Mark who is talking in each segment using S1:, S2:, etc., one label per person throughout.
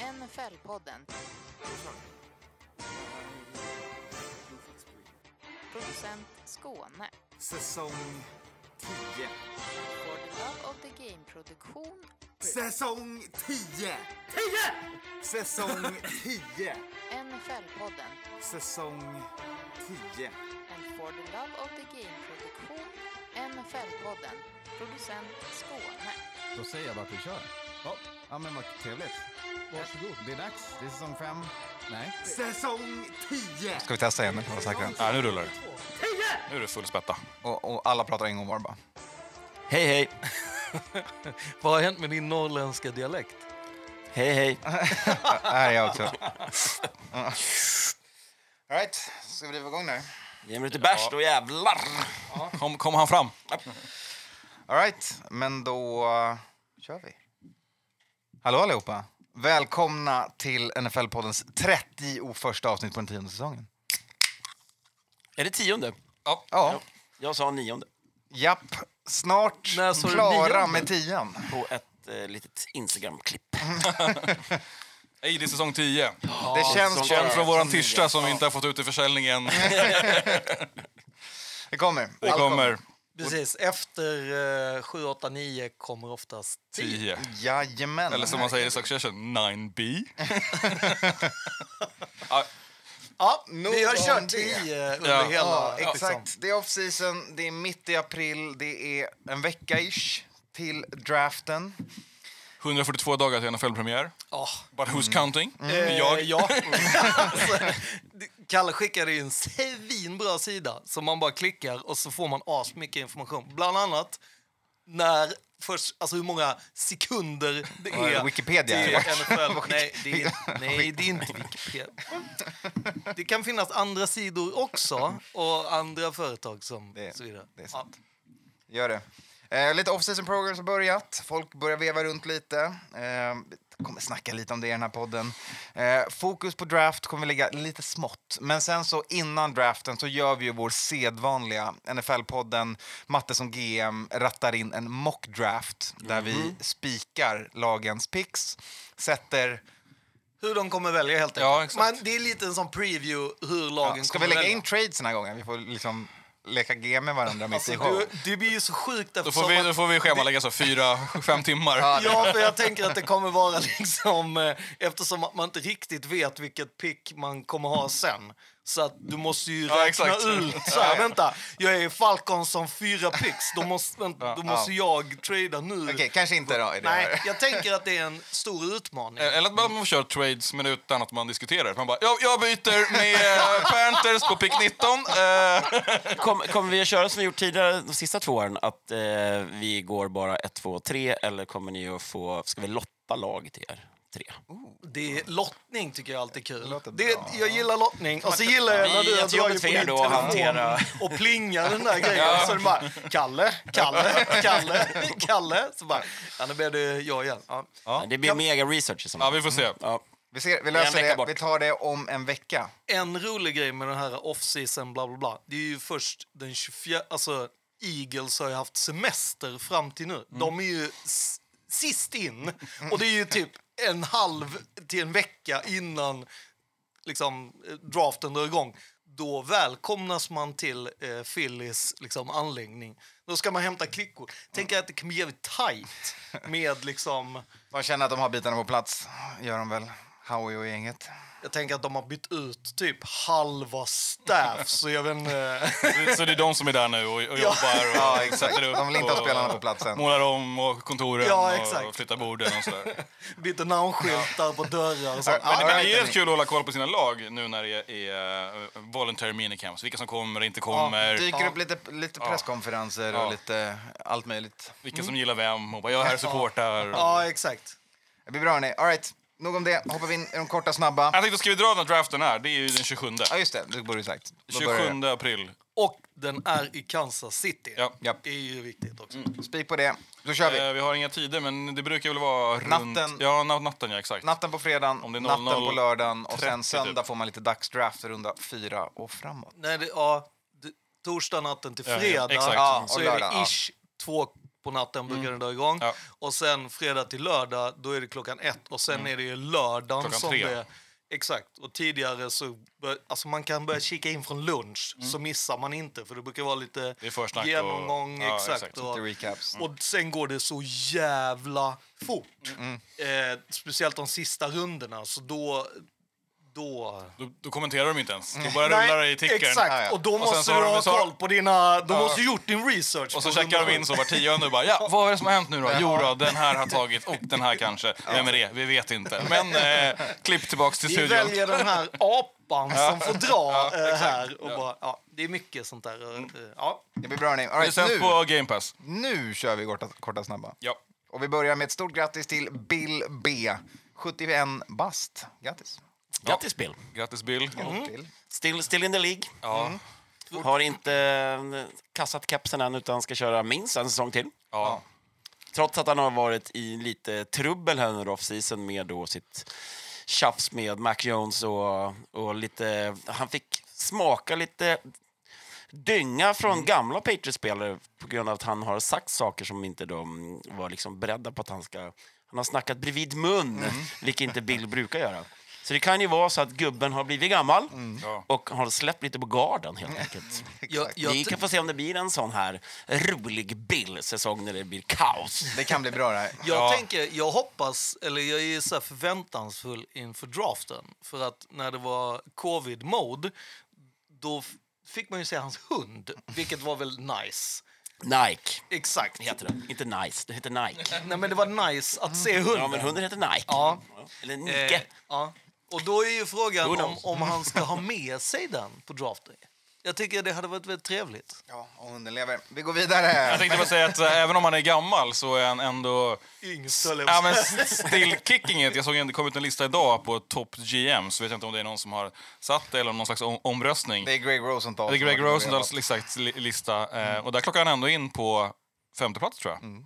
S1: NFL-podden. Producent Skåne.
S2: Säsong 10.
S1: For the Love of the Game-produktion.
S2: Säsong 10! 10! Säsong 10!
S1: NFL-podden.
S2: Säsong 10.
S1: And For the Love of the Game-produktion. NFL-podden. Producent Skåne.
S3: Då säger jag bara att vi kör. Ja. ja men vad trevligt. Varsågod. Det är dags. Det är säsong fem. Nej.
S2: Säsong 10!
S4: Ska vi testa igen nu? Har du sagt det? Ja, nu rullar det. Nu är det full spätta.
S3: Och, och alla pratar en gång var bara.
S4: Hej, hej.
S5: Vad har hänt med din norrländska dialekt?
S4: Hej, hej.
S3: Här är jag också. Alright, ska vi driva igång nu?
S4: Ge mig lite bärs då, jävlar. Kom, kom han fram.
S3: Alright, men då eh, kör vi. Hallå allihopa. Välkomna till NFL-poddens 31 avsnitt på den tionde säsongen.
S6: Är det tionde?
S3: Ja,
S6: Jag sa nionde.
S3: japp. Snart
S5: När sa du
S3: klara
S5: nionde?
S3: med tian.
S6: På ett eh, litet Instagram-klipp.
S4: Hej, det är säsong 10.
S3: Det känns
S6: säsong
S4: Känd från våran
S6: Säsong
S4: tisdag som vi inte har fått ut i försäljningen.
S3: Det kommer.
S4: Det
S3: Allt
S4: kommer
S5: Precis, efter eh, 7, 8, 9 kommer oftast 10.
S4: 10.
S3: Jajamän.
S4: Eller som man säger i Succession, 9B.
S5: Ja, vi har
S3: Nog om
S5: kört
S3: det.
S5: 10 under
S4: Ja.
S5: hela...
S3: Ja,
S5: liksom.
S3: exakt. Det är off-season, det är mitt i april, det är en vecka-ish till draften.
S4: 142 dagar till NFL-premiär.
S5: Ja.
S4: But who's counting?
S5: Eh,
S4: Jag.
S5: ja. alltså, det- Kalle skickade ju en svinbra sida som man bara klickar och så får man asmycket information. Bland annat när först, alltså hur många sekunder det
S3: Vad är det,
S5: är
S3: Wikipedia,
S5: till
S3: eller?
S5: NFL. Nej, det är, nej, det är inte Wikipedia. Det kan finnas andra sidor också och andra företag som...
S3: Det-
S5: så vidare.
S3: det är sant. Gör det. Eh, lite off-season programs har börjat. Folk börjar veva runt lite. Eh, vi kommer snacka lite om det i den här podden. Eh, fokus på draft kommer vi lägga lite smått. Men sen så innan draften så gör vi ju vår sedvanliga NFL-podden. Matte som GM rattar in en mock-draft där
S5: Mhm.
S3: vi spikar lagens picks, sätter
S5: Ja. Hur de kommer välja helt
S4: Ja,
S5: enkelt.
S4: exakt.
S5: Men det är lite en sån preview hur lagen
S3: Ja, ska vi
S5: kommer
S3: lägga
S5: välja.
S3: in trades den här gången? Vi får liksom leka GM med varandra mitt i show.
S5: Alltså, Du, det blir ju så sjukt
S4: Då får
S5: eftersom
S4: vi,
S5: att-
S4: då får vi schemalägga så fyra, fem timmar.
S5: Ja, för jag tänker att det kommer vara liksom... eh, Eftersom att man inte riktigt vet vilket pick man kommer ha sen. Så att du måste ju
S4: Ja,
S5: räkna
S4: exakt.
S5: ut. Så här, vänta, jag är Falcon som fyra picks. Då måste, vänta, då måste jag trada nu.
S3: Okej, kanske inte då. i det
S5: Nej,
S3: här.
S5: jag tänker att det är en stor utmaning.
S4: Eh, Eller att man kör trades men utan att man diskuterar. Man bara, jag, jag byter med eh, Panthers på pick 19. eh,
S6: Kom, kommer vi att köra som vi gjort tidigare de sista två åren? Att eh, vi går bara ett, två, tre? Eller kommer ni att få... Ska vi lotta lag till er? Tre.
S5: Det är, lottning tycker jag alltid är kul.
S3: låter
S5: Det,
S3: bra.
S5: jag gillar lottning. Och så gillar jag när
S6: Det är
S5: du har dragit
S6: jättejobbigt
S5: på
S6: för er
S5: din
S6: då att hantera.
S5: telefon och plingar den där grejen. Så är det bara Kalle, Kalle, Kalle, Kalle. Så bara, ja, nu blev det jag igen. Ja.
S6: Det blir mega research i
S4: Ja,
S6: sådana fall.
S4: vi får se.
S6: Ja.
S3: Vi, ser, vi
S6: en
S3: löser
S6: vecka
S3: det.
S6: bort.
S3: Vi tar det om en vecka.
S5: En rolig grej med den här off-season bla bla bla. Det är ju först den 24, alltså Eagles har ju haft semester fram till nu. De är ju s- sist in och det är ju typ en halv till en vecka innan liksom, eh, draften drar igång, då välkomnas man till eh, Phillies liksom, anläggning. Då ska man hämta klickor. Tänk er att det kan bli jävligt tajt med liksom...
S3: De känner att de har bitarna på plats, gör de väl. Howie och gänget.
S5: Jag tänker att de har bytt ut typ halva staff, så jag vet inte...
S4: Så det är de som är där nu och, och jobbar och
S3: Ja, exakt.
S4: sätter upp
S3: De vill inte ha
S4: och-
S3: spelarna på plats än.
S4: Målar om och kontoren
S5: Ja,
S4: och
S5: exakt.
S4: flyttar borden och sådär.
S5: Byter namnskyltar på dörrar och sånt.
S3: Ja,
S4: Men,
S3: ja,
S4: men det är
S3: ja.
S4: rätt kul att hålla koll på sina lag nu när det är eh, voluntary minicamps. Vilka som kommer och inte kommer,
S3: Dyker upp lite, lite presskonferenser
S4: Ja.
S3: och lite allt möjligt.
S4: vilka som gillar vem och bara jag är här och supportar.
S5: Ja, exakt.
S3: Det blir bra, hörni. All right. Nog om det. Hoppar vi in i de korta, snabba.
S4: Jag tänkte, ska vi dra den här draften här? Det är ju den 27.
S3: Ja, just det. Det borde du sagt. Då börjar det.
S4: 27 april.
S5: Och den är i Kansas City.
S4: Ja. Mm.
S3: Japp.
S5: Det är ju viktigt också.
S3: Spik på det. Då kör vi.
S4: Eh, Vi har inga tider, men det brukar väl vara runt...
S3: Natten.
S4: Ja, na- natten, ja, exakt.
S3: Natten på fredagen,
S4: Om det är
S3: natten
S4: 00,
S3: på lördagen och
S4: 30
S3: sen
S4: typ.
S3: söndag får man lite dagsdraft runda fyra och framåt.
S5: Nej, det, ja, det, torsdag natten till
S4: Ja, ja,
S5: fredag
S4: exakt.
S3: Ja,
S5: så
S3: och
S5: är
S3: lördag, ja.
S5: det ish två på natten brukar den dra igång.
S4: Mm. Ja.
S5: Och sen fredag till lördag, då är det klockan ett. Och sen är det ju lördagen
S4: Mm. Klockan
S5: som
S4: tre.
S5: det är. Exakt. Och tidigare så... bör- Alltså man kan börja kika in från lunch, så missar man inte. För det brukar vara lite
S4: Mm. Det är försnack och-
S5: genomgång.
S4: ja,
S5: exakt.
S4: exakt.
S5: Och,
S3: Lite
S4: Mm.
S3: recaps.
S5: och sen går det så jävla fort.
S4: Mm,
S5: Eh, speciellt de sista rundorna. Så då... då
S4: Då, då kommenterar de inte ens.
S3: Mm.
S4: Då bara rullar det i tickern.
S5: Exakt,
S3: Ja, ja.
S5: och då
S4: Och sen så
S5: måste
S4: har
S5: du
S4: de-
S5: ha
S4: så har-
S5: koll på dina... Då måste du gjort din research.
S4: Och så
S5: på
S4: checkar de in så var tionde och bara ja, vad är det som har hänt nu då? Jo då, den här har tagit och den här kanske. Vem är det? Vi vet inte. Men eh, klipp tillbaks till
S5: Vi
S4: studion.
S5: väljer den här apan som får dra eh, här. Och bara, ja, det är mycket sånt där.
S4: Mm.
S5: eh, eh, Ja.
S3: Det blir bra hörni. All
S4: Det
S3: right,
S4: sänds
S3: nu,
S4: på Game Pass.
S3: nu kör vi korta, korta snabba.
S4: Ja.
S3: Och vi börjar med ett stort grattis till Bill B. 71 bast. Grattis.
S6: Grattis, Bill.
S4: Grattis Bill. Mm.
S3: Bill.
S6: Still, still in the League.
S4: Ja.
S6: Har inte eh, kastat kepsen än, utan ska köra minst en säsong till.
S4: Ja.
S6: Trots att han har varit i lite trubbel här under off-season med då sitt tjafs med Mac Jones och, och lite... Han fick smaka lite dynga från gamla Patriots-spelare på grund av att han har sagt saker som inte de var liksom beredda på att han ska... Han har snackat bredvid mun, vilket inte Bill brukar göra. Så det kan ju vara så att gubben har blivit gammal
S4: Ja.
S6: och har släppt lite på garden helt enkelt.
S5: Jag,
S6: Vi
S5: jag,
S6: kan få se om det blir en sån här rolig Bill-säsong när det blir kaos.
S3: Det kan bli bra det här.
S5: jag
S4: Ja.
S5: tänker, jag hoppas, eller jag är så här förväntansfull inför draften. För att när det var covid-mode, då f- fick man ju se hans hund, vilket var väl nice.
S6: Nike
S5: Exakt.
S6: heter den. Inte nice, det heter Nike.
S5: Nej, men det var nice att se hunden.
S6: Ja, men hunden heter Nike.
S5: Ja.
S6: Eller
S5: Eh,
S6: Nike.
S5: ja. Och då är ju frågan
S6: Who
S5: om,
S6: knows?
S5: om han ska ha med sig den på draft day. Jag tycker det hade varit väldigt trevligt.
S3: Ja, och hunden lever. Vi går vidare.
S4: Jag tänkte bara säga att eh, även om han är gammal så är han ändå
S5: Yngst, höll jag på
S4: Ja,
S5: att
S4: men still kicking it. Jag såg en, det kom ut en lista idag på top GM, så vet jag inte om det är någon som har satt det eller om någon slags om, omröstning.
S3: Det är Greg Rosenthal.
S4: Det är
S3: som
S4: Greg
S3: har varit
S4: Rosendals lista, li- lista eh, och där klockar han ändå in på femte plats tror jag.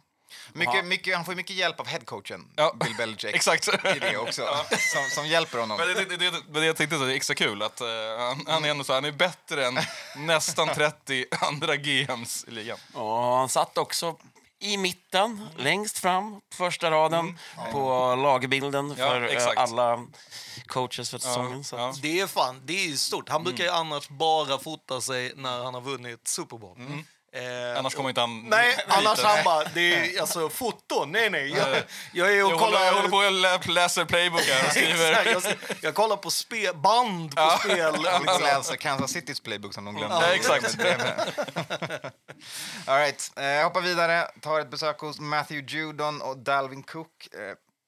S3: Mycket, mycket, han får ju mycket hjälp av headcoachen,
S4: Ja.
S3: Bill Belichick.
S4: Exakt.
S3: I det också, som, som hjälper honom.
S4: Men det, det, det, det, det jag tänkte så det är extra kul att eh, han, han är ändå så, han är bättre än nästan 30 andra GMs i ligan.
S6: Och han satt också i mitten, längst fram, på första raden på lagbilden
S4: Mm. Ja,
S6: för eh,
S4: exakt.
S6: alla coaches för säsongen. Så.
S4: ja.
S6: att-
S5: Det är fan, det är ju stort. Han brukar ju
S6: Mm.
S5: annars bara fota sig när han har vunnit Super Bowl.
S6: Mm.
S5: Eh,
S4: Annars kommer inte han
S5: Nej,
S4: hit.
S5: annars han bara, det är alltså foton, nej nej. Jag, jag är och
S4: Jag håller,
S5: kollar...
S4: jag håller på och lä- läser playbook här och
S5: Exakt,
S4: skriver.
S5: jag, jag kollar på spe, band på spel.
S3: Han liksom
S5: Liksom.
S3: läser Kansas Citys playbook som de glömde.
S4: Ja, exakt.
S3: All right. eh, jag hoppar vidare, tar ett besök hos Matthew Judon och Dalvin Cook. Eh,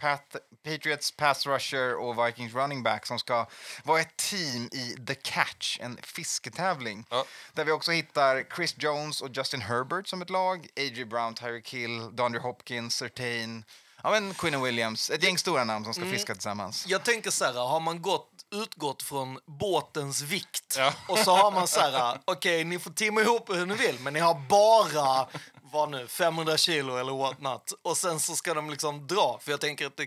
S3: Pat, Patriots pass rusher och Vikings running back som ska vara ett team i The Catch, en fisketävling.
S4: Ja.
S3: Där vi också hittar Chris Jones och Justin Herbert som ett lag, A.J. Brown, Tyreek Hill, DeAndre Hopkins, Sertain, ja men Quinn Williams. Ett gäng stora namn som ska
S5: Mm.
S3: fiska tillsammans.
S5: Jag tänker så här, har man gått, utgått från båtens vikt
S4: Ja.
S5: och så har man så här, okej ni får timma ihop hur ni vill men ni har bara, vad nu, 500 kilo eller what not. Och sen så ska de liksom dra, för jag tänker att det,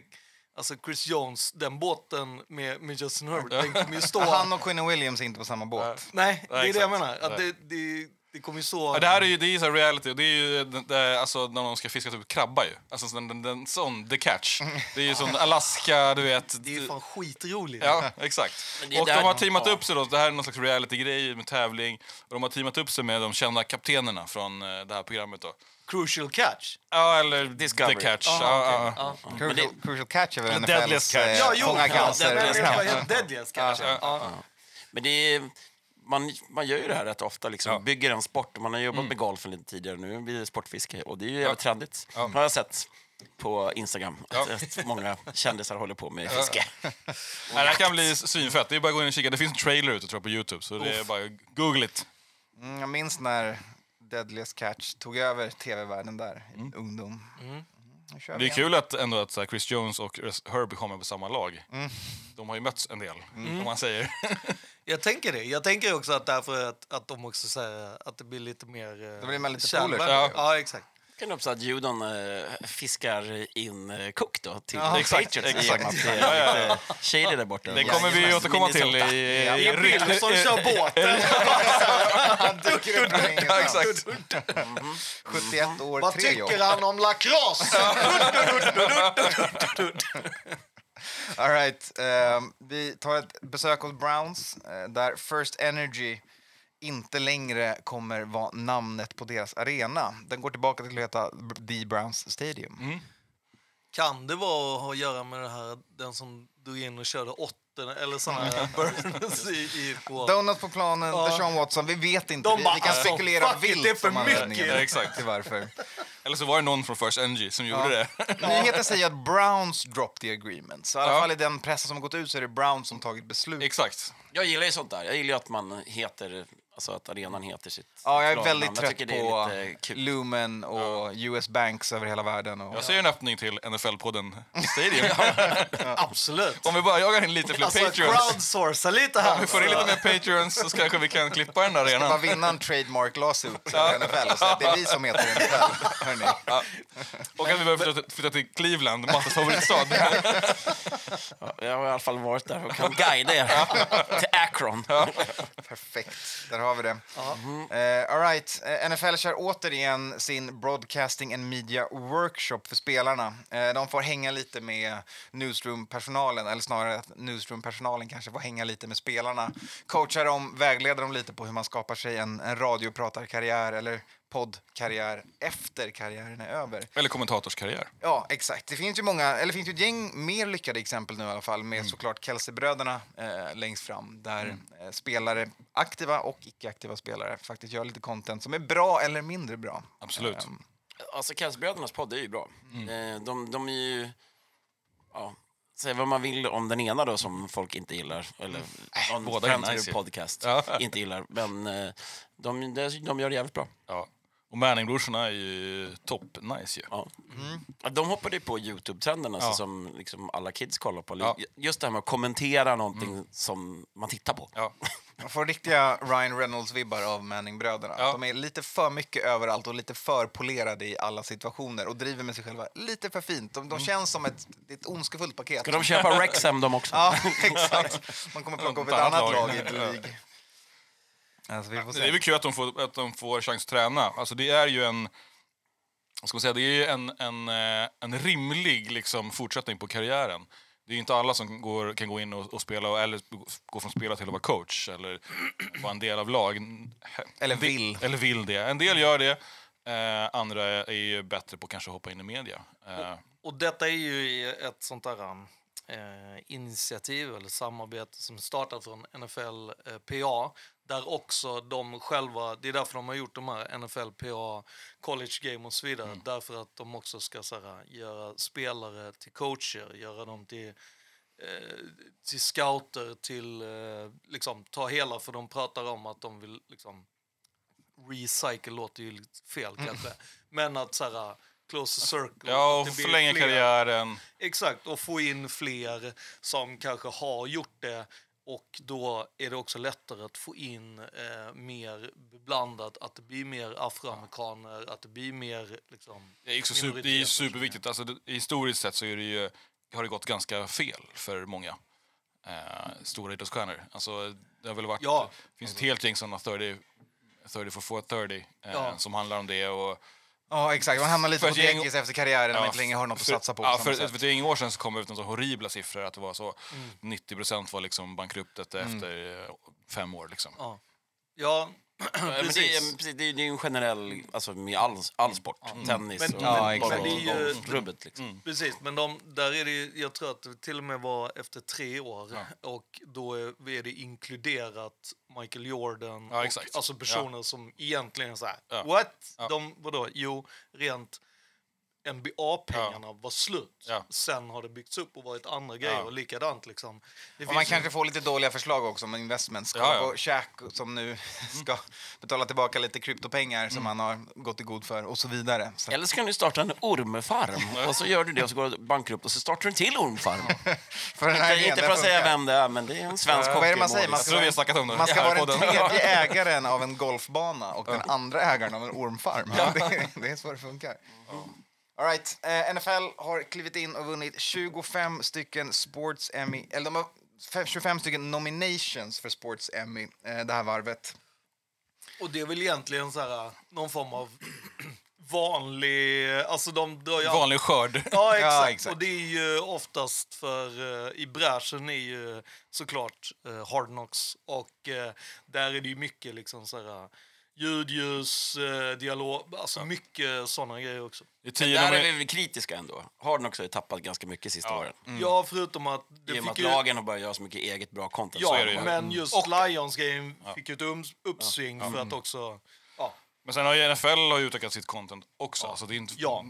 S5: alltså Chris Jones, den båten med, med Justin Herbert, den kommer ju stå...
S3: Han och Quinn Williams är inte på samma båt.
S5: Nej, det är det jag
S4: exakt.
S5: menar. Att
S4: Nej.
S5: det, det, det kommer ju stå...
S4: Ja, det här är ju det är ju så här reality. och Det är ju det- det- alltså, när de ska fiska typ krabba. ju. Alltså, så den, den, den, sån, the catch. Det är ju sån Alaska, du vet.
S5: det är ju fan skitroligt.
S4: Ja, exakt.
S6: det är
S4: Och de
S6: där-
S4: har teamat
S6: ja.
S4: upp sig. Då. Det här är någon slags reality-grej med tävling. Och de har teamat upp sig med de kända kaptenerna från eh, det här programmet. Då.
S5: Crucial catch.
S4: Ja, eller
S6: Discovery.
S4: The Catch.
S5: Aha,
S4: ja, ja,
S5: okej.
S4: ja.
S5: Ja.
S3: Crucial,
S6: det-
S3: crucial Catch är väl NFLs
S4: Deadliest
S3: eh,
S4: Catch.
S5: Ja, jo,
S3: fånga
S5: ja,
S3: cancer.
S5: den- den-
S3: Ja.
S5: den- Deadliest catch. Ja.
S6: Men det är, man, man gör ju det här rätt ofta, liksom,
S4: Ja. Mm.
S6: bygger en sport. Man har jobbat med golfen lite tidigare, nu blir det sportfiske. Och det är ju jävligt trendigt, har jag sett på Instagram. Att att eh, många kändisar håller på med fiske.
S4: Nej, det här kan bli svinfett. Det är bara att gå in och kika. Det finns en trailer ute tror jag, på Youtube. Så det är bara google it.
S3: Mm, jag minns när Deadliest Catch tog över tv-världen där, i min ungdom. Mm, nu kör
S4: Det
S3: vi
S4: är
S3: igen.
S4: kul att, ändå att så här, Chris Jones och Herbie kommer på samma lag. De har ju mötts en del, om man säger.
S5: Jag tänker det. Jag tänker också att därför att, att de också säger att det blir lite mer... eh,
S3: Då blir man lite
S5: kärlek.
S3: polare.
S5: Ja. ja, exakt.
S6: kan det också att judon eh, fiskar in eh, Cook då till
S4: Ja,
S6: The
S4: exakt,
S6: Patriots
S4: exakt.
S6: i och med att det
S4: Ja, ja,
S6: är
S4: ja.
S6: lite shady där borta.
S4: Det kommer vi ju
S6: Jajamän.
S4: återkomma till i,
S6: Minnesota.
S4: i,
S3: Ja.
S4: i
S5: Det är Bill som kör båten.
S3: Han dyker upp från
S4: Ja,
S3: ingenstans.
S4: exakt.
S3: 71 år,
S5: Vad
S3: tre jobb.
S5: tycker han om lacrosse?
S3: All right. ehm, vi tar ett besök hos Browns eh, där First Energy inte längre kommer vara namnet på deras arena. Den går tillbaka till att heta The Browns Stadium.
S4: Mm.
S3: Mm.
S5: Kan det vara att ha att göra med det här, den som drog in och körde åttorna eller såna här burners i, i på...
S3: Donuts på planen,
S5: Ja.
S3: Deshaun Watson. Vi vet inte.
S5: De
S3: vi,
S5: bara,
S3: vi kan
S5: alltså,
S3: spekulera
S5: fuck it,
S3: vilt
S5: det är för
S3: om
S5: mycket.
S3: anledningen
S4: Ja, exakt.
S3: till varför.
S4: Eller så var det någon från First Energy som gjorde det.
S3: Nyheten säger att Browns dropped the agreement. Så i alla
S4: Ja.
S3: fall i den pressen som har gått ut så är det Browns som tagit beslut.
S4: Exakt.
S6: Jag gillar ju sånt där. Jag gillar ju att man heter, alltså att arenan heter sitt
S3: Ja, jag är
S6: sitt
S3: väldigt
S6: lagnamn.
S3: trött
S6: tycker det är
S3: på
S6: lite kul.
S3: Lumen och US Banks över hela världen. Och...
S4: Jag ser en öppning till NFL-podden Stadium.
S5: Absolut.
S4: Om vi bara jagar in lite fler
S5: Alltså,
S4: Patreons.
S5: crowdsourca lite här.
S4: Vi får in lite mer Patreons så kanske vi kan klippa den där
S3: Bara
S4: arenan.
S3: vinna en trademark lawsuit ja. NFL och säga att det är vi som heter NFL. Hörrni.
S4: Och att vi behöver flytta, flytta till Cleveland, Mattes favoritstad.
S6: Ja, Jag har i alla fall varit där och kan guida er till Akron.
S3: Perfekt, där har vi det. Eh, all right. Eh, NFL kör återigen sin Broadcasting and Media Workshop för spelarna. Eh, de får hänga lite med Newsroom-personalen, eller snarare att Newsroom-personalen kanske får hänga lite med spelarna. Coachar dem, vägleder dem lite på hur man skapar sig en, en radiopratarkarriär eller poddkarriär efter karriären är över.
S4: Eller kommentatorskarriär.
S3: Ja, exakt. Det finns ju många, eller det finns ju ett gäng mer lyckade exempel nu i alla fall
S4: Mm.
S3: med såklart Kelsey-bröderna eh, längst fram där eh, spelare, aktiva och icke-aktiva spelare faktiskt gör lite content som är bra eller mindre bra.
S4: Absolut.
S3: Ehm,
S6: Alltså Kelseybrödernas podd är ju bra.
S4: Mm.
S6: Eh, De, de är ju... Ja, säg vad man vill om den ena då som folk inte gillar. Eller om
S4: Mm. Äh, båda är
S6: Friends
S4: nice
S6: Group
S4: ju.
S6: podcast
S4: Ja.
S6: inte gillar. Men eh, de, de, de gör det jävligt bra.
S4: Ja. Och Manning-brorsorna är ju topp-nice ju.
S6: Ja. De hoppade ju på Youtube-trenden alltså,
S4: Mm. Ja.
S6: som liksom alla kids kollar på.
S4: Ja. Mm.
S6: Just det här med att kommentera någonting som man tittar på.
S4: Ja.
S3: Man får riktiga Ryan Reynolds-vibbar av Manning-bröderna.
S4: Ja.
S3: De är lite för mycket överallt och lite för polerade i alla situationer och driver med sig själva lite för fint. De, de
S4: Mm.
S3: känns som ett, det är ett ondskefullt paket.
S6: Ska de köpa Rexham de också?
S3: Ja, exakt. Man kommer plocka upp ett annat lag i ett lig. Alltså, vi får
S4: Det är
S3: se.
S4: väl kul att de får, att de får chans att träna. Alltså det är ju en... vad Ska man säga, det är ju en, en, eh, en rimlig liksom, fortsättning på karriären. Det är ju inte alla som går, kan gå in och, och spela, och- eller gå från spelare till att vara coach eller vara en del av lag.
S3: Eller
S4: En del-
S3: vill.
S4: Eller vill det. En del gör det, eh, andra är ju bättre på att kanske hoppa in i media. Eh,
S5: Och detta är ju ett sånt där eh, initiativ eller samarbete som startar från NFL eh, PA där också de själva, det är därför de har gjort de här NFL PA college game och så vidare, därför att de också ska så här, göra spelare till coacher, göra dem till eh, till scouter, till eh, liksom ta hela, för de pratar om att de vill liksom recycle låter ju lite fel kanske, men att så här eh, close the circle.
S4: Mm. ja,
S5: att
S4: och
S5: det blir
S4: förlänga
S5: fler-
S4: karriären.
S5: Exakt, och få in fler som kanske har gjort det. Och då är det också lättare att få in eh, mer blandat, att det blir mer afroamerikaner, att det blir mer liksom...
S4: Det är, också super, det är ju superviktigt. Alltså, det, historiskt sett så är det ju, har det gått ganska fel för många eh, stora idrottsstjärnor. Alltså, det har väl varit,
S5: Ja.
S4: det finns ett helt gäng sådana 30, 30 for 430 eh,
S5: Ja.
S4: som handlar om det. Och,
S3: Ja, exakt. Man hamnar lite
S4: För
S3: på
S4: ett gäng-
S3: dekis efter karriären när man
S4: Ja,
S3: inte längre har något att
S4: för-
S3: satsa på. på
S4: Ja,
S3: samma
S4: för
S3: sätt.
S4: för ett gäng år sedan så kom det ut några så horribla siffror att det var så
S5: Mm.
S4: 90 procent var liksom bankruptet efter eh, fem år. Liksom.
S5: Ja, ja
S6: Men det,
S5: precis.
S6: är, precis, det är det är ju en generell, alltså med all, all sport.
S4: Mm.
S6: Tennis
S5: Men-
S6: och
S5: Ja,
S6: fotboll
S3: exakt.
S6: och
S5: Men det är ju-
S6: golfrubbet, liksom.
S5: Precis, men de, där är det, ju- jag tror att det till och med var efter tre år och då är, är det inkluderat Michael Jordan
S4: Ja,
S5: och
S4: exakt.
S5: alltså personer som egentligen är så här,
S4: Ja.
S5: what?
S4: Ja.
S5: De, vadå? Jo, rent NBA-pengarna var slut.
S4: Ja.
S5: Sen har det byggts upp och varit andra grejer
S4: Ja.
S5: och likadant liksom. Det
S3: Och man
S5: finns ju-
S3: kanske får lite dåliga förslag också om investments. Kolla
S4: Ja, ja.
S3: på Shaq som nu ska betala tillbaka lite kryptopengar som han
S4: Mm.
S3: har gått i god för och så vidare. Så,
S6: Eller så kan du starta en ormfarm. Och så gör du det och så går du bankrupt och så startar du en till ormfarm.
S3: för den här
S6: inte, inte
S3: idén,
S6: för att
S3: den
S6: säga
S3: funkar.
S6: vem det är, men det är en svensk
S3: Ja, Eh, vad är det man säger?
S6: hockeymålis.
S4: Jag tror vi har snackat om det
S3: Man ska
S4: här i
S3: vara den
S4: podden.
S3: tredje ägaren av en golfbana och den andra ägaren av en ormfarm. Ja, det, är- det är så det funkar. All right. eh, NFL har klivit in och vunnit 25 stycken Sports Emmy, eller de har fe- 25 stycken nominations för Sports Emmy eh, det här varvet.
S5: Och det är väl egentligen så här, någon form av vanlig... Alltså de drar ju alltid-
S4: Vanlig skörd.
S5: Ja exakt.
S3: Ja, exakt.
S5: Och det är ju oftast för eh, i bräschen är ju såklart eh, Hard Knocks och eh, där är det ju mycket liksom så här eh, ljud, ljus, eh, dialog, alltså mycket sådana grejer också.
S4: Det är tio
S6: Där
S4: nomi-
S6: är vi kritiska ändå. Harden också har ju tappat ganska mycket sista åren.
S5: Ja, förutom att
S6: I
S5: det
S6: och med att
S5: fick ju...
S6: lagen har börjat göra så mycket eget bra content.
S5: Ja,
S6: så
S4: är det ju.
S6: har-
S5: men just Lions-grejen fick ju ett ums- uppsving för att också... Ja,
S4: Men sen har ju NFL har ju utökat sitt content också. Så det är inte,
S5: Ja.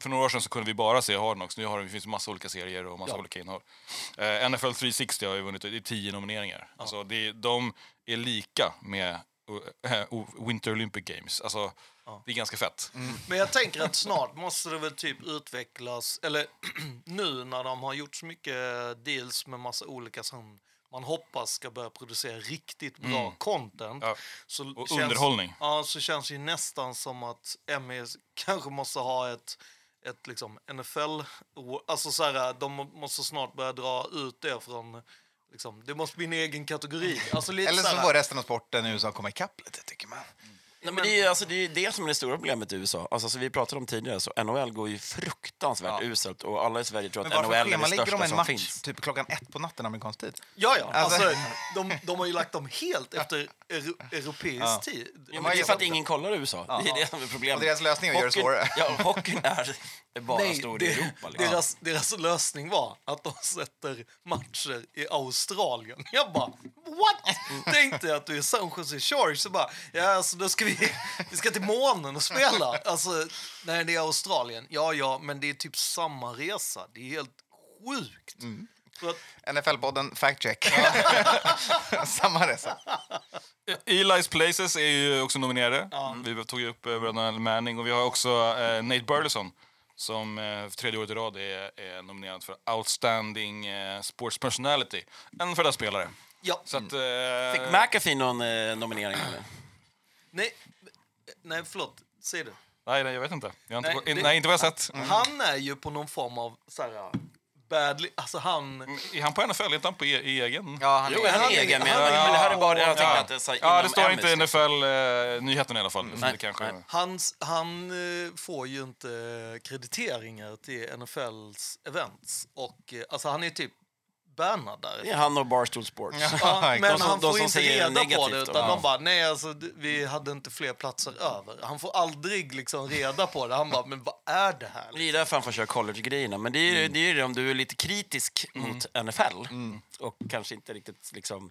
S4: För några år sedan så kunde vi bara se Hardnox. Nu har det, finns det massa olika serier och massa
S5: Ja.
S4: olika innehåll. Eh, NFL 360 har ju vunnit det är tio nomineringar. Alltså det, de är lika med eh, o- Winter Olympic Games. Alltså, Det är ganska fett.
S5: Men jag tänker att snart måste det väl typ utvecklas, eller nu när de har gjort så mycket deals med massa olika som man hoppas ska börja producera riktigt bra content.
S4: Mm. Ja.
S5: Så
S4: Och underhållning.
S5: Ja, så känns det ju nästan som att Emmy kanske måste ha ett, ett liksom NFL... Alltså så här, de måste snart börja dra ut det från... Liksom, det måste bli en egen kategori. Alltså lite
S3: Eller
S5: så
S3: så
S5: här-
S3: får resten av sporten i USA komma ikapp lite, tycker man.
S6: Nej, men det, är, ju- alltså, det är ju det som är det stora problemet i USA. Alltså, som vi pratade om tidigare, så NHL går ju fruktansvärt uselt och alla i Sverige tror
S3: Men
S6: att NHL
S3: varför
S6: är det
S3: schemalägger de
S6: största
S3: en
S6: som
S3: match
S6: finns.
S3: typ klockan ett på natten amerikansk tid?
S5: Ja, ja.
S3: Alltså-
S5: Alltså, de, de har ju lagt dem helt efter euro, europeisk tid.
S6: Ja, men det är för att ingen kollar i USA. Det är det som är problemet.
S3: Och deras lösning är att göra det
S6: Hockeyn-
S3: svårare.
S6: Ja, hockeyn är är bara stor i
S5: det-
S6: Europa. Liksom.
S5: Deras, deras lösning var att de sätter matcher i Australien. Jag bara, what? Tänkte jag att du är San Jose Sharks så bara, ja alltså då ska vi, vi ska till månen och spela. Alltså, nej det är Australien. Ja, ja, men det är typ samma resa. Det är helt sjukt. För att,
S3: NFL-podden Fact Check. Samma resa.
S4: Eli's Eh, Places är ju också nominerade. Vi tog ju upp eh, bröderna Manning och vi har också eh, Nate Burleson som eh, för tredje året i rad är, är nominerad för Outstanding eh, Sports Personality. En för dessa spelare.
S5: ja,
S4: Så att, eh,
S6: Fick McAfee någon eh, nominering? Eller?
S5: nej, nej förlåt, säg du.
S4: nej, nej, jag vet inte. Jag har inte
S5: Nej,
S4: nej,
S5: det-
S4: nej, inte vad jag har sett.
S5: Mm. Han är ju på någon form av så här, bad li- alltså han...
S6: Mm.
S4: Är han på NFL? Är inte han på e- egen?
S3: Ja, han
S6: Jo,
S3: är
S6: han är
S5: han är-
S6: egen, men
S5: han är-
S6: men det här är bara det jag tänkte
S4: Ja,
S6: att det är så här
S4: ja
S6: inom
S4: det står
S6: Emmys,
S4: inte
S6: liksom.
S4: NFL-nyheten eh, i alla fall. Så det
S6: Nej,
S4: kanske...
S6: nej.
S5: Han, han eh, får ju inte krediteringar till NFLs events. Och, eh, alltså han är typ bannad där.
S6: Det är han och Barstool Sports.
S5: Ja, men
S6: de som-
S5: han
S6: de
S5: får
S6: som
S5: inte
S6: säger
S5: reda på
S6: negativt
S5: det.
S6: då.
S5: Utan
S6: Ja.
S5: de bara, nej alltså, d- vi hade inte fler platser över. Han får aldrig liksom reda på det. Han bara, men vad är det här?
S6: Det är därför han får köra college-grejerna. Men det är, ju- det är ju det om du är lite kritisk mot NFL och kanske inte riktigt liksom...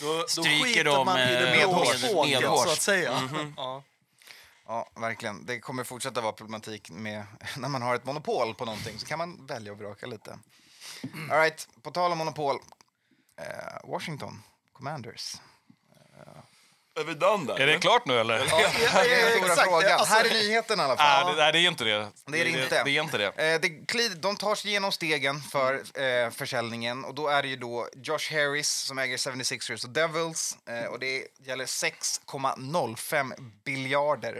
S5: Då, då
S6: Stryker
S5: skiter
S6: de,
S5: man i det
S6: eh,
S5: blå
S6: medhårs-
S5: spåket, så
S6: medhårs.
S5: att säga. Ja.
S3: Ja, verkligen. Det kommer fortsätta vara problematik med när man har ett monopol på någonting så kan man välja och vraka lite.
S4: Mm.
S3: All right, på tal om monopol. Eh, Washington Commanders.
S6: Är vi done
S4: Är det klart nu, eller?
S3: Ja, det är den stora
S5: exakt,
S3: frågan.
S5: alltså-
S3: Här är nyheten i alla fall.
S4: Nej, det, nej, det är inte det.
S3: Det är det inte.
S4: Det är inte det.
S3: Eh, det glid, de tar sig igenom stegen för eh, försäljningen och då är det ju då Josh Harris som äger 76ers och Devils eh, och det gäller 6,05 biljarder.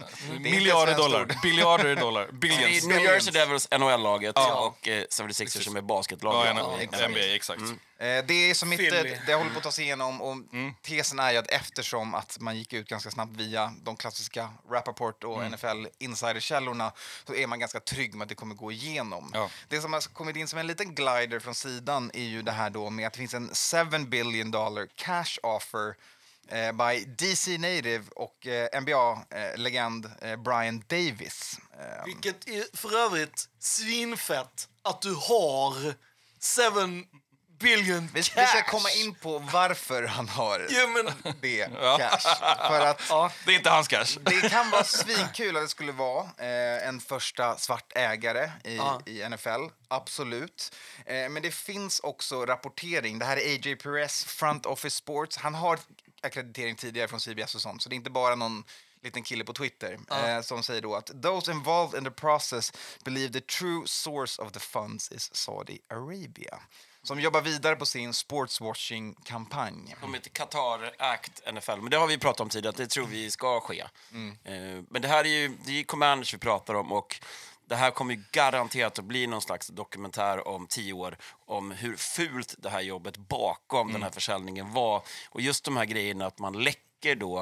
S3: inte
S4: Mm. Miljarder
S3: ett svenskt
S4: dollar.
S3: ord.
S4: Biljarder dollar.
S6: Det
S4: Billions.
S6: är New Jersey Devils, NHL-laget och eh, 76ers som är
S4: Ja,
S6: basketlaget.
S4: ja,
S6: Ja.
S4: ja, NBA, exakt.
S3: Eh, Det är som
S5: Philly.
S3: inte, det håller på att ta sig igenom och
S5: Mm.
S3: tesen är ju att eftersom att man gick ut ganska snabbt via de klassiska Rappaport
S5: Mm.
S3: och NFL insiderkällorna så är man ganska trygg med att det kommer gå igenom.
S4: Ja.
S3: Det som har kommit in som en liten glider från sidan är ju det här då med att det finns en 7 billion dollar cash offer eh, by DC Native och eh, NBA-legend eh, Brian Davis. Eh,
S5: Vilket är för övrigt svinfett att du har seven billion
S3: Vi, vi
S5: cash.
S3: ska komma in på varför han har
S5: Ja, men,
S3: det cash. För att
S4: Det är inte hans cash.
S3: det kan vara svinkul att det skulle vara eh, en första svart ägare i,
S5: Ja.
S3: i NFL. Absolut. Eh, men det finns också rapportering. Det här är AJ Perez, Front Office Sports. Han har akkreditering tidigare från CBS och sånt, så det är inte bara någon liten kille på Twitter eh, som säger då att those involved in the process believe the true source of the funds is Saudi Arabia som jobbar vidare på sin sportswashing-kampanj.
S6: De heter Qatar Act NFL, men det har vi pratat om tidigare, att det tror vi ska ske. Eh, Men det här är ju, det är ju Commanders vi pratar om och det här kommer ju garanterat att bli någon slags dokumentär om tio år om hur fult det här jobbet bakom den här försäljningen var. Och just de här grejerna att man läcker då,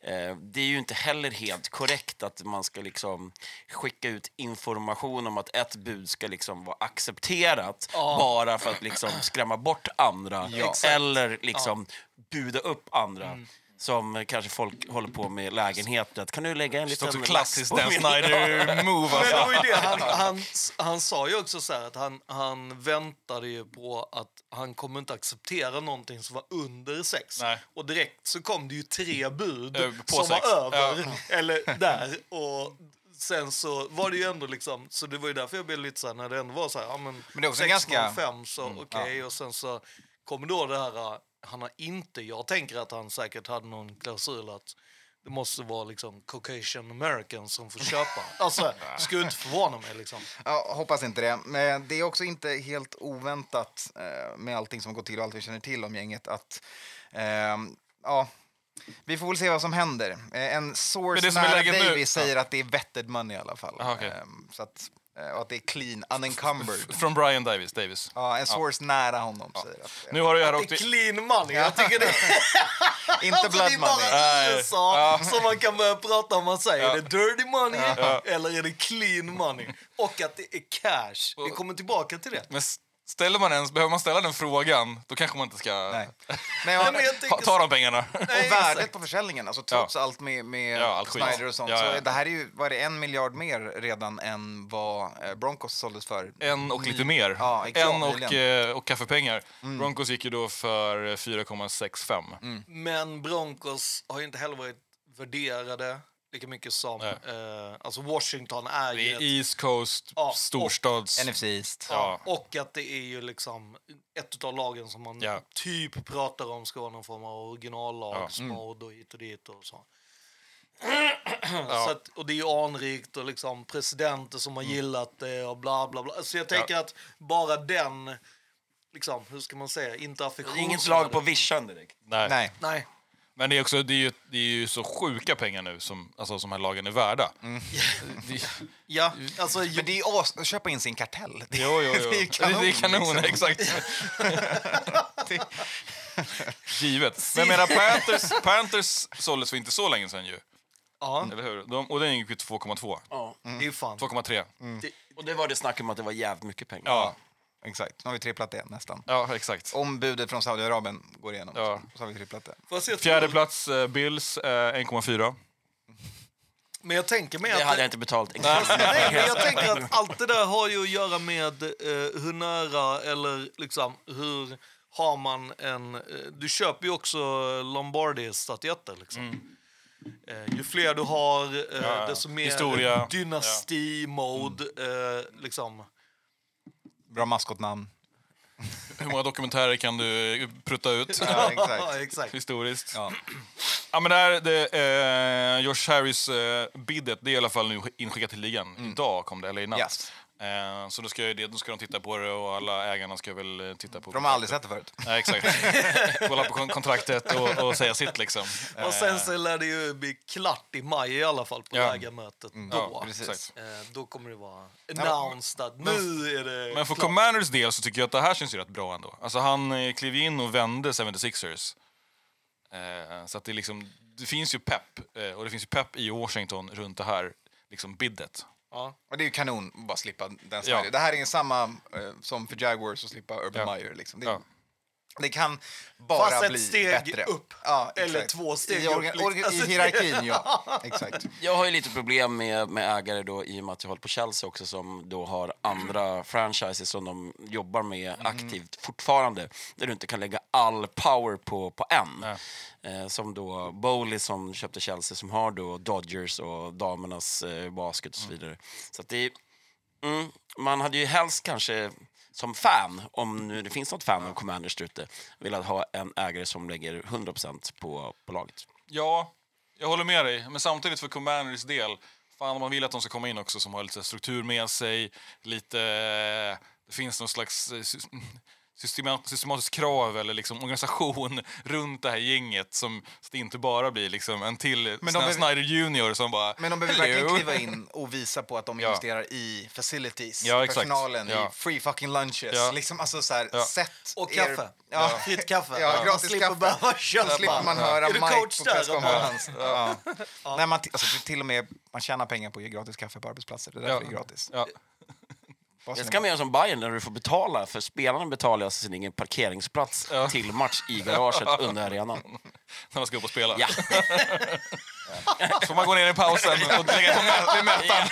S6: eh, det är ju inte heller helt korrekt att man ska liksom skicka ut information om att ett bud ska liksom vara accepterat bara för att liksom skrämma bort andra eller liksom buda upp andra. Som kanske folk håller på med i lägenheter. Att, Kan du lägga
S4: Det
S6: en
S4: är
S6: liten
S4: också
S6: lapp
S4: klassiskt
S6: på
S4: Dan
S6: min-"
S4: Snyder-move.
S5: men det var
S4: Alltså.
S5: ju det. Han, han, han sa ju också så här att han, han väntade ju på att han kommer inte acceptera någonting som var under sex.
S4: Nej.
S5: Och direkt så kom det ju tre bud
S4: Eh, på
S5: som
S4: sex.
S5: var över, eller där. Och sen så var det ju ändå liksom, så det var ju därför jag blev lite så här när det ändå var så här, ja men,
S3: Men det är också
S5: 6,05
S3: ganska- Mm,
S5: så okej och sen så kommer då det här, äh, han har inte, jag tänker att han säkert hade någon klausul att det måste vara liksom Caucasian Americans som får köpa. Alltså, skulle inte förvåna mig liksom.
S3: Ja, hoppas inte det. Men det är också inte helt oväntat eh, med allting som går till och allt vi känner till om gänget att ehm, ja, vi får väl se vad som händer. Eh, En
S4: Men det
S3: source
S4: som är
S3: nära
S4: läget nu-
S3: Davy säger att det är vetted money i alla fall.
S4: Ah, okej.
S3: Ehm, så att, eh, och att det är clean, unencumbered.
S4: Från Brian Davis. Davis.
S3: Ja, en source nära honom säger att det
S4: Nu har det här
S5: Det
S4: åkt
S5: är
S4: i-
S5: clean money. Jag tycker det,
S3: är. Inte
S5: alltså, det
S3: blood
S5: är
S3: money.
S5: bara i USA som man kan börja prata om. Man säger, är det dirty money eller är det clean money? Och att det är cash. Vi kommer tillbaka till det.
S4: Men s- ställer man ens, behöver man ställa den frågan, då kanske man inte ska
S3: Nej. Men
S5: Nej,
S3: jag,
S5: men jag
S4: ta,
S5: tänker-
S4: ta de pengarna.
S5: Nej,
S3: och värdet
S5: exakt.
S3: på försäljningen, alltså trots
S4: Ja.
S3: allt med, med
S4: Ja, allt skit.
S3: Snyder och sånt,
S4: Ja, ja.
S3: så är det här är ju, vad är det, en miljard mer redan än vad eh, Broncos såldes för
S4: En och lite mer.
S3: Mm. Ja, exakt.
S4: en och,
S3: Nyligen.
S4: eh, och kaffepengar.
S3: Mm.
S4: Broncos gick ju då för eh, 4,65.
S5: Men Broncos har ju inte heller varit värderade lika mycket som...
S4: Nej.
S5: Eh, alltså Washington är
S4: Det
S5: ju...
S4: är
S5: ett-
S4: East Coast,
S5: Ja, och-
S4: storstads...
S3: NFC East.
S5: Ja. Och att det är ju liksom ett av lagen som man
S4: Ja.
S5: typ pratar om ska vara någon form av originallag,
S6: mm.
S4: Ja.
S5: ja. smådd och hit och dit och så. så att, och det är ju anrikt och liksom presidenter som har
S6: Mm.
S5: gillat det och bla bla bla. Så jag tänker att bara den, liksom, hur ska man säga, inte affektion.
S6: Inget lag på vischan direkt.
S4: Nej.
S3: Nej.
S5: Nej.
S4: Men det är, också, det, är ju, det är ju så sjuka pengar nu som, alltså, som de här lagen är värda.
S3: Mm.
S4: Det,
S5: Ja,
S6: Mm.
S5: alltså,
S3: Men det är ju as- att köpa in sin kartell. Det,
S4: jo, jo, jo.
S3: det är ju kanon.
S4: Det är kanon,
S3: liksom.
S4: exakt. Givet. Men jag menar, Panthers, Panthers såldes för inte så länge sedan ju.
S5: ja,
S6: Mm.
S4: Eller hur? De, och den gick ju till 2,2.
S5: det är ju fan.
S4: 2,3.
S3: Mm.
S6: Och det var det snack om att det var jävligt mycket pengar.
S4: Ja.
S3: Exakt, nu har vi tripplat det nästan.
S4: ja, exakt.
S3: Om budet från Saudiarabien går igenom
S4: Ja.
S3: så har vi tripplat det.
S5: Fast jag tror-
S4: Fjärde plats, eh, Bills, eh, 1,4.
S5: Men jag tänker mig
S6: Det
S5: att
S6: hade
S5: det-
S6: jag inte betalt. exakt.
S5: Nej, men jag tänker att allt det där har ju att göra med eh, hur nära eller liksom hur har man en... Eh, du köper ju också Lombardi-statyetter. Liksom. Eh, ju fler du har, eh,
S4: Mm. Ja, ja.
S5: desto mer
S4: Historia.
S5: dynasti-mode. Eh, liksom.
S3: Bra maskotnamn.
S4: Hur många dokumentärer kan du eh, prutta ut?
S3: Ja,
S5: Ja,
S3: exakt.
S5: exakt.
S4: Historiskt.
S3: Ja.
S4: Ja, men det här, det, eh, Josh Harris eh, bidet, det är i alla fall nu inskickat till ligan. Idag kom det, eller i natt.
S3: Yes.
S4: Eh, så då ska, ju det, då ska de titta på det och alla ägarna ska väl eh, titta på
S3: För de har aldrig sett det förut.
S4: Nej, exakt. Kolla på kon- kontraktet och, och säga sitt liksom.
S5: Och sen så lär det ju bli klart i maj i alla fall på
S4: Ja. Mm.
S5: ägarmötet.
S4: Ja,
S5: Då.
S3: precis.
S4: exakt.
S5: eh, då kommer det vara announced att nu är det
S4: Men för
S5: klart.
S4: Commanders del så tycker jag att det här känns ju rätt bra ändå. Alltså han eh, klev ju in och vände 76ers. Eh, så att det, är liksom, det finns ju pepp, eh, och det finns ju pepp i Washington runt det här liksom biddet.
S5: Ja.
S3: Och det är ju kanon att bara slippa den
S4: Ja.
S3: ja. Det här är ju samma eh, som för Jaguars att slippa Urban
S4: Ja.
S3: Meyer. Liksom. Det är
S4: Ja.
S3: Det kan bara
S5: Fast ett
S3: bli
S5: steg
S3: bättre.
S5: upp.
S3: Ja, exakt.
S5: Eller två steg
S3: I,
S5: upp,
S3: orga-
S5: liksom.
S3: orga-
S5: Alltså,
S3: I hierarkin, ja. Exakt.
S6: Jag har ju lite problem med, med ägare då i och med att jag håller på Chelsea också som då har andra franchises som de jobbar med aktivt fortfarande där du inte kan lägga all power på, på en. Eh, som då Bowley som köpte Chelsea som har då Dodgers och damernas eh, basket och så vidare. Så att det Mm, man hade ju helst kanske som fan, om nu det finns något fan av Commanders där ute, velat ha en ägare som lägger 100% på, på laget.
S4: Ja, jag håller med dig. Men samtidigt för Commanders del, fan man vill att de ska komma in också som har lite struktur med sig, lite... Det finns någon slags eh, sy- systemat- systematiskt krav eller liksom organisation runt det här gänget som så det inte bara blir liksom en till
S3: de
S4: sån här
S3: behöver-
S4: Snyder Junior som bara...
S3: Men de behöver
S4: "Hello."
S3: verkligen kliva in och visa på att de
S4: Ja.
S3: investerar i facilities,
S4: Ja, exakt.
S3: personalen,
S4: Ja.
S3: i free fucking lunches.
S4: Ja.
S3: Liksom, alltså, så här,
S4: Ja.
S3: sätt
S5: Och
S3: er-
S5: kaffe.
S3: Ja.
S5: Fritt kaffe.
S3: Ja,
S5: man
S3: gratis
S5: slipper
S3: kaffe.
S5: behöva
S3: Då slipper
S5: köpa.
S3: man höra
S5: Är du
S3: Mike
S5: coach
S3: på
S5: där?
S3: presskonferens. Ja. Nej, man, t- alltså, till och med, man tjänar pengar på att ge gratis kaffe på arbetsplatser. Det är därför
S4: Ja.
S3: det är gratis.
S4: Ja.
S3: Vad
S6: Jag
S3: som-
S6: ska mer som Bayern där du får betala, för spelarna betalar alltså sin egen parkeringsplats till match i garaget under arenan.
S4: När man ska upp och spela.
S6: Ja.
S4: Så får man gå ner i pausen och lägga på mä- i mätaren.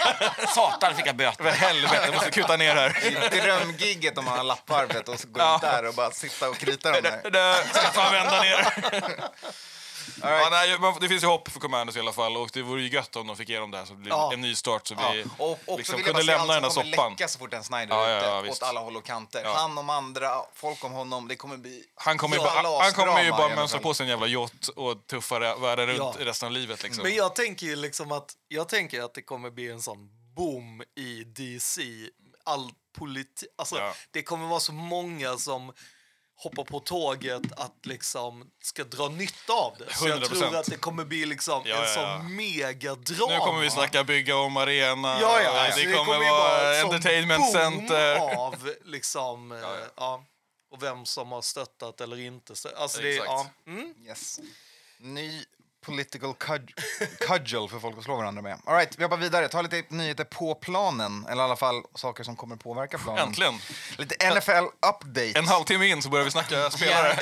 S6: Satan fick
S4: För
S6: jag böter.
S4: helvete, jag måste kuta ner här.
S3: Drömgigget om man har lapparvet och så går
S4: Ja.
S3: ut där och bara sitta och krita dem där.
S4: Det där ska fan vända ner. Ja, nej, man- det finns ju hopp för Commanders i alla fall och det vore ju gött om de fick igenom det här så det blir
S5: Ja.
S4: en ny start så vi
S3: Ja, och också
S4: liksom
S3: vill jag
S4: kunde
S3: bara säga,
S4: lämna den där
S3: allt som kommer
S4: soppan.
S3: läcka så fort en Snyder
S4: Ja,
S3: är
S4: ja,
S3: ute,
S4: ja,
S3: åt
S4: visst.
S3: alla håll och kanter.
S4: Ja.
S3: Han om andra, folk om honom. Det kommer bli...
S4: Han kommer ju
S3: Ja,
S4: bara, han kommer ju
S3: lasdrama i
S4: bara
S3: alla
S4: mönstra
S3: fall.
S4: på sig en jävla yacht och tuffare världen runt
S5: Ja.
S4: resten av livet. Liksom.
S5: Men jag tänker ju liksom att, jag tänker att det kommer bli en sån boom i DC. All politik, alltså
S4: Ja.
S5: det kommer vara så många som hoppar på tåget att liksom ska dra nytta av det. Så jag
S4: 100%.
S5: tror att det kommer bli liksom
S4: Ja,
S5: en
S4: ja, ja.
S5: sån megadrama.
S4: nu kommer vi snacka bygga om arena,
S5: Ja, ja,
S4: och
S5: alltså,
S4: det kommer,
S5: ju
S4: vara
S5: ett sånt
S4: entertainment
S5: boom
S4: center.
S5: av liksom, eh, ja, och vem som har stöttat eller inte. stö- Alltså det,
S4: Exakt.
S5: ja, mm.
S3: Yes. Ny political cud- cudgel för folk att slå varandra med. All right, vi hoppar vidare. Ta lite nyheter på planen, eller i alla fall saker som kommer påverka planen.
S4: Äntligen!
S3: Lite NFL-update.
S4: En halvtimme in så börjar vi snacka spelare.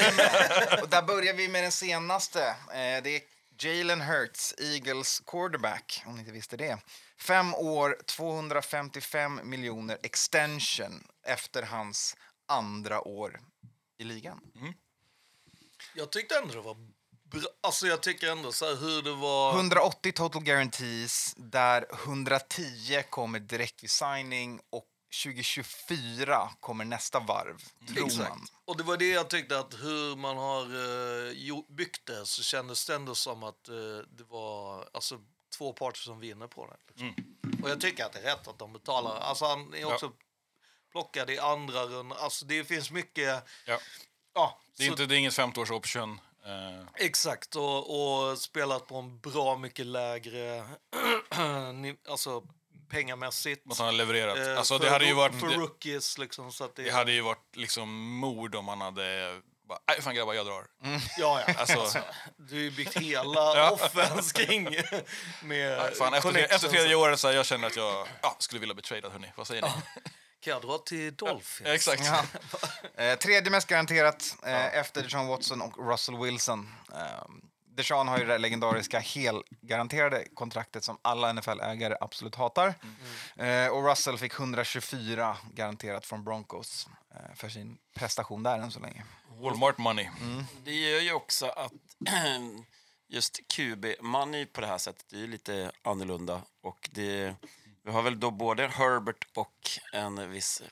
S3: Och där börjar vi med den senaste. Eh, Det är Jalen Hurts, Eagles quarterback, om ni inte visste det. Fem år, 255 miljoner extension efter hans andra år i ligan.
S5: Jag tyckte ändå det var bra. Alltså jag tycker ändå så här hur det var.
S3: 180 total guarantees, där 110 kommer direkt vid signing och 2024 kommer nästa varv, tror man.
S5: Och det var det jag tyckte att hur man har eh, jo- byggt det så kändes det ändå som att eh, det var alltså, två parter som vinner på det. Liksom.
S4: Mm.
S5: Och jag tycker att det är rätt att de betalar. Alltså han är också plockad i andra rundan. Alltså det finns mycket.
S4: Ja.
S5: Ja,
S4: Det är,
S5: så-
S4: inte, det är inget 50 års option. Eh,
S5: Exakt, och, och spelat på en bra mycket lägre ni- alltså, pengamässigt.
S4: att han har levererat.
S5: Eh,
S4: alltså, det
S5: för
S4: hade ju
S5: ro-
S4: varit...
S5: För
S4: det-
S5: rookies, liksom. Så att det,
S4: Det hade ju varit liksom mord om man hade... bara, Nej, fan grabbar, jag drar.
S5: Mm. Ja, ja.
S4: Alltså,
S5: Du har ju byggt hela offens kring med
S4: fan, efter, tre,
S5: connections.
S4: efter tredje året så här, jag känner att jag ja, skulle vilja bli tradad, hörni. Vad säger ni?
S5: Kan jag dra till Dolphins?
S4: Exakt.
S3: Ja. Eh, tredje mest garanterat eh, efter Deshaun Watson och Russell Wilson. Eh, Deshaun har ju det där legendariska helgaranterade kontraktet som alla NFL-ägare absolut hatar. Eh, och Russell fick 124 garanterat från Broncos eh, för sin prestation där än så länge.
S4: Walmart money.
S5: Mm.
S6: Det gör ju också att just QB-money på det här sättet det är ju lite annorlunda. Och det, vi har väl då både Herbert och en viss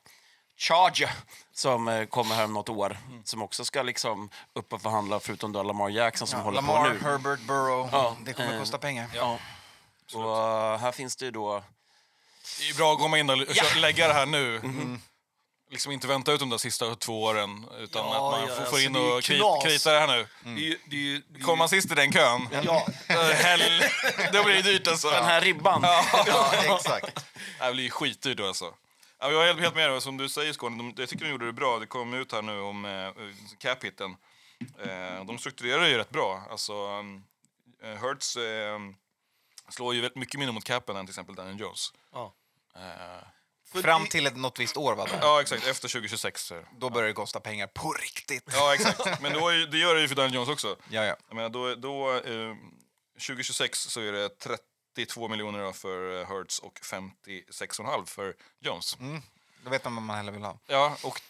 S6: Charger som eh, kommer här om något år som också ska liksom upp och förhandla förutom då Lamar Jackson som håller på
S3: Lamar,
S6: nu.
S3: Herbert, Burrow.
S6: Ja,
S3: Det kommer
S6: eh,
S3: kosta pengar.
S6: Ja. Och eh, här finns det ju då...
S4: Det är bra att komma in och l- kö- lägga det här nu.
S5: Mm-hmm.
S4: Liksom inte vänta ut de där sista två åren, utan
S5: Ja,
S4: att man
S5: ja,
S4: får,
S5: alltså,
S4: får in
S5: det är ju
S4: och kri-
S5: knas.
S4: krita det här nu.
S5: Det är ju- det är ju- det är ju-
S4: Kommer man sist i den kön,
S5: Ja,
S4: eh, hell, då blir det dyrt alltså.
S6: Den här ribban!
S3: Ja, exakt.
S4: Det här blir ju skitdyrt då alltså. Ja, Jag är helt- helt med dig. Som du säger, Skåne, de, jag tycker de gjorde det bra. Det kom ut här nu om eh, cap-hitten. Eh, de strukturerar ju rätt bra. Alltså, um, eh, Hertz eh, slår ju väldigt mycket mindre mot capen än till exempel Daniel Jones.
S5: Ja.
S4: Eh,
S5: För
S3: Fram
S5: i-
S3: till ett, något visst år, va? Då,
S4: Ja, exakt. Efter 2026. så är det.
S3: då börjar det kosta pengar på riktigt.
S4: Ja, exakt. Men då är, ju- det gör det ju för Daniel Jones också.
S3: Ja, ja.
S4: Jag menar, då, då, eh, 2026 så är det 32 miljoner då för eh, Hertz och 56,5 för Jones.
S3: Då vet man vad man hellre vill ha.
S4: Ja, och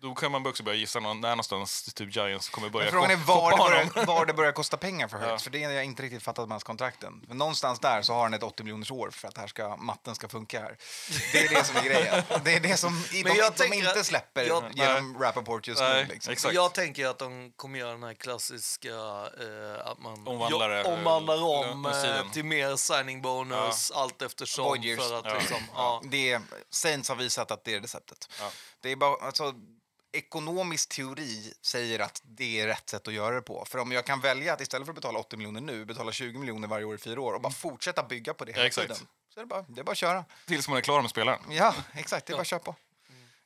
S4: då kan man också börja gissa någon, när någonstans typ Giants kommer börja
S3: Men frågan är
S4: kop-
S3: var det,
S4: koppa honom.
S3: börjar, var det börjar kosta pengar för Hurts,
S4: Ja.
S3: för det har jag inte riktigt fattat med hans kontrakten. Men någonstans där så har han ett 80 miljoners år för att här ska, matten ska funka här. Det är det som är grejen. Det är det som i-
S5: Men jag
S3: de, de
S5: tänker
S3: inte
S5: att-
S3: släpper
S5: jag-
S3: genom Rappaport just
S4: Nej,
S3: nu. Liksom.
S4: exakt.
S5: Jag tänker att de kommer göra den här klassiska... Eh, att man
S4: Omvandlar det,
S5: jo, omvandlar
S4: eh,
S5: om
S4: den sidan.
S5: eh, till mer signing bonus allt eftersom.
S3: Void years.
S5: För att,
S4: Ja.
S5: Liksom, ja.
S3: Det är, Saints har visat att det är receptet.
S4: Ja.
S3: Det är bara, alltså, ekonomisk teori säger att det är rätt sätt att göra det på. För om jag kan välja att istället för att betala 80 miljoner nu betala 20 miljoner varje år i fyra år och bara fortsätta bygga på det hela
S4: Mm. exakt.
S3: tiden. Så är det, bara, det är bara att köra.
S4: Tills man är klar med spelaren.
S3: Ja, exakt. Det är bara att köra på.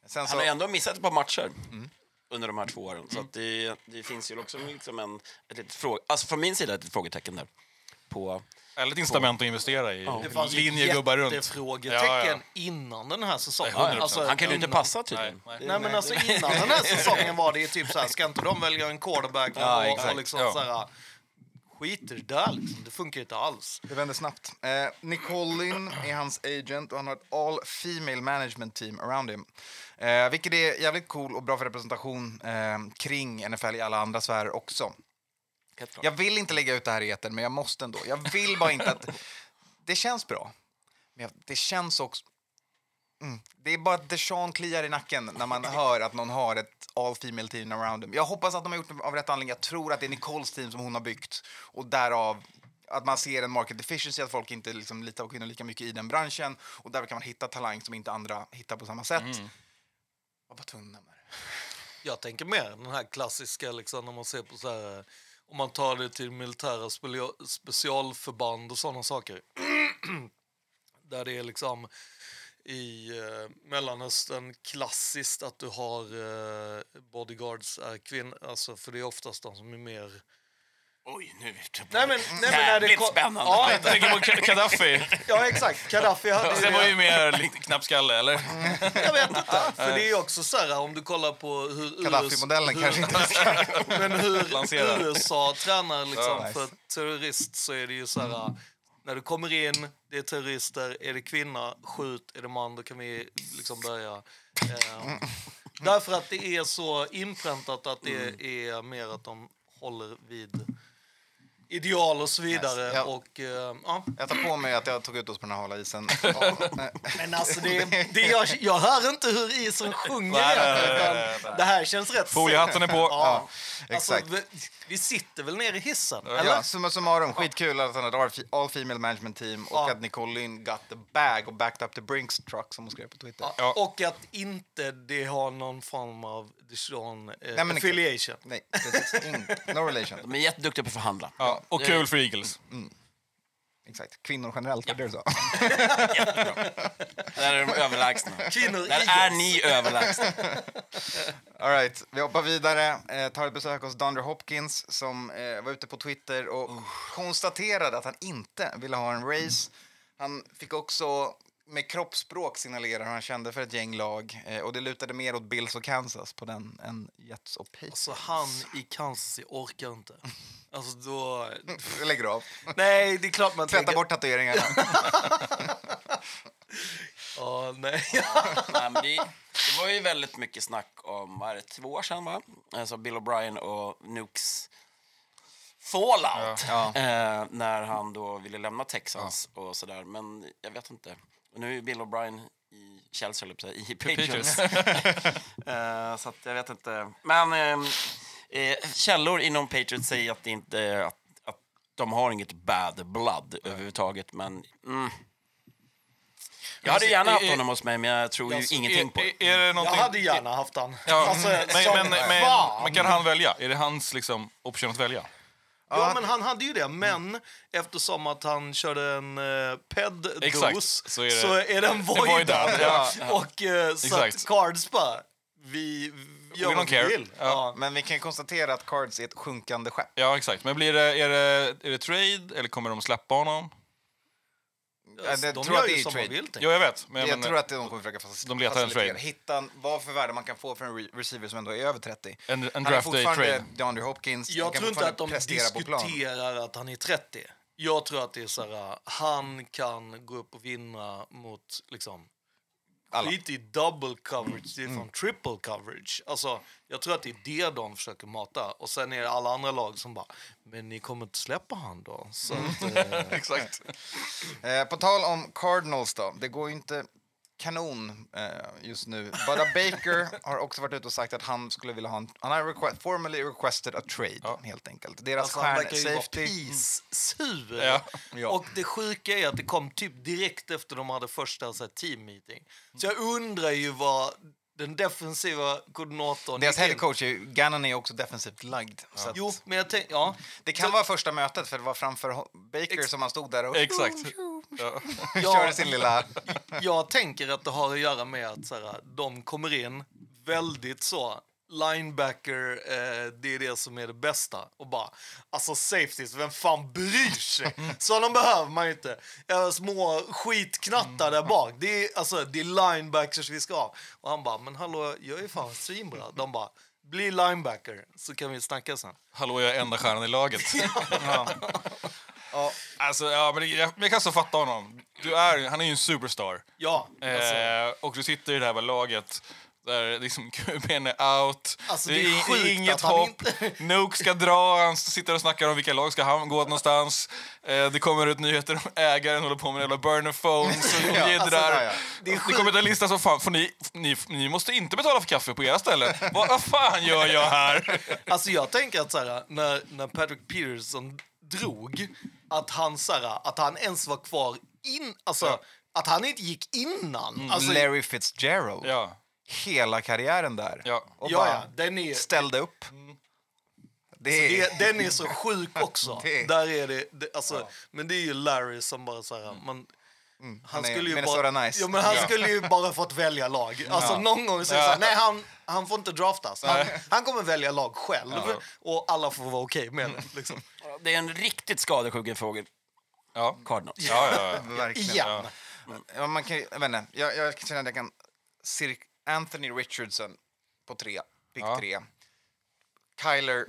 S3: Sen
S6: Han har ändå missat ett par matcher
S4: Mm.
S6: under de här två åren. Så att det, det finns ju också liksom en, ett litet fråga, alltså från min sida ett litet frågetecken där. På,
S4: Eller ett incitament att investera i
S5: Det fanns ju
S4: linjegubbar runt.
S5: jättefrågetecken
S4: Ja, ja.
S5: innan den här säsongen. Alltså,
S4: Nej, 100%.
S6: Alltså, han kan ju inte
S5: innan-
S6: passa
S4: Nej,
S6: tydligen.
S4: nej.
S5: Nej, men alltså innan den här säsongen var det ju typ så här, ska inte de välja en quarterback?
S3: Ja,
S5: och,
S3: exakt.
S5: och liksom
S4: Ja.
S5: så här, skit i det där liksom. Det funkar ju inte alls.
S3: Det vänder snabbt. Eh, Nicolin är hans agent och han har ett all female management team around him. Eh, vilket är jävligt cool och bra för representation eh, kring NFL i alla andra sfärer också. Jag vill inte lägga ut det här i etern, men jag måste ändå. Jag vill bara inte att... Det känns bra. Men jag, det känns också... Mm. Det är bara att Deshaun kliar i nacken när man hör att någon har ett all female team around him. Jag hoppas att de har gjort det av rätt anledning. Jag tror att det är Nicoles team som hon har byggt och därav att man ser en market deficiency, att folk inte liksom litar på kvinnor lika mycket i den branschen och där kan man hitta talang som inte andra hittar på samma sätt. Vad var tunna med det.
S5: Jag tänker mer den här klassiska, liksom, när man ser på så här, om man tar det till militära spelio- specialförband och sådana saker. Där det är liksom i eh, Mellanöstern klassiskt att du har eh, bodyguards är kvinnor, alltså, för det är oftast de som är mer...
S6: Oj, nu är vi tillbaka.
S5: Nej, men, nej, men när det
S6: Jävligt
S5: kom-
S6: spännande.
S5: Ja,
S4: Jag tänker på Ka- Gaddafi.
S5: ja, exakt. Gaddafi hade ju
S4: Det var
S5: det.
S4: ju mer lite knappskalle, eller?
S5: Jag vet inte. För det är ju också så här, om du kollar på hur...
S3: Gaddafi-modellen
S5: hur-
S3: kanske inte ens
S5: Men hur
S4: Lansera.
S5: USA tränar liksom
S3: Ja, nice.
S5: för terrorist så är det ju så här... När du kommer in, det är terrorister, är det kvinna, skjut, är det man, då kan vi liksom börja. Eh, därför att det är så inpräntat att
S3: Mm.
S5: det är mer att de håller vid ideal och så vidare.
S3: Nice, ja.
S5: Och, eh, ja.
S3: Jag tar på mig att jag tog ut oss på den här hala isen.
S5: Men alltså, det, det, jag, jag hör inte hur isen sjunger egentligen, utan Det här känns rätt
S4: Foliehatten är på.
S5: Ja, alltså,
S3: exakt.
S5: vi, vi sitter väl nere i hissen?
S3: Ja,
S5: Eller?
S3: summa summarum, skitkul att han hade all fe- all female management team och
S5: Ja.
S3: att Nicole Lynn got the bag och backed up the Brinks truck som hon skrev på Twitter.
S4: Ja.
S5: Och att inte det har någon form av Dijon eh,
S3: Nej, men-
S5: affiliation.
S3: Nej, precis. In, no relation.
S6: De är jätteduktiga på att förhandla.
S4: Ja, och kul för Eagles.
S3: Exakt. Kvinnor generellt, var det du sa?
S6: Där är de överlägsna.
S5: Kvinnor
S6: Där
S5: i
S6: är
S5: oss.
S6: ni överlägsna.
S3: All right, vi hoppar vidare. Eh, tar ett besök hos Dunder Hopkins som eh, var ute på Twitter och konstaterade att han inte ville ha en race. Han fick också med kroppsspråk signalera hur han kände för ett gäng lag eh, och det lutade mer åt Bills och Kansas på den än Jets och Patriots.
S5: Alltså han i Kansas, jag orkar inte. Alltså då...
S3: Jag lägger av.
S5: Nej, det är klart man
S3: Tvätta
S5: tänker...
S3: bort tatueringarna.
S5: Ja, nej.
S6: Nej, men det, det var ju väldigt mycket snack om, vad är det, två år sedan va? Alltså Bill O'Brien och Nukes fallout.
S3: Ja.
S6: Eh, när han då ville lämna Texas och sådär. Men jag vet inte. Och nu är ju Bill O'Brien i Chelsea, höll jag på att säga, i Patriots. Eh, så att jag vet inte. Men ehm, eh, källor inom Patriots säger att, det inte, att, att de har inget bad blood överhuvudtaget. Men mm. Jag hade gärna
S4: i-
S6: haft
S4: i-
S6: honom hos mig, men jag tror ju ingenting på det.
S4: Alltså, Är, är det
S5: Jag
S4: någonting...
S5: hade gärna haft han.
S4: Ja, Mm.
S5: Alltså,
S4: men,
S5: som
S4: men, men,
S5: fan.
S4: men kan han välja? Är det hans liksom, option att välja?
S5: Ja, men han hade ju det. Men eftersom att han körde en eh,
S4: Exakt,
S5: PED-dos
S4: så är det-
S5: den voidad.
S4: voidad, ja.
S5: Och eh, så att
S4: Exakt.
S5: Cards bara, vi gör
S4: We
S5: vad
S4: don't
S5: vi
S4: care.
S5: vill.
S4: Ja.
S5: Ja.
S3: Men vi kan ju konstatera att Cards är ett sjunkande skepp.
S4: Ja, exakt. Men blir det, är, det, är det trade eller kommer de släppa honom?
S3: Äh, Jag
S5: de
S3: tror
S5: gör
S3: att det
S5: ju
S3: är
S5: som
S3: trade.
S5: de vill, tänker
S4: Jo, jag vet. Men,
S3: Jag,
S4: jag men,
S3: tror att de kommer försöka fac-
S4: de letar en
S3: facilitera.
S4: trade.
S3: Hitta en- vad för värde man kan få för en re receiver som ändå är över 30.
S4: En- en
S3: han är
S4: draft day
S3: fortfarande
S4: trade.
S3: DeAndre Hopkins. han
S5: Jag
S3: kan
S5: tror inte att de
S3: fortfarande prestera på plan.
S5: diskuterar att han är 30. Jag tror att det är så här, han kan gå upp och vinna mot liksom
S3: Alla. Mm.
S5: skit i double coverage, det är från triple coverage. Alltså, jag tror att det är det de försöker mata. Och sen är det alla andra lag som bara, men ni kommer inte släppa han då? Så
S3: Mm.
S5: att, eh,
S3: Exakt. Eh, på tal om Cardinals då, det går ju inte kanon eh, just nu. Buda Baker har också varit ute och sagt att han skulle vilja ha en... Han har requ- formally requested a trade, helt enkelt. Deras
S5: Alltså, han verkar ju vara
S3: stjärn-safety...
S5: pissur.
S4: Ja.
S3: Ja.
S5: Och det sjuka är att det kom typ direkt efter de hade första så här, team meeting. Så jag undrar ju vad den defensiva koordinatorn...
S3: Deras
S5: gick in-
S3: head coach, är ju- Gannon, är också defensivt lagd. Så att
S5: Jo, men jag tänkte... Ja.
S3: det kan vara första mötet, för det var framför Ho- Baker som han stod där och
S4: Exakt.
S3: körde sin lilla...
S5: jag tänker att det har att göra med att så här, de kommer in väldigt så linebacker, eh, det är det som är det bästa. Och bara, alltså safeties, vem fan bryr sig? Sådana behöver man ju inte. Eh, små skitknattar där bak. Det är, alltså, det är linebackers vi ska ha. Och han bara, men hallå, jag är fan svinbra. De bara, bli linebacker så kan vi snacka sen.
S4: Hallå, jag är enda stjärnan i laget. ja. Alltså, ja, men jag, men jag kan så fatta honom. Du är, han är ju en superstar.
S5: Ja, alltså.
S4: Eh, och du sitter i det här med laget där liksom QB'n är out,
S5: Alltså, det är
S4: i-
S5: sjukt
S4: inget
S5: att han
S4: hopp,
S5: inte-
S4: Nuke ska dra, han sitter och snackar om vilka lag ska han gå åt någonstans. Eh, det kommer ut nyheter om ägaren håller på med jävla burner phones och
S3: Ja,
S4: jiddrar.
S3: alltså, ja, ja.
S4: Det, kommer ut en lista som fan, för ni, ni, ni måste inte betala för kaffe på era ställen. Vad vad fan gör jag här?
S5: Alltså jag tänker att så här, när, när Patrick Peterson drog, att han, så här, att han ens var kvar in, alltså att han inte gick innan. Alltså, ja,
S3: Mm, Larry Fitzgerald,
S4: Ja,
S3: hela karriären där.
S4: ja. Mm.
S3: Och
S5: ja,
S3: bara
S5: den är,
S3: ställde upp. Det är...
S5: det, den är så sjuk också.
S3: Det-
S5: Där är det, det alltså, Men det är ju Larry som bara så här, man, han,
S3: Mm. han är
S5: skulle ju
S3: Minnesota
S5: bara,
S3: nice.
S5: ja, men han skulle ju bara fått välja lag. Alltså någon gång så är det så här, nej han, han får inte draftas. Han, han kommer välja lag själv och alla får vara okej med det. Liksom.
S6: Det är en riktigt skadesjuk fråga,
S4: ja.
S6: Cardinals.
S4: Ja, ja, ja.
S3: Verkligen.
S5: Igen.
S3: Ja, man kan, ju- jag, vet inte, jag, jag känner att jag kan... Sir Anthony Richardson på tre, pick
S4: Ja.
S3: tre. Kyler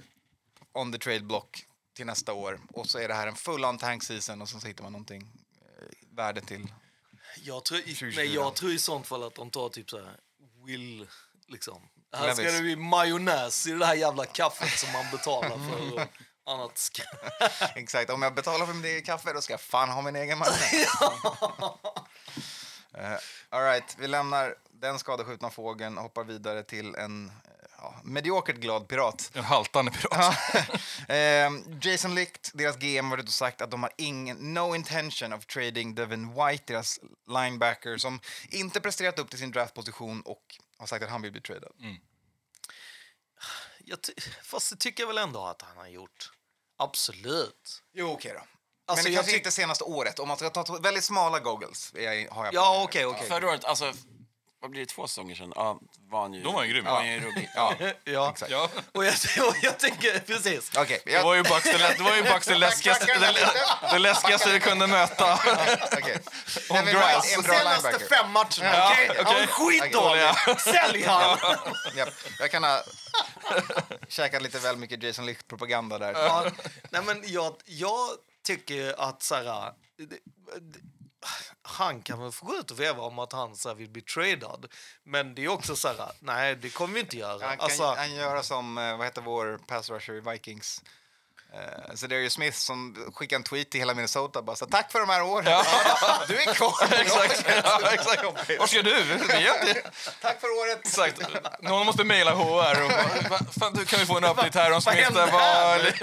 S3: on the trade block till nästa år. Och så är det här en full on tank season och sen så hittar man någonting eh, värde till.
S5: Jag tror, nej,
S3: 2024.
S5: jag tror i sånt fall att de tar typ så här Will, liksom. Här ska
S3: Levis.
S5: det bli majonnäs i det här jävla kaffet som man betalar för. Och annat ska...
S3: Exakt, om jag betalar för min egen kaffe då ska jag fan ha min egen marknad. Eh, all right, vi lämnar den skadeskjutna fågeln och hoppar vidare till en eh, ja, mediokert glad pirat.
S4: En haltande pirat.
S3: Ehm, Jason Licht, deras GM, har varit och sagt att de har ingen, no intention of trading Devin White, deras linebacker som inte presterat upp till sin draftposition och har sagt att han vill bli tradad.
S4: Mm.
S5: jag ty- Fast det tycker jag väl ändå att han har gjort. Absolut.
S3: Jo, okej då. Men
S5: Alltså,
S3: det
S5: jag
S3: kanske
S5: tyck-
S3: inte senaste året. Om man ska ta t- väldigt smala goggles är jag, har jag på mig
S5: Ja,
S3: nu.
S5: okej, okej.
S6: Förra året, alltså, vad blir det, två säsonger sedan? Ja, var han ju...
S4: Då var han ju grym.
S6: Var han ju ruggig. Ja.
S5: Ja.
S4: Ja.
S5: Och, jag, och jag tänker, precis.
S3: Okej,
S4: Det
S3: jag-
S4: var ju Bucks, det var ju Bucks det, läskigaste, det, det läskigaste vi kunde möta.
S3: okej. Devin White
S4: grass.
S3: är en bra
S5: Senaste
S3: linebacker.
S5: fem matcherna, okej?
S4: okej.
S5: Han var skitdålig. Sälj han!
S3: Japp, Jag kan ha käkat lite väl mycket Jason Licht-propaganda där.
S5: Ja, nej men jag, jag tycker ju att så här, eh, det, det, han kan väl få gå ut och veva om att han så här, vill bli tradad. Men det är också så här, eh, nej det kommer vi inte göra.
S3: Han kan
S5: Alltså,
S3: han göra som, eh, vad heter vår pass rusher i Vikings? Eh, Så det är ju Smith som skickar en tweet till hela Minnesota bara så tack för de här åren. Du är kvar.
S4: Exakt. Ja, exakt. Vad ska du? Vi är inte-
S3: Tack för året.
S4: Exakt. Någon måste mejla HR. Och, bara, "Va, fan, du, kan vi få en update här om
S5: vad
S4: Smith?
S5: hände
S4: Vad-
S5: här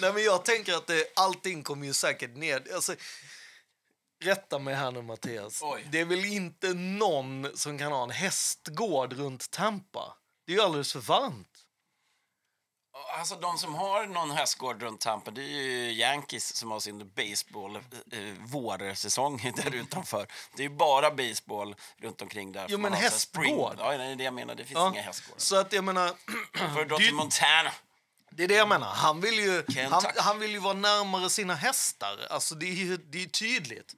S5: nej men jag tänker att det, allting kommer ju säkert ner. Alltså, rätta mig här nu Mattias. Det är väl inte någon som kan ha en hästgård runt Tampa? Det är ju alldeles för varmt.
S6: Alltså, de som har någon hästgård runt Tampa, det är ju Yankees som har sin baseball-vårsäsong där utanför. Det är ju bara baseball runt omkring där.
S5: Jo,
S6: för
S5: men
S6: man har så här
S5: hästgård.
S6: spring- Ja, nej, det är det jag menar. Det finns
S5: Ja.
S6: inga hästgårdar.
S5: Så att jag menar,
S6: Då får du dra till Montana.
S5: Det är det jag menar. Han vill ju, han,
S6: Kentucky.
S5: han vill ju vara närmare sina hästar. Alltså det är ju det är tydligt.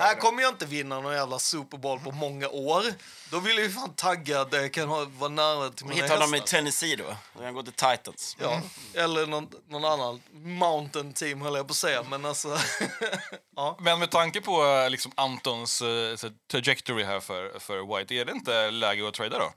S5: Här kommer jag inte vinna någon jävla Super Bowl på många år. Då vill jag ju fan taggad jag kan ha, vara nära till mina
S6: Hittar
S5: hästar.
S6: dem i Tennessee då. Han går till Titans.
S5: Ja, eller någon, någon annan mountain team höll jag på att säga, men alltså... ja.
S4: Men med tanke på eh, liksom, Antons eh, så här, trajectory här för, för White, är det inte läge att trada då?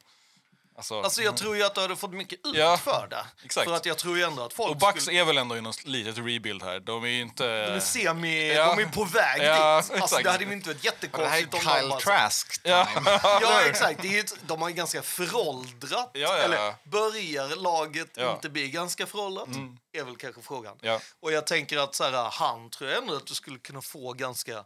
S4: Alltså,
S5: Alltså jag tror ju att du hade fått mycket ut
S4: Ja,
S5: för det.
S4: exakt.
S5: För att jag tror ju ändå att folk
S4: och Bucks
S5: skulle...
S4: är väl ändå i något litet rebuild här. De är ju inte...
S5: De är semi...
S4: Ja.
S5: De är på väg
S4: Ja,
S5: dit. Alltså
S4: exakt.
S5: det hade ju inte varit
S3: Det här är
S5: jättekonstigt om de
S3: Kyle
S5: bara-
S3: Trask.
S5: Ja, exakt. Det är ju ett, de har ju ganska föråldrat.
S4: Ja, ja.
S5: Eller börjar laget
S4: Ja. Mm.
S5: inte bli ganska föråldrat? Är väl kanske frågan.
S4: Ja.
S5: Och jag tänker att så här, han tror jag ändå att du skulle kunna få ganska...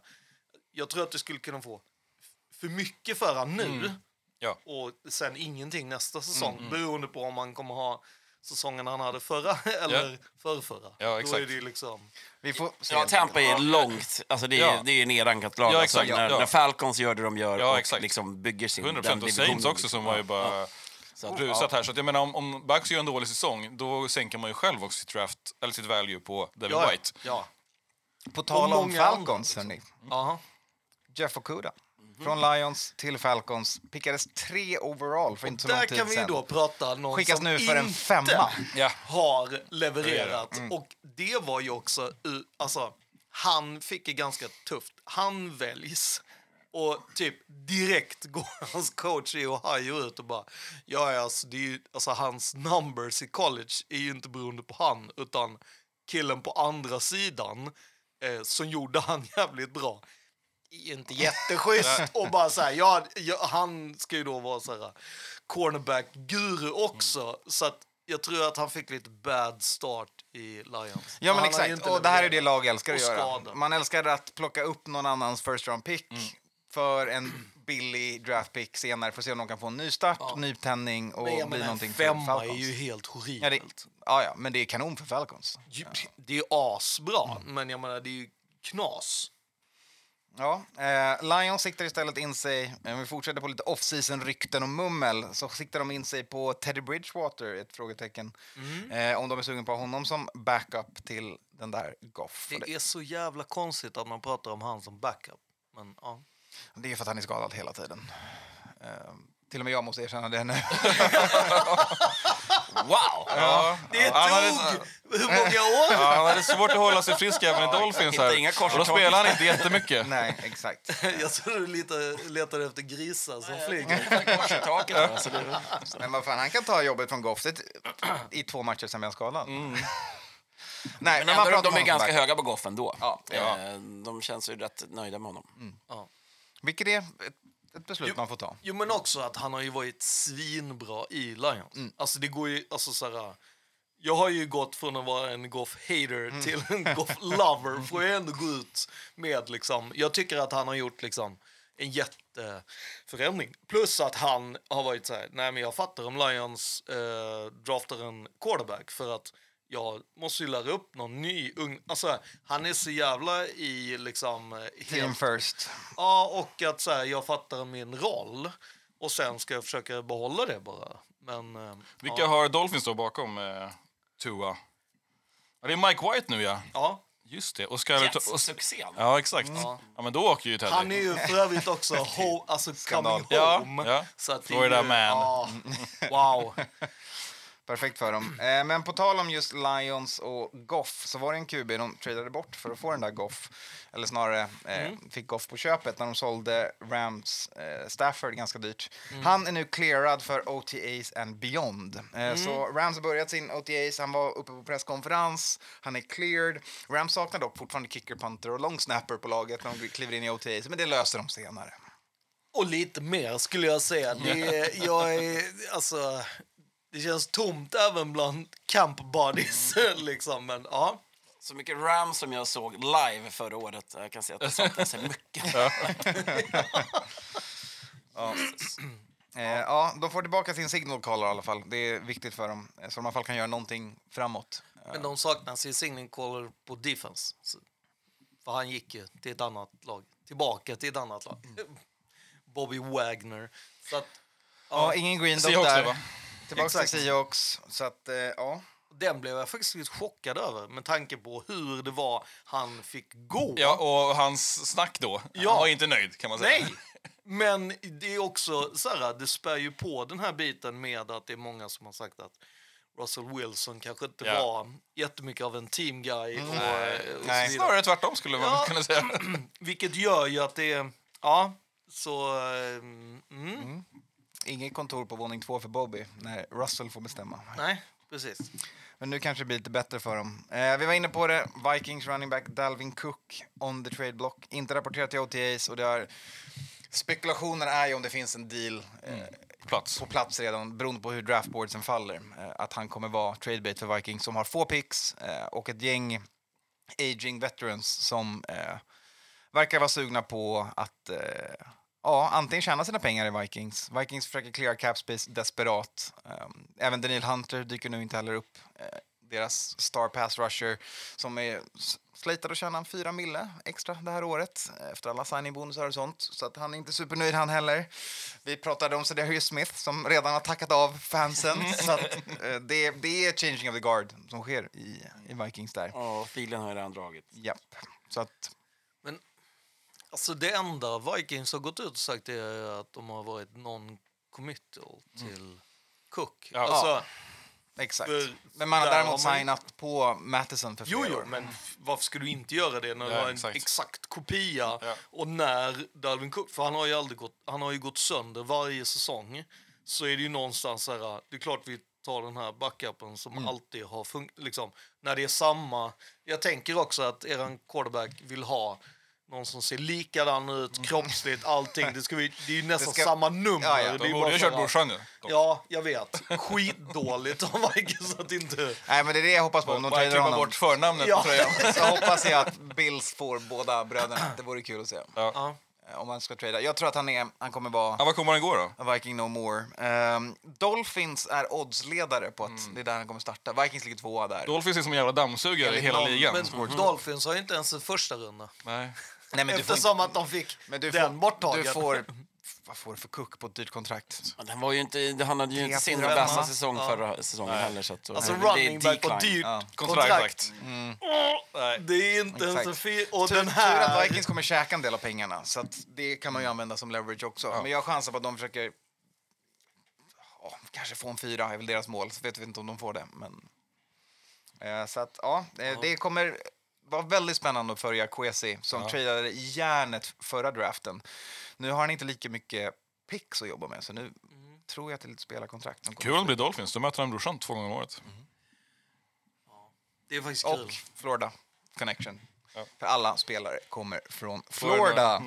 S5: Jag tror att du skulle kunna få f- för mycket för han nu.
S4: Mm. Ja. Mm,
S5: Och sen ingenting nästa säsong. Beroende på om han kommer ha säsongen han hade förra eller förrförra. Då
S4: exakt.
S5: är det ju liksom...
S3: Vi får se.
S6: Ja, Tampa är långt, alltså det är,
S4: Ja.
S6: det är nedankat lag.
S4: Ja, exakt,
S6: alltså, när,
S4: ja.
S6: när Falcons gör det de gör
S4: Ja,
S6: och
S4: exakt.
S6: liksom bygger sin
S4: 100
S6: den
S4: procent. Och
S6: divisionen,
S4: Saints också
S6: liksom.
S4: som var ju
S6: Ja,
S4: bara
S6: Så att-
S4: rusat här. Så att jag menar, om, om Bucks gör en dålig säsong, då sänker man ju själv också sitt draft, eller sitt value på Devin
S5: Ja,
S4: White. Mm.
S5: ja.
S3: På tal
S5: Och
S3: om
S5: många andra,
S3: Falcons, hörni.
S5: Aha.
S3: Jeff Okuda.
S5: Mhm.
S3: Från Lions till Falcons. Pickades tre overall för inte så lång
S5: Där
S3: tid
S5: kan vi ju
S3: sedan.
S5: då prata någon
S3: Skickas
S5: som
S3: nu för en
S5: inte
S3: femma.
S4: Ja.
S5: har levererat.
S3: Mm.
S5: Och det var ju också... u- Alltså, han fick ju ganska tufft. Han väljs. Och typ direkt går hans coach i Ohio ut och bara... Ja, ja, alltså, det är ju, alltså, hans numbers i college är ju inte beroende på han utan killen på andra sidan eh, som gjorde han jävligt bra är inte jätteschysst. och bara så här, ja, ja, han ska ju då vara så här cornerback-guru också. Så att jag tror att han fick lite bad start i Lions.
S3: Ja,
S5: Han
S3: men
S5: har ju
S3: exakt.
S5: inte
S3: Och det här är det
S5: levererat.
S3: lag älskar att
S5: Och
S3: göra.
S5: skador. Mm.
S3: Man älskar att plocka upp någon annans first round pick för en billig draft pick senare för att se om de kan få en ny start, nytändning och
S5: Men jag
S3: bli
S5: menar, en
S3: någonting för
S5: femma är
S3: Falcons.
S5: ju helt
S3: Ja, det,
S5: horribelt.
S3: ja, ja, men det är kanon för Falcons.
S5: Ju- Det är asbra,
S3: Mm.
S5: men jag menar, det är ju knas.
S3: Ja, eh, Lions siktar istället in sig, om vi fortsätter på lite off-season rykten och mummel, så siktar de in sig på Teddy Bridgewater, ett frågetecken.
S5: Mm.
S3: Eh, om de är sugen på honom som backup till den där Goff. Det,
S5: Det är så jävla konstigt att man pratar om han som backup. Men ja.
S3: det är för att han är skadad hela tiden. Eh, till och med jag måste erkänna det nu.
S4: Wow! Ja.
S5: Det
S4: Han hade-
S5: tog hur många år?
S4: Ja, han hade svårt att hålla sig frisk även i Dolphins.
S6: hittar
S4: Här.
S6: inga kors
S4: Och då
S6: i taket.
S4: spelar han inte jättemycket.
S3: Nej, exakt.
S5: Jag trodde du letade, letade efter grisar som flyger.
S6: Kors i taket, alltså, det-
S3: Men vad fan, han kan ta jobbet från Goff det, i två matcher sen blev han skadad. Nej, men,
S6: Men
S3: man
S6: ändå,
S3: pratar om
S6: de är
S3: honom som
S6: ganska
S3: backup.
S6: höga på Goff ändå.
S4: Ja. Mm.
S6: Eh, De känns ju rätt nöjda med honom.
S3: Vilket är ett, ett beslut man får ta.
S5: Jo, men också att han har ju varit svinbra i Lions. Alltså, det går ju... Alltså, så här, jag har ju gått från att vara en Goff-hater till en Goff-lover, får jag ändå gå ut med. Liksom. Jag tycker att han har gjort liksom, en jätteförändring. Plus att han har varit så här, nej men jag fattar om Lions eh, draftar en quarterback för att jag måste ju lära upp någon ny ung... Alltså, han är så jävla i liksom... eh,
S3: Team
S5: helt-
S3: first.
S5: Ja, och att så här, jag fattar min roll och sen ska jag försöka behålla det bara. Men, eh,
S4: Vilka
S5: ja.
S4: har Dolphins då bakom eh, Tua? Ja, det är Mike White nu, ja.
S5: ja.
S4: Just det. Och Scarlett... och-
S6: succén.
S4: Ja, exakt. Ja, men då åker ju Teddy.
S5: Han är ju för övrigt också ho- alltså
S3: Skandal.
S5: coming
S4: Ja,
S5: home.
S4: ja.
S5: Så att det är
S4: Florida
S5: ju,
S4: man.
S5: Ja, wow.
S3: Perfekt för dem. Eh, men på tal om just Lions och Goff så var det en QB de tradade bort för att få den där Goff. Eller snarare eh, fick Goff på köpet när de sålde Rams eh, Stafford ganska dyrt. Han är nu clearad för OTAs and beyond. Eh, Så Rams har börjat sin OTAs, han var uppe på presskonferens, han är cleared. Rams saknar dock fortfarande kicker, punter och long snapper på laget när de kliver in i OTAs, men det löser de senare.
S5: Och lite mer skulle jag säga. Det, är- jag är, alltså, det känns tomt även bland camp buddies. liksom, men ja.
S6: Så mycket Rams som jag såg live förra året. Jag kan säga att det saknas mycket.
S3: Eh, ja, de får tillbaka sin signal caller i alla fall. Det är viktigt för dem, eh, så de i alla fall kan göra någonting framåt.
S5: Men de saknar sin signing caller på defense. Så- För han gick ju till ett annat lag. Tillbaka till ett annat lag. Bobby Wagner. Så att,
S3: Ja, ingen green dot
S4: Seahawks
S3: där.
S4: nu, va?
S3: Tillbaka
S5: Exakt.
S3: till Seahawks. Så att, eh, ja.
S5: Den blev jag faktiskt lite chockad över med tanke på hur det var han fick gå.
S4: Ja, och hans snack då.
S5: Ja.
S4: Han var inte nöjd kan man säga.
S5: Nej! Men det är också så här, det spär ju på den här biten med att det är många som har sagt att Russell Wilson kanske inte
S4: Ja.
S5: var jättemycket av en team guy. Och, och så
S3: Nej.
S5: vidare.
S4: Snarare tvärtom skulle man
S5: Ja.
S4: kunna säga.
S5: Vilket gör ju att det är... Ja, så... eh, Mm,
S3: Inget kontor på våning två för Bobby när Russell får bestämma.
S5: Nej, precis.
S3: Men nu kanske det blir lite bättre för dem. Eh, vi var inne på det. Vikings running back Dalvin Cook on the trade block. Inte rapporterat till OTAs och det är... Spekulationen är ju om det finns en deal eh,
S4: På Mm. Plats.
S3: på plats redan beroende på hur draftboardsen faller. Eh, att han kommer vara tradebait för Vikings som har få picks eh, och ett gäng aging veterans som eh, verkar vara sugna på att eh, ja, antingen tjäna sina pengar i Vikings. Vikings försöker cleara cap space desperat. Eh, även Daniel Hunter dyker nu inte heller upp. Eh, deras star pass rusher som är s- slitad att tjäna en fyra mille extra det här året eh, efter alla signing-bonusar och sånt. Så att han är inte supernöjd han heller. Vi pratade om Sedarius Smith som redan har tackat av fansen. så att, eh, det, det är changing of the guard som sker i, i Vikings där.
S6: Ja, filen har jag redan dragit.
S3: Japp. Så att
S5: Alltså det enda Vikings har gått ut och sagt är att de har varit non-committal till Cook.
S4: Mm. Ja.
S5: Alltså,
S3: Exakt.
S5: För-
S3: men man har
S5: där
S3: däremot
S5: har man-
S3: signat på Matheson för
S4: Alltså,
S3: flera
S5: Jo, jo,
S3: år.
S5: men varför skulle du inte göra det när du
S4: Ja,
S5: har en
S4: exakt.
S5: exakt, kopia?
S4: Ja.
S5: Och när Dalvin Cook, för han har ju aldrig gått, han har ju gått sönder varje säsong, så är det ju någonstans så här, det är klart vi tar den här backupen som
S4: Mm.
S5: alltid har funkat, liksom, när det är samma. Jag tänker också att eran quarterback vill ha någon som ser likadan
S4: Mm.
S5: ut, kroppsligt, allting. Det, ska vi, det är ju nästan
S3: ska-
S5: samma nummer.
S3: Ja, ja, de
S5: det är
S4: De
S5: ju
S4: borde
S5: bara
S4: ju ha
S5: så här-
S4: kört brorsan ju.
S5: Ja, jag vet. Skitdåligt av Vikings att inte...
S3: Nej, men det är det jag hoppas på. Om de
S4: Bara
S3: trader
S4: klippa
S3: honom
S4: bort förnamnet
S5: Ja.
S4: på tröjan.
S3: så hoppas jag att Bills får båda bröderna. Det vore kul att se.
S5: Ja.
S3: Eh, Om man ska trada. Jag tror att han, är, han kommer vara
S4: Ja, vad kommer han gå då?
S3: a Viking no more. Ehm, Dolphins är oddsledare på att
S5: Mm.
S3: det är där han kommer starta. Vikings ligger tvåa där.
S4: Dolphins är som en jävla dammsugare i hela
S3: någon-
S4: ligan.
S5: Men Dolphins har ju inte ens en första runda.
S4: Nej.
S3: Nej, men Mm. du får,
S5: Eftersom att de fick
S3: men du
S5: den
S3: får,
S5: borttagen.
S3: du får... Vad får du för kuck på ett dyrt kontrakt?
S6: Men Han, var ju inte, han hade ju
S3: Tre,
S6: inte sin
S3: fyra,
S6: bästa
S3: va?
S6: säsong förra säsongen heller. Så att,
S5: alltså
S6: Nej,
S3: Mm.
S6: det är
S5: running back på
S6: decline.
S5: dyrt
S3: Ja. Mm.
S5: kontrakt. Mm.
S4: Kontrakt.
S5: Det är inte ens en
S3: Exakt.
S5: fi- Och
S3: Tur,
S5: den
S3: tur
S5: här...
S3: att Vikings kommer käka en del av pengarna, så att det kan man ju använda som leverage också. Men jag chansar på att de försöker ja, kanske få en fyra, är väl deras mål. Så vet vi inte om de får det. Men, eh, så att, ja, eh, det kommer vara väldigt spännande att följa Kwesi som tradeade järnet förra draften. Nu har han inte lika mycket picks att jobba med, så nu
S5: Mm.
S3: tror jag att det är lite spelarkontrakt. som kommer.
S4: Kul om det blir Dolphins. Då möter han brorsan två gånger om året.
S5: Det är faktiskt kul.
S3: Och Florida Connection.
S4: Ja.
S3: För alla spelare kommer från Florida.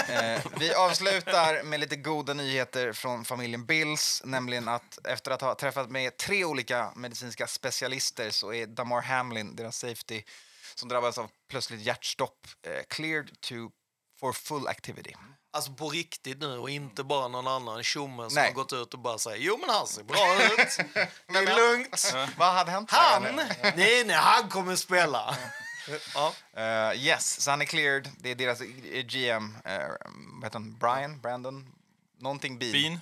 S4: Florida.
S3: eh, vi avslutar med lite goda nyheter från familjen Bills. Nämligen att efter att ha träffat med tre olika medicinska specialister så är Damar Hamlin, deras safety, som drabbas av plötsligt hjärtstopp, eh, cleared to for full activity.
S5: Alltså på riktigt nu och inte bara någon annan tjomme som
S3: Nej.
S5: har gått ut och bara säger jo men han ser bra ut. Det
S3: Men-
S5: är lugnt.
S3: Vad hade hänt?
S5: Han! Nej, nej, han kommer spela. Ja.
S3: Eh, yes, så han är cleared. Det är deras eh, GM, eh, vad heter han? Brian? Brandon? Någonting Bean.
S4: Fin.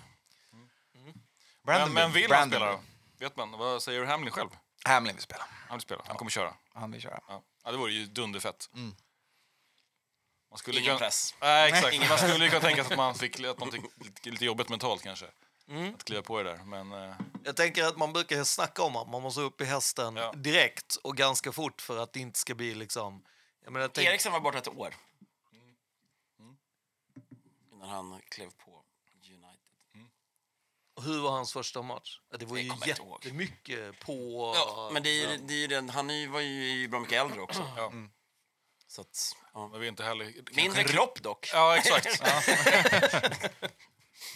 S3: Brandon
S4: Men, men
S3: Bean.
S4: vill han
S3: Brandon
S4: spela då?
S3: Bean.
S4: Vet man. Vad säger Hamlin själv?
S3: Hamlin vill spela.
S4: Han vill spela. Han kommer köra.
S3: Han vill köra.
S4: Ja, ja det vore ju dunderfett.
S3: Mm.
S4: Man skulle
S6: Ingen
S4: kunna-
S6: press.
S4: Nej, exakt. Man skulle ju kunna tänka sig att man fick att man fick lite, lite jobbigt mentalt kanske. Att kliva på det där. Men eh,
S5: Jag tänker att man brukar snacka om att man måste upp i hästen
S4: Ja.
S5: direkt och ganska fort för att det inte ska bli liksom... Jag menar, tänk...
S6: Eriksen var borta ett år. Mm. Innan han klev på United.
S5: Hur var hans första match? Ja, Det var
S6: Jag
S5: ju
S6: kommer inte ihåg.
S5: jättemycket på...
S6: Ja, men det är, ju- det är ju den, han är ju- var ju bra mycket äldre också.
S4: Ja.
S3: Mm.
S6: Så att, ja.
S4: men vi är inte heller...
S6: Mindre
S4: kanske-
S6: kropp dock.
S4: Ja, exakt. Ja.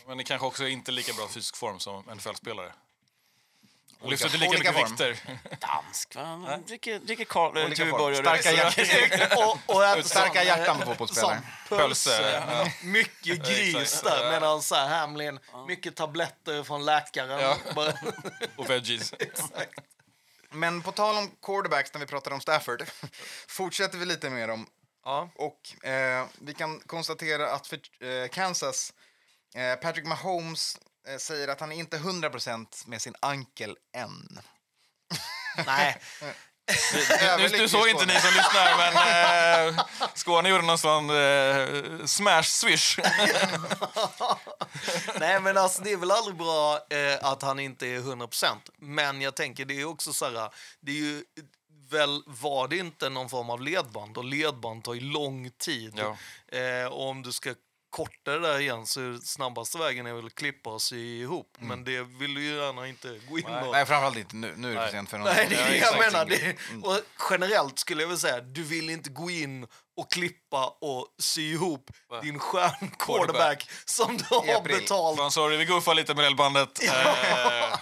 S4: men det kanske också är inte lika bra fysisk form som NFL-spelare. Och lyfter inte lika
S3: olika
S4: mycket
S3: form.
S4: vikter.
S6: Dansk, va? Han dricker, dricker Karl, eh,
S3: Olika
S6: Tuborg
S3: form.
S6: och
S3: Starka
S6: Rödvin.
S3: hjärtan.
S5: och, och äter
S3: Starka
S5: sån,
S3: hjärtan på
S5: eh,
S3: fotbollsspelare.
S5: sån
S4: Pölse, ja.
S5: Mycket gris
S4: exakt.
S5: där, medan så här Hamlin, mycket tabletter från läkaren. Bara-
S4: Och veggies.
S3: Men på tal om quarterbacks när vi pratade om Stafford fortsätter vi lite med dem.
S5: ja.
S3: Och eh, vi kan konstatera att för eh, Kansas, eh, Patrick Mahomes eh, säger att han är inte 100% med sin ankel än.
S5: Nej,
S4: Nu, nu såg inte ni som lyssnar, men eh, Skåne gjorde någon sån eh, smash-swish.
S5: Nej, men alltså det är väl aldrig bra eh, att han inte är 100 Men jag tänker, det är ju också så här, det är ju väl var det inte någon form av ledband och ledband tar ju lång tid.
S4: Ja.
S5: Eh, och om du ska korta det där igen så är det snabbaste vägen är väl att klippa och sy ihop. Men det vill du ju gärna inte gå in och...
S3: Mm. Nej, framförallt inte nu. Nu är det för sent för någon.
S5: Nej, det är det
S3: exakt. Mm.
S5: jag menar. Det, och generellt skulle jag väl säga, du vill inte gå in och klippa och sy ihop din stjärn-quarterback som du
S3: I
S5: har
S3: april.
S5: betalt
S4: Fan, sorry, vi guffar lite med elbandet. Eh,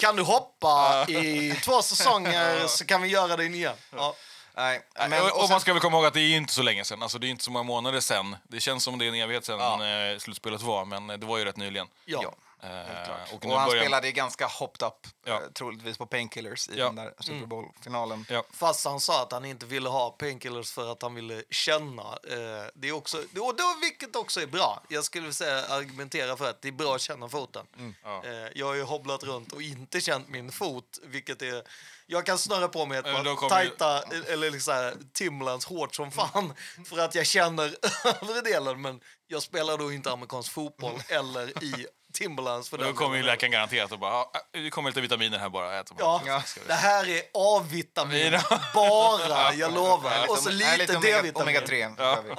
S5: Kan du hoppa i två säsonger så kan vi göra det igen. Ja.
S3: Nej,
S4: Men,
S3: men,
S4: och,
S3: och sen,
S4: man ska väl komma ihåg att det är ju inte så länge sen. Alltså, det är inte så många månader sen. Det känns som det är en evighet sen eh, slutspelet var, men eh, det var ju rätt nyligen.
S5: Ja.
S3: Ja.
S4: Eh, och nu
S3: och han
S4: börjar...
S3: spelade ju ganska hopped up,
S4: Ja.
S3: eh, troligtvis på painkillers i
S4: Ja. Mm.
S3: den där Super Bowl-finalen.
S4: Ja.
S5: Fast han sa att han inte ville ha painkillers för att han ville känna. Eh, det är också, och då, vilket också är bra. Jag skulle säga argumentera för att det är bra att känna foten.
S4: Mm. Ja.
S5: Eh, jag har ju hobblat runt och inte känt min fot, vilket är... Jag kan snurra på mig ett
S4: Eh, då
S5: par
S4: kommer ju-
S5: tajta, eller liksom här, Timlands hårt som fan
S4: Mm.
S5: för att jag känner övre delen, men jag spelar då inte amerikansk fotboll eller i Timberlands. För
S4: Mm. Och Då
S5: den
S4: kommer ju
S5: delen.
S4: läkaren garanterat och bara, "Ja, eh, det kommer lite vitaminer här bara, ät dem här."
S5: Ja,
S3: Ja.
S5: det här är A-vitamin bara, jag lovar. Och så
S3: Lite- nej,
S5: liksom, lite
S3: omega-
S5: D-vitamin.
S3: Omega-3. behöver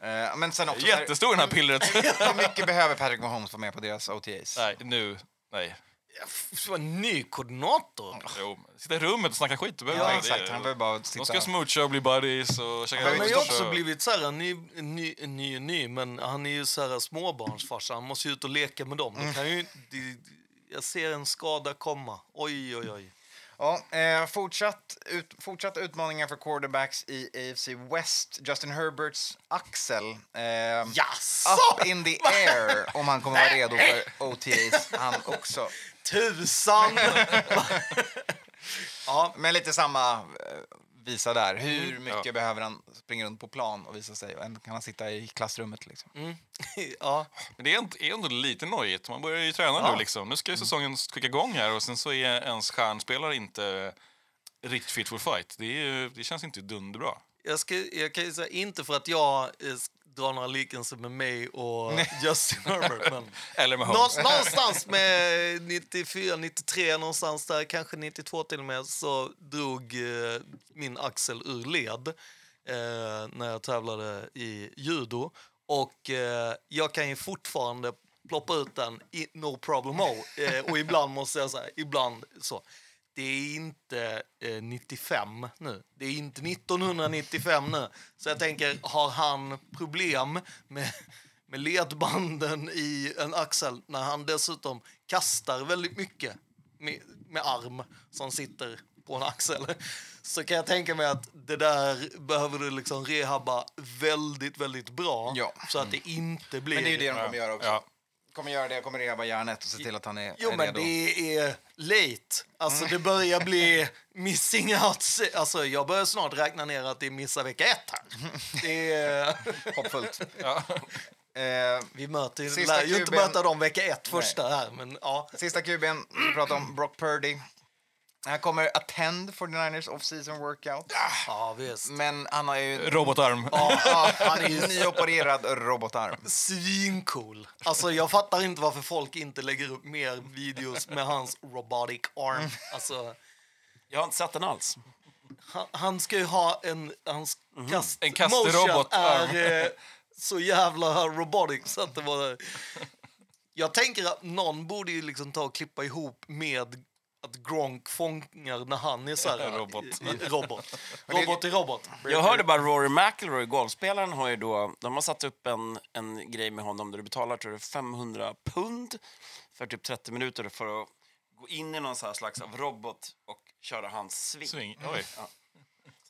S3: vi. Eh, Men sen också,
S4: Jättestor den här pillret.
S3: hur mycket behöver Patrick Mahomes vara med på deras OTAs?
S4: Nej, nu. Nej.
S5: F- vad, Ny koordinator?
S4: Jo, sitta i rummet och snacka skit. Du behöver
S3: Ja,
S4: inte det.
S3: exakt. Han behöver bara
S4: De
S3: sitta...
S4: ska smoocha och bli buddies och käka
S5: Han har ju
S4: lunch
S5: också
S4: och-
S5: blivit så här, en ny, en ny, en ny, en ny, men han är ju så här småbarnsfarsa. Han måste ju ut och leka med dem. Det kan ju, det, jag ser en skada komma. Oj, oj, oj.
S3: Ja, eh, fortsatt, ut, fortsatt utmaningar för quarterbacks i AFC West. Justin Herberts axel. Eh,
S5: Jaså?
S3: Up in the air om han kommer vara redo för OTAs han också.
S5: Tusan! ja,
S3: Men lite samma eh, visa där.
S5: Mm.
S3: Hur mycket behöver han springa runt på plan och visa sig? Och ändå kan han sitta i klassrummet liksom?
S5: Mm. ja.
S4: Men det är ändå, är ändå lite nojigt. Man börjar ju träna nu. liksom. Nu ska
S5: Mm.
S4: ju säsongen kicka igång här och sen så är ens stjärnspelare inte riktigt fit for fight. Det, är ju, det känns inte dunderbra.
S5: Jag, ska, jag kan ju säga, inte för att jag eh, s- drar några liknelser med mig och Justin Herbert, men
S4: Eller med
S5: Nå-
S4: Holmes.
S5: någonstans med 94, 93, någonstans där, kanske 92 till och med, så drog eh, min axel ur led eh, när jag tävlade i judo. Och eh, jag kan ju fortfarande ploppa ut den i no problem mo. Eh, och ibland måste jag säga, ibland så. Det är inte eh, 95 nu. Det är inte 1995 nu. Så jag tänker, har han problem med med ledbanden i en axel när han dessutom kastar väldigt mycket med, med arm som sitter på en axel så kan jag tänka mig att det där behöver du liksom rehabba väldigt, väldigt bra
S3: Ja.
S5: så att det inte blir...
S3: Men det är ju det de kommer göra också.
S4: Ja.
S3: Kommer göra det, kommer reva hjärnet och se till att han är,
S5: Jo,
S3: är
S5: men
S3: redo. Mm.
S5: det är late. Alltså, det börjar bli missing out. se- Alltså, jag börjar snart räkna ner att det är missa vecka ett här. Det är...
S3: Hoppfullt. Eh,
S5: Vi möter ju...
S3: Sista
S5: lär ju inte
S3: kuben.
S5: möta dem vecka ett första här, men ja.
S3: Sista kuben, vi pratar om Brock Purdy. Han kommer attend 49ers off-season workout.
S5: Ja, visst.
S3: Men han har ju...
S4: Robotarm.
S3: Ja, han är ju nyopererad robotarm.
S5: Svincool. Alltså, jag fattar inte varför folk inte lägger upp mer videos med hans robotic
S3: Mm.
S5: arm. Alltså,
S6: Jag har inte sett den alls.
S5: han, han ska ju ha en... Hans kast,
S4: Mhm. En
S5: motion
S4: kastrobotarm.
S5: är eh, så jävla robotic så att det var... Jag tänker att någon borde ju liksom ta och klippa ihop med att Gronk fångar när han är så här...
S4: Robot.
S5: i- Robot. Robot i robot.
S6: Jag hörde bara Rory McIlroy, golfspelaren, har ju då, de har satt upp en, en grej med honom där du betalar tror jag, 500 pund för typ 30 minuter för att gå in i någon så här slags av robot och köra hans sving.
S4: Swing. Oj.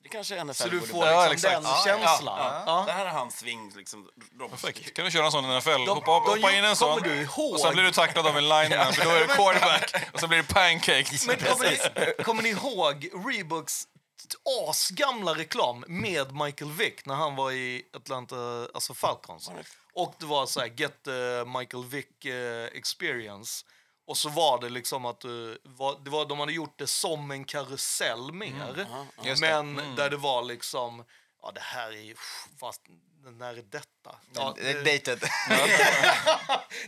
S6: Det kanske NFL
S5: Så du
S6: borde
S5: får
S6: börja-
S4: Ja,
S5: liksom
S4: exakt.
S5: den
S4: Ja,
S5: känslan.
S6: Ja,
S5: Ja.
S6: Det här är hans sving, liksom. Robot.
S4: Perfekt. Kan du köra en sån i NFL?
S5: Alltså, De-
S4: hoppa hoppa,
S5: de
S4: hoppa in
S5: gjorde-
S4: en sån.
S5: kommer du ihåg?
S4: Och sen blir du tacklad av en lineman, för då är det quarterback. Och sen blir det pancakes.
S5: Men kommer ni, kommer ni ihåg Reeboks asgamla reklam med Michael Vick när han var i Atlanta, alltså Falcons? Och det var så här, get the Michael Vick eh, experience. Och så var det liksom att eh, var, det var, de hade gjort det som en karusell mer.
S3: Just det. Mm.
S5: Men där det var liksom, ja det här är ju, fast när är detta? Ja,
S3: Det är
S5: det,
S3: Eh, dated.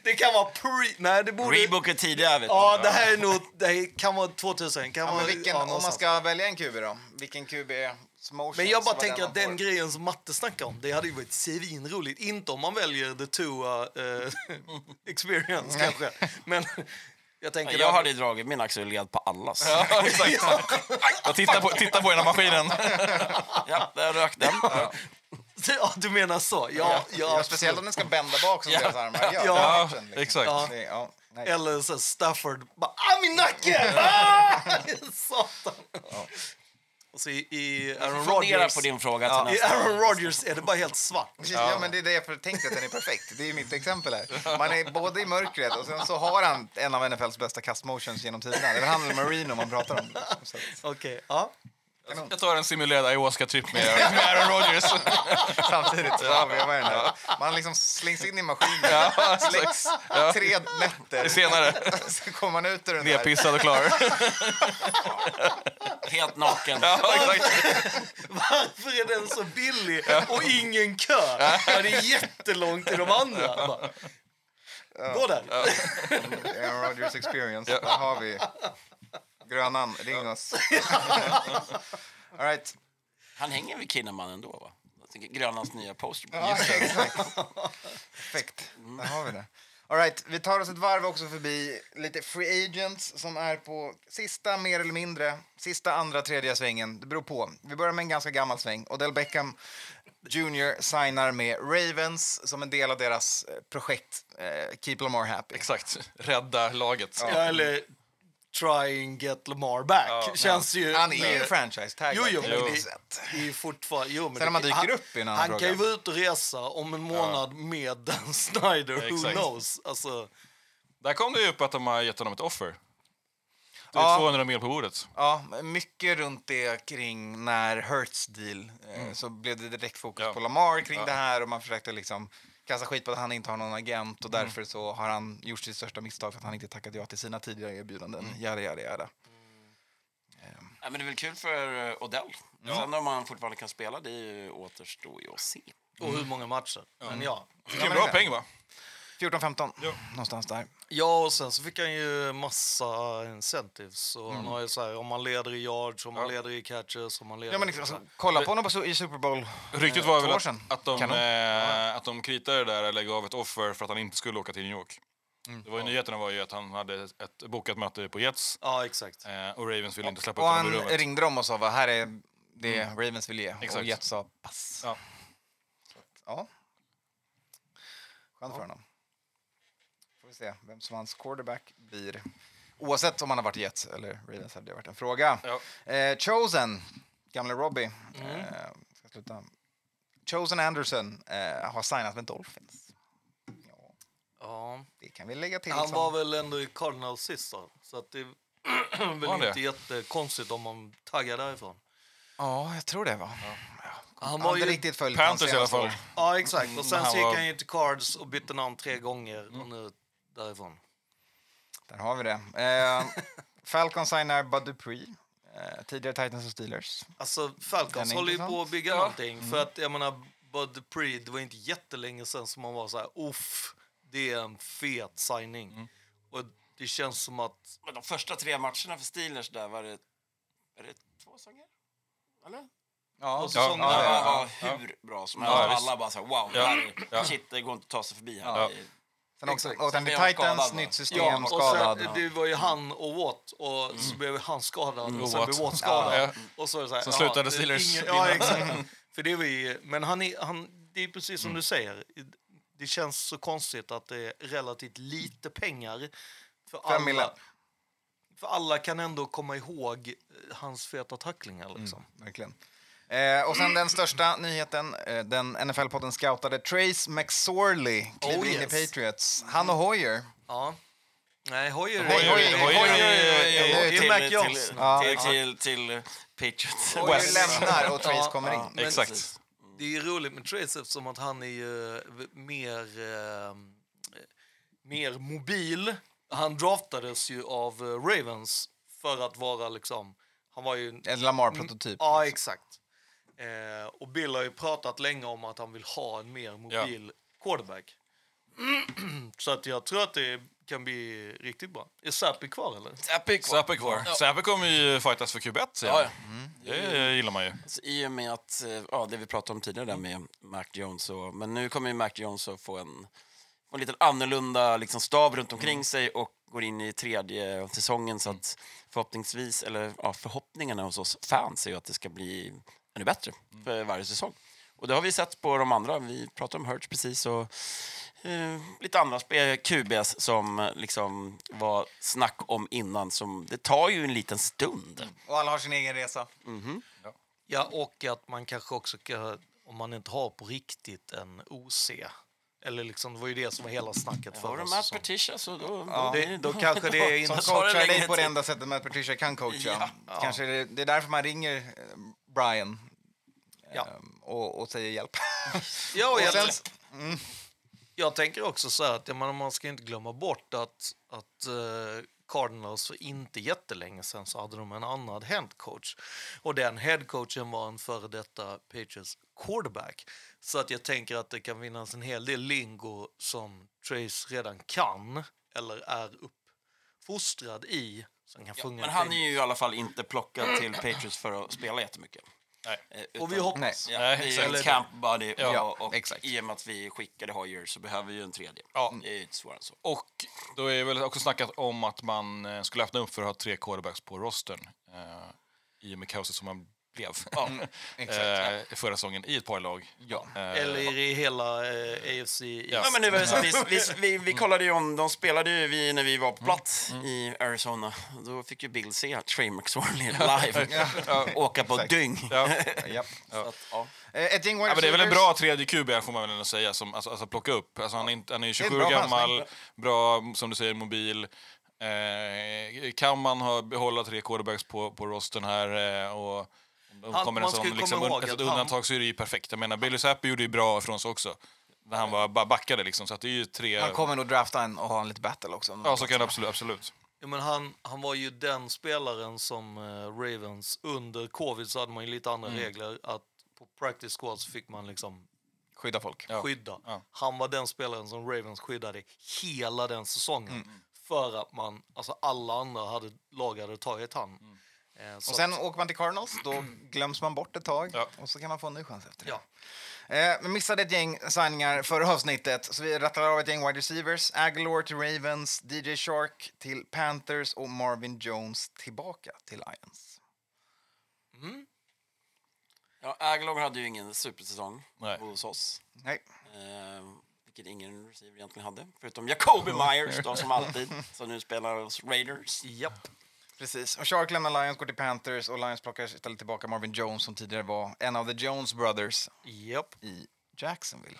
S5: det kan vara pre, nej det borde...
S6: Rebook är tidigare, vet
S5: Ja, det här är nog, det kan vara 2000. Kan
S3: Ja,
S5: vara,
S3: men vilken,
S5: ja,
S3: om man
S5: någonstans.
S3: ska välja en QB då, vilken QB är motion,
S5: Men jag bara
S3: vad
S5: tänker
S3: man
S5: att den
S3: får?
S5: grejen som Matte snackar om, det hade ju varit svinroligt. Inte om man väljer the Tua eh, experience kanske. Men jag tänker...
S6: Jag hade ju dragit min axelled på allas. Ja,
S4: Ja, exakt. Jag tittar på, tittar på den här maskinen.
S6: där rök den.
S5: Ja, du menar så. Ja, ja,
S3: Ja, speciellt om den ska bända bak som deras armar gör.
S5: Ja,
S3: Action, liksom.
S4: Exakt.
S5: Ja.
S3: Det är- ja, nej.
S5: Eller så här Stafford bara ah, min nacke! Ah! Satan! Och så i, i Aaron
S6: Fundera
S5: Rodgers...
S6: på din fråga
S5: Ja,
S6: till
S5: I
S6: nästa.
S5: Aaron Rodgers är det bara helt svart.
S3: Precis, ja. men det är det jag tänkte, att den är perfekt. Det är mitt exempel här. Man är både i mörkret och sen så har han en av NFLs bästa cast motions genom tiderna. Det är han eller Marino man pratar om. liksom. Så att-
S5: Okej, ja.
S4: Jag tar en simulerad ayahuasca-tripp med, med Aaron Rodgers.
S3: Samtidigt så avvevar jag den där. Man liksom slängs in i maskinen, släcks tre nätter.
S4: Senare.
S3: Sen kommer man ut ur den där.
S4: Nedpissad och klar.
S6: Helt naken.
S4: Ja, exakt.
S5: Varför är den så billig och ingen kö? Ja, det är jättelångt till de andra. Bara, Gå där.
S3: Aaron Rodgers eh, experience. Där har vi Grönan, ring oss. All right.
S6: Han hänger vid Kinnaman ändå, va? Jag tänker Grönlands nya poster.
S3: Exakt. Perfekt. Där har vi det. All right, vi tar oss ett varv också förbi lite free agents som är på sista, mer eller mindre, sista, andra, tredje svängen. Det beror på. Vi börjar med en ganska gammal sväng. Odell Beckham Jr signar med Ravens som en del av deras eh, projekt eh, Keep Lamar Happy.
S4: exakt. Rädda laget.
S5: Ja, eller try and get Lamar back. Känns ju...
S3: Han är ju franchise-taggad.
S5: Jo, jo,
S3: på
S5: men
S3: något
S5: det-
S3: sätt.
S5: Det är ju fortfarande... Jo, men
S3: Sen när man dyker upp i en annan
S5: Han
S3: fråga.
S5: kan ju vara ute och resa om en månad med Dan Snyder. Who
S4: Exakt.
S5: knows? Alltså,
S4: Där kom det ju upp att de har gett honom ett offer. Det är
S3: Ja.
S4: 200 mil på bordet.
S3: Ja, mycket runt det kring när Hurts deal eh, så blev det direkt fokus
S4: Mm. Ja.
S3: på Lamar kring det här och man försökte liksom kasta skit på att han inte har någon agent
S4: Mm.
S3: och därför så har han gjort sitt största misstag för att han inte tackat ja till sina tidigare erbjudanden.
S4: Mm.
S3: Jada, jada, jada.
S6: Ja, men det är väl kul för eh, Odell. Sen om han fortfarande kan spela, det är ju återstår ju att se.
S5: och hur många matcher. Men Mm. ja.
S4: Fick
S3: Ja,
S4: en
S3: men
S4: bra
S3: det-
S4: peng, va?
S3: 14-15, någonstans där.
S5: Ja, och sen så fick han ju massa incentives. Och han har ju så här, om man leder i yards, om man leder i catches, om man leder...
S3: Ja, men liksom, alltså, kolla på honom på, så- i Super Bowl.
S4: Ryktet var
S3: Eh, två
S4: väl
S3: år
S4: att,
S3: sedan.
S4: att, de,
S3: Kanon.
S4: eh, att de kritade det där eller gav ett offer för att han inte skulle åka till New York.
S3: Mm.
S4: Det var ju nyheterna var ju att han hade ett bokat möte på Jets
S5: Ja, exakt.
S4: eh, och Ravens ville inte släppa
S3: Och
S4: ut honom
S3: han
S4: ur rummet. Mm.
S3: ringde dem och sa vad här är det Ravens vill ge. Och
S4: Exakt.
S3: Jets sa pass.
S4: Ja.
S3: Ja. Skönt för honom. Får vi se vem som hans quarterback blir. Oavsett om han har varit Jets eller Ravens hade det varit en fråga.
S4: Ja.
S3: Eh, Chosen, gamle Robbie, eh, ska sluta. Chosen Anderson eh, har signat med Dolphins. Ja,
S5: Ja. Liksom.
S3: det kan vi lägga till. liksom.
S5: Han
S3: som-
S5: var väl ändå i Cardinals sist då, så att det är
S4: Var han
S5: väl
S4: det?
S5: inte jättekonstigt om man taggar därifrån.
S3: Ja, jag tror det var. Ja.
S5: Han
S3: Han var
S5: var
S3: inte
S5: ju...
S3: riktigt följt hans
S4: Panthers i alla
S3: senaste
S4: fall.
S3: år.
S5: Ja, exakt. Och sen
S4: Han
S5: så gick
S4: var-
S5: Mm. han Mm. ju till Cards och bytte namn tre gånger och nu därifrån.
S3: Där har vi det. Eh, Falcon signar Bud Dupree. Eh, tidigare Titans och Steelers.
S5: Alltså,
S3: Den
S5: Falcons
S3: är
S5: håller ju
S3: intressant.
S5: på att bygga någonting. För att jag menar, Bud Dupree, det var inte jättelänge sen som man var så här, uff, det är en fet signing. Och det känns som att,
S6: Men de första tre matcherna för Steelers där, var det, är det två sånger? Eller?
S3: Ja,
S4: Ja,
S6: Ja,
S4: ja,
S6: det
S4: ja.
S6: var hur bra som helst.
S4: Ja, visst.
S6: alla bara så här, wow,
S4: Ja.
S6: där,
S4: Ja.
S6: shit, det går inte att ta sig förbi här. Det är-
S3: Sen åkte åkte han till
S6: Sen blev han
S3: Titans,
S6: skadad, va?
S3: nytt system,
S5: ja, och
S3: skadad.
S5: sen, det var ju han och Watt och så blev han skadad och sen
S4: Mm. Watt.
S5: blev Watt skadad.
S4: Ja.
S5: Och så är det så här,
S4: Sen
S5: jaha,
S4: slutade
S5: det är
S4: Steelers
S5: ingen- Ja,
S4: vinna. Mm.
S5: exakt. För det var ju, men han är, han, det är precis som du säger. Det känns så konstigt att det är relativt lite pengar. För
S3: Fem miljoner.
S5: alla, för alla kan ändå komma ihåg eh, hans feta tacklingar. Liksom.
S4: Mm.
S3: Verkligen. Eh, och sen den största nyheten. Eh, den NFL-podden scoutade Trace McSorley kliver
S5: Oh,
S3: in i
S5: yes.
S3: Patriots. Han och Hoyer.
S5: Ja. Nej, Hoyer
S3: Hoyer-
S5: Hoyer-
S4: Hoyer-
S5: Hoyer-
S4: Hoyer-
S5: Hoyer-
S6: till-
S5: Det är Mac
S6: till-
S5: Jones.
S3: Ja.
S6: Till, till, till, Patriots.
S3: Hoyer lämnar och Trace
S5: Ja,
S3: kommer
S5: ja.
S3: in.
S5: Men-
S4: Exakt.
S5: Det är ju roligt med Trace eftersom att han är ju eh, mer, eh, mer mobil han draftades ju av eh, Ravens för att vara liksom... Han var ju...
S3: En Lamar-prototyp.
S5: Ja, exakt. Eh, och Bill har ju pratat länge om att han vill ha en mer mobil quarterback. Så att jag tror att det kan bli riktigt bra. Är Sappi kvar eller?
S6: Epic.
S4: Säpe kvar. Säpe kommer ju fightas för E Q1 sen.
S6: Ja, ja.
S4: Det gillar man ju.
S6: Så I och med att, eh, ja, det vi pratade om tidigare där med Mac Jones och, men nu kommer ju Mac Jones att få en, få en lite annorlunda liksom, stab runt omkring sig och går in i tredje säsongen så att förhoppningsvis, eller ja, förhoppningarna hos oss fans är ju att det ska bli ännu bättre för varje säsong. Och det har vi sett på de andra, vi pratade om Hurts precis och eh, lite andra spe- QBs som eh, liksom var snack om innan som, det tar ju en liten stund.
S3: Och alla har sin egen resa.
S5: Ja, och att man kanske också kan, om man inte har på riktigt en OC. Eller liksom, det var ju det som var hela snacket
S6: Har
S5: förra
S6: de Matt
S5: säsongen.
S6: Patricia Alltså, så då...
S3: Ja.
S6: då-
S5: Det, då kanske det är
S3: Som
S5: inte...
S6: tar det
S3: coachar
S6: längre
S3: dig på det
S6: tid.
S3: enda sättet Matt Patricia kan coacha.
S6: Ja.
S3: Kanske det, det är därför man ringer eh, Brian
S5: Ja.
S3: ehm, och, och säger hjälp.
S5: Ja, och
S3: Och
S5: jag,
S3: sen-
S5: jag tänker också så här att jag menar, man ska inte glömma bort att, att eh, Cardinals för inte jättelänge sedan så hade de en annan headcoach. Och den headcoachen var en före detta Patriots quarterback. Så att jag tänker att det kan finnas en hel del lingo som Trace redan kan eller är uppfostrad i. Som kan funka
S6: Men han är ju i alla fall inte plockad till Patriots för att spela jättemycket.
S4: Nej.
S6: Eh,
S5: Och vi
S6: utan-
S5: hoppas...
S3: Nej.
S6: Ja,
S4: Nej,
S6: det är
S4: exakt.
S6: en camp buddy och,
S3: Ja,
S6: och
S3: exakt.
S6: i och med att vi skickade Hoyer så behöver vi ju en tredje.
S4: Ja.
S6: Det är ju inte svårare än så.
S4: Och då är väl också snackat om att man eh, skulle öppna upp för att ha tre quarterbacks på rostern eh, i och med kaoset som man blev eh, förra säsongen i ett par lag.
S3: Ja.
S4: Eh,
S5: Eller i hela eh, AFC.
S4: Ja.
S6: Ja, men nu var det så, vi, vi, vi, vi kollade ju om, de spelade ju vi när vi var på plats i Arizona. Då fick ju Bill se Trey McSorley live åka på dyng.
S4: ja.
S3: Japp.
S6: Så att, ja.
S3: Eh, Ett gäng
S4: Ja,
S3: wide
S4: men det är väl en
S3: receivers.
S4: bra tredje QB får man väl ändå säga, som, alltså, alltså plocka upp. Alltså, han, är inte, han är ju
S3: en
S4: 27
S3: bra
S4: år gammal, bra, som du säger, mobil. Eh, kan man ha, behålla tre quarterbacks på, på rosten här eh, och om det
S5: Han-
S4: kommer en
S5: man ska ju
S4: sån
S5: komma
S4: liksom, un,
S5: ihåg
S4: alltså,
S5: att
S4: ett
S5: han-
S4: undantag så är det ju perfekt. Jag menar, Billy Sappi gjorde ju bra ifrån sig också, när han var, bara backade liksom, så att det är ju tre...
S3: Han kommer nog drafta en och ha en lite battle också.
S4: Ja, så kan det absolut, absolut.
S5: Ja, men han, han var ju den spelaren som eh, Ravens... Under covid så hade man ju lite andra regler. Att På practice squad så fick man liksom
S3: Skydda folk.
S4: Ja.
S5: skydda.
S4: Ja.
S5: Han var den spelaren som Ravens skyddade hela den säsongen. För att man, alltså alla andra hade, lag hade tagit han. Eh, så
S3: Och sen
S5: att-
S3: åker man till Cardinals, då glöms man bort ett tag
S4: Mm. Ja.
S3: och så kan man få en ny chans efter det.
S5: ja.
S3: Eh, men missade ett gäng signingar förra avsnittet, så vi rattlar av ett gäng wide receivers. Aguilar till Ravens, DJ Shark till Panthers och Marvin Jones tillbaka till Lions.
S6: Ja, Aguilar hade ju ingen supersäsong
S4: Nej.
S6: hos oss.
S3: Nej.
S6: Eh, vilket ingen receiver egentligen hade. Förutom Jacoby Myers då, som alltid. Som nu spelar hos Raiders.
S5: Japp.
S3: Precis. Och Shark lämnar Lions, går till Panthers och Lions plockar istället tillbaka Marvin Jones som tidigare var en av the Jones Brothers
S5: Japp.
S3: i Jacksonville.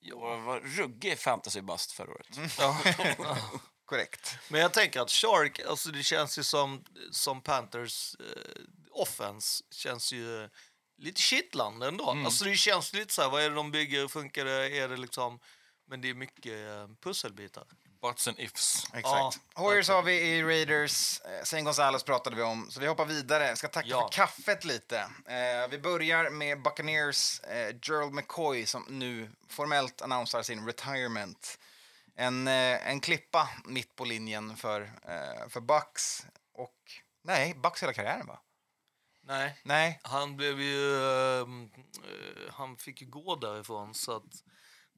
S6: Jag var ruggig fantasy-bust förra året.
S3: Korrekt.
S5: Men jag tänker att Shark, alltså det känns ju som, som Panthers eh, offense känns ju eh, lite kittlande ändå. Alltså det känns lite så här, vad är det de bygger, funkar det, är det liksom... Men det är mycket eh, pusselbitar.
S4: Buts and ifs.
S3: Exakt.
S5: Ja,
S3: Hoyers har vi i Raiders, eh, Saint Gonzales pratade vi om, så vi hoppar vidare. Ska tacka
S5: Ja.
S3: för kaffet lite. Eh, vi börjar med Buccaneers eh, Gerald McCoy som nu formellt annonserar sin retirement. En, eh, en klippa mitt på linjen för, eh, för Bucks och... Nej, Bucks hela karriären va?
S5: Nej,
S3: Nej,
S5: han blev ju... eh, eh, han fick ju gå därifrån så att...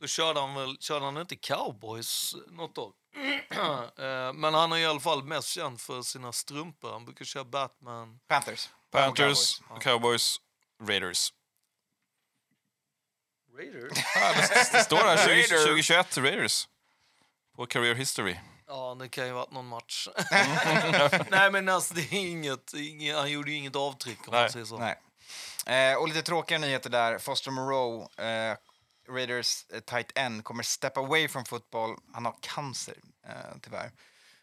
S5: Då körde han väl, körde han inte cowboys något år? Eh, Men han är i alla fall mest känd för sina strumpor. Han brukar köra Batman.
S3: Panthers.
S4: Panthers, Cowboys, Raiders.
S5: Raiders?
S4: Det står här 20,
S6: Raiders.
S4: 2021, Raiders. På Career History.
S5: Ja, det kan ju ha varit någon match.
S3: Mm.
S5: Nej, men alltså, det är inget, inget, han gjorde ju inget avtryck om man
S4: Nej,
S5: säger så.
S3: Nej. Eh, och lite tråkiga nyheter där. Foster Moreau, eh, Raiders eh, tight end, kommer step away från fotboll. Han har cancer, eh, tyvärr.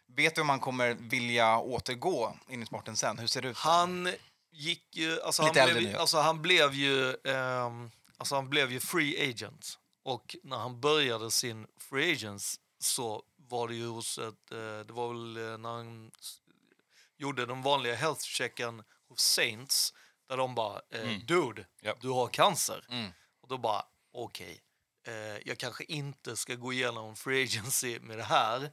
S3: Vet du om han kommer vilja återgå in i sporten sen? Hur ser det ut?
S5: Han gick ju... Alltså,
S3: Lite
S5: han,
S3: äldre
S5: blev, ju-
S3: nu, ja.
S5: alltså, han blev ju... ehm, alltså, han blev ju free agent. Och när han började sin free agent så var det ju hos ett, eh, det var väl eh, när han s- gjorde den vanliga health checken hos Saints där de bara eh, “Dude,
S4: Japp.
S5: du har cancer”. Och då bara “Okej, eh, jag kanske inte ska gå igenom free agency med det här”.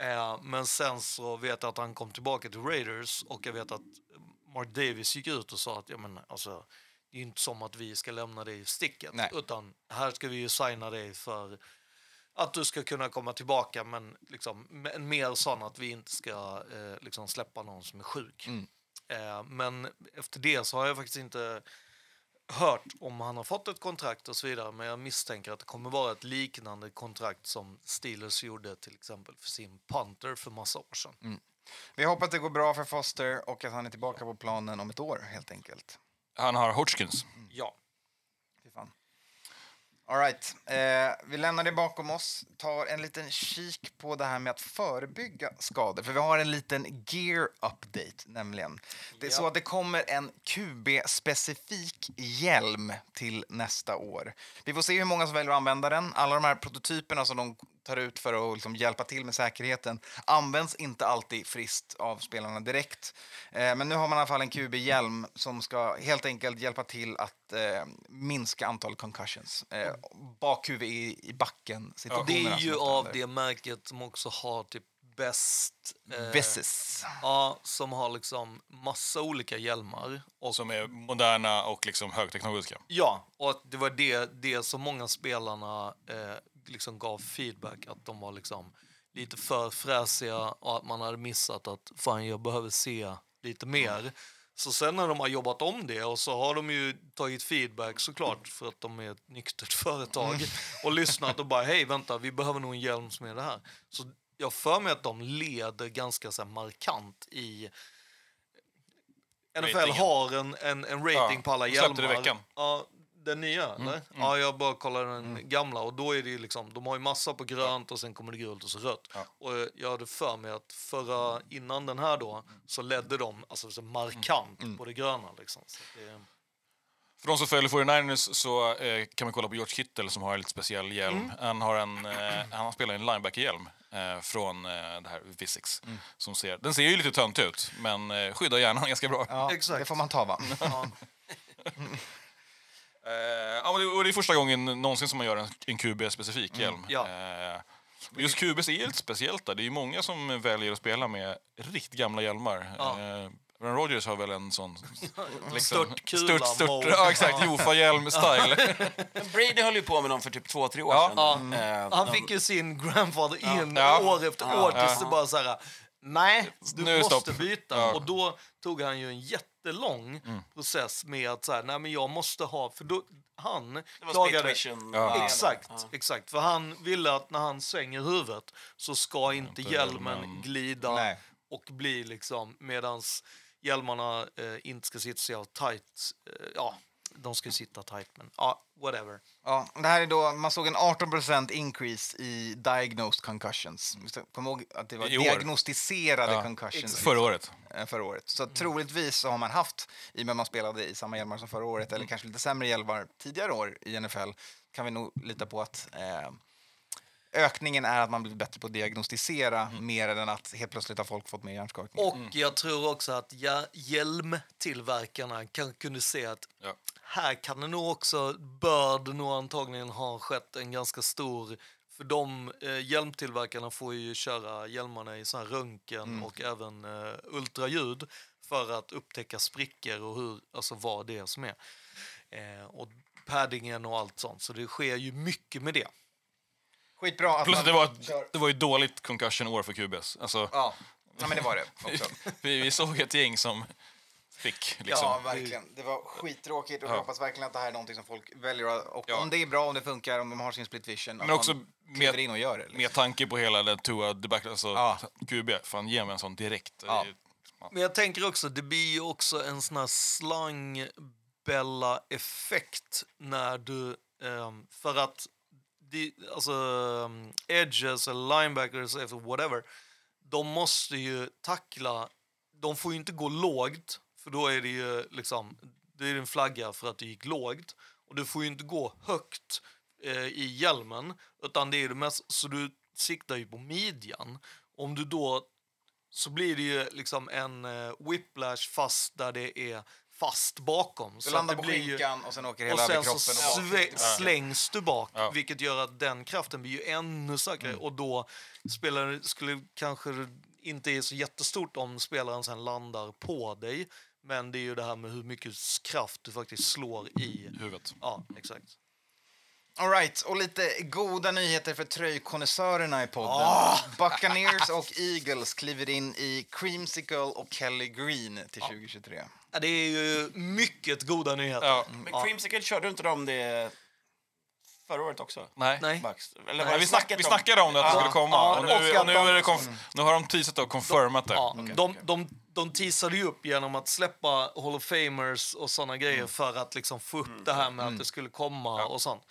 S5: Eh, men sen så vet jag att han kom tillbaka till Raiders och jag vet att Mark Davis gick ut och sa att ja, men, alltså, det är ju inte som att vi ska lämna dig i sticket
S3: Nej.
S5: utan här ska vi ju signa dig för att du ska kunna komma tillbaka men liksom, men mer sån att vi inte ska eh, liksom släppa någon som är sjuk. Eh, men efter det så har jag faktiskt inte hört om han har fått ett kontrakt och så vidare men jag misstänker att det kommer vara ett liknande kontrakt som Steelers gjorde till exempel för sin punter för massa år sedan.
S3: Vi hoppas att det går bra för Foster och att han är tillbaka på planen om ett år helt enkelt.
S4: Han har Hodgkins.
S5: Ja.
S3: Fy fan. All right. eh, vi lämnar det bakom oss, tar en liten kik på det här med att förebygga skador. För vi har en liten gear update nämligen. Det är så att det kommer en QB-specifik hjälm till nästa år. Vi får se hur många som väljer att använda den. Alla de här prototyperna som de tar ut för att liksom hjälpa till med säkerheten används inte alltid friskt av spelarna direkt. Eh, men nu har man i alla fall en QB-hjälm som ska helt enkelt hjälpa till att eh, minska antal concussions. Eh, Bakhuvud i, i backen.
S5: Och det
S3: situationerna
S5: är
S3: som
S5: ju
S3: händer.
S5: av det märket som också har typ bäst... eh,
S3: Vesses.
S5: Ja, som har liksom massa olika hjälmar. Och,
S4: Som är moderna och liksom högteknologiska.
S5: ja, och att det var det, det som många spelarna eh, liksom gav feedback att de var liksom lite för fräsiga och att man hade missat att fan jag behöver se lite mer. Så sen när de har jobbat om det och så har de ju tagit feedback såklart för att de är ett nyktert företag
S4: Mm.
S5: och lyssnat och bara hej vänta vi behöver nog en hjälm som är det här. Så jag för mig att de leder ganska så här, markant i NFL
S4: Ratingen.
S5: har en, en, en rating
S4: Ja,
S5: på alla
S4: de släppte
S5: hjälmar.
S4: det i veckan. Mm,
S5: Ja, den nya eller? Ja, jag bara kollar den gamla och då är det ju liksom, de har ju massa på grönt och sen kommer det gult och så rött. Och eh, jag hade för mig att förra, innan den här då, så ledde de alltså så
S4: Mm,
S5: markant på det gröna liksom. Så att det,
S4: För de som följer 49ers så eh, kan man kolla på George Kittle som har en lite speciell hjälm.
S5: Mm.
S4: Han, har en, eh, han spelar en linebackerhjälm eh, från eh, det här Visix.
S5: Mm.
S4: Som ser, den ser ju lite tönt ut, men eh, skyddar hjärnan ganska bra.
S3: Ja,
S5: Exakt.
S3: Det får man ta, va?
S5: ja.
S4: Eh, ja, men det, och det är första gången någonsin som man gör en, en QB-specifik hjälm.
S5: Mm, ja.
S4: Eh, och just QBs är ju lite speciellt där. Det är ju många som väljer att spela med riktigt gamla hjälmar.
S5: Ja.
S4: Eh, Aaron Rodgers har väl en sån...
S5: Störtkula
S4: Stört, stört,
S5: mode.
S4: Liksom ja, exakt. Jofa-hjälm-style.
S6: Men Brady höll ju på med dem för typ två, tre år
S4: Ja.
S5: Ja.
S6: sedan. Eh,
S5: Han fick ju sin grandfather in
S4: Ja.
S5: år efter år tills det bara så här... Nej, du
S4: Nu är det
S5: måste
S4: stopp."
S5: byta.
S4: Ja. Mm.
S5: Och då tog han ju en jättelång process med att så här, nej men jag måste ha... För då, han
S6: Det var
S5: klagade...
S6: Splitvision.
S4: Ja.
S5: Exakt,
S6: Ja. Mm.
S5: exakt. För han ville att när han svänger huvudet så ska inte
S4: inte
S5: hjälmen
S4: hjälmen.
S5: glida
S3: Nej.
S5: och bli liksom... Medans hjälmarna eh, inte ska sitta så jävla tajt. Eh, ja, de ska ju sitta tajt, men ja, whatever.
S3: Ja, det här är då, man såg en 18 increase i diagnosed concussions. Kom ihåg att det var
S4: I år.
S3: diagnostiserade
S4: Ja,
S3: concussions
S4: Förra året.
S3: eh, förra året. Så troligtvis så har man haft, i och med att man spelade i samma hjälmar som förra året, eller kanske lite sämre hjälmar tidigare år i NFL, kan vi nog lita på att eh, ökningen är att man blir bättre på att diagnostisera mer än att helt plötsligt har folk fått mer hjärnskakning.
S5: Och jag tror också att ja, hjälmtillverkarna kan, kunde se att
S4: Ja.
S5: här kan det nog också, bör det nog antagligen ha skett en ganska stor... För de eh, hjälmtillverkarna får ju köra hjälmarna i sån här röntgen och även eh, ultraljud för att upptäcka sprickor och hur, alltså vad det är som är. Eh, och paddingen och allt sånt, så det sker ju mycket med det.
S3: Skitbra att
S4: Plus
S3: man
S4: det var,
S3: kör-
S4: det var ju dåligt concussion-år för QBs. Alltså,
S3: Ja. ja, men det var det också.
S4: vi, vi såg ett gäng som fick. Liksom.
S3: Ja, verkligen. Det var skittråkigt och jag hoppas verkligen att det här är någonting som folk väljer. att- Och
S4: Ja.
S3: om det är bra, om det funkar, om de har sin split vision.
S4: Men också
S3: med,
S4: med-
S3: in och gör det. Liksom.
S4: Med tanke på hela den Tua debacle, alltså
S3: Ja.
S4: QB, fan ge mig en sån direkt.
S3: Ja.
S5: Men jag tänker också, det blir ju också en sån här slangbella-effekt när du... ehm, för att de, alltså, ehm, edges eller linebackers eller whatever, de måste ju tackla... De får ju inte gå lågt, för då är det ju liksom... Det är en flagga för att du gick lågt. Och du får ju inte gå högt eh, i hjälmen, utan det är det mest... Så du siktar ju på midjan. Om du då så blir det ju liksom en eh, whiplash fast där det är fast bakom.
S3: Du
S5: Så
S3: landar
S5: att det
S3: på
S5: blir ju-
S3: skinkan och sen åker
S5: och
S3: hela över
S5: sen
S3: kroppen.
S5: så
S3: Och bak.
S5: sve- slängs du bak,
S4: Ja.
S5: vilket gör att den kraften blir ju ännu starkare. Och då spelare skulle kanske inte är så jättestort om spelaren sen landar på dig. Men det är ju det här med hur mycket s- kraft du faktiskt slår i.
S4: Huvudet.
S5: Ja, exakt.
S3: All right, och lite goda nyheter för tröjkonnässörerna i podden.
S4: Ah!
S3: Buccaneers och Eagles kliver in i Creamsicle och Kelly Green till 2023.
S5: Ja, det är ju mycket goda nyheter.
S4: Ja.
S6: Men Creamsicle, körde inte de det förra året också?
S4: Nej.
S5: Nej.
S6: Max? Eller var
S4: Nej,
S6: det
S4: vi, snack,
S6: snacket
S4: vi snackade om det, att det skulle komma.
S5: ja,
S4: och
S5: och
S4: nu,
S5: att
S4: och nu, är det
S5: de-
S4: konf- nu har de teasat och confirmat det.
S5: Ja, de, de, de teasade ju upp genom att släppa Hall of Famers och såna grejer
S4: Mm.
S5: för att liksom få upp det här med att det skulle komma och sånt.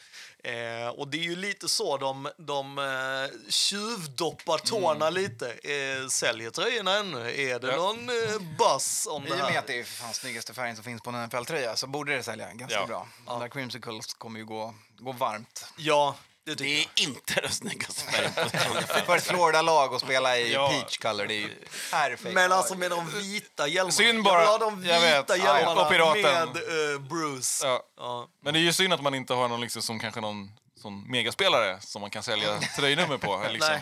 S5: Eh, och det är ju lite så de, de eh,
S4: Mm.
S5: tjuvdoppar tårna lite. Eh, säljer tröjorna ännu? Är det
S4: Ja.
S5: någon eh, buzz om
S3: I
S5: det
S3: och med
S5: här?
S3: att det är för fan snyggaste färgen som finns på en NFL-tröja så borde det sälja ganska
S4: Ja.
S3: bra. De där Creamsicles kommer ju gå, gå varmt.
S5: Ja, det tycker
S6: Det
S5: jag.
S6: är inte den snyggaste färgen på tröjan.
S3: För ett Florida-lag att spela i
S4: Ja.
S3: peach color, det är ju perfekt.
S5: Men alltså med de vita hjälmarna.
S4: Synd bara-
S5: jag vill ha de
S4: jag vet.
S5: vita
S4: Ja, ja.
S5: hjälmarna
S4: Och piraten.
S5: med eh, Bruce.
S4: Ja.
S5: Ja.
S4: Men det är ju synd att man inte har någon liksom, som kanske någon sån megaspelare som man kan sälja tröjnummer på. Liksom.
S5: Nej.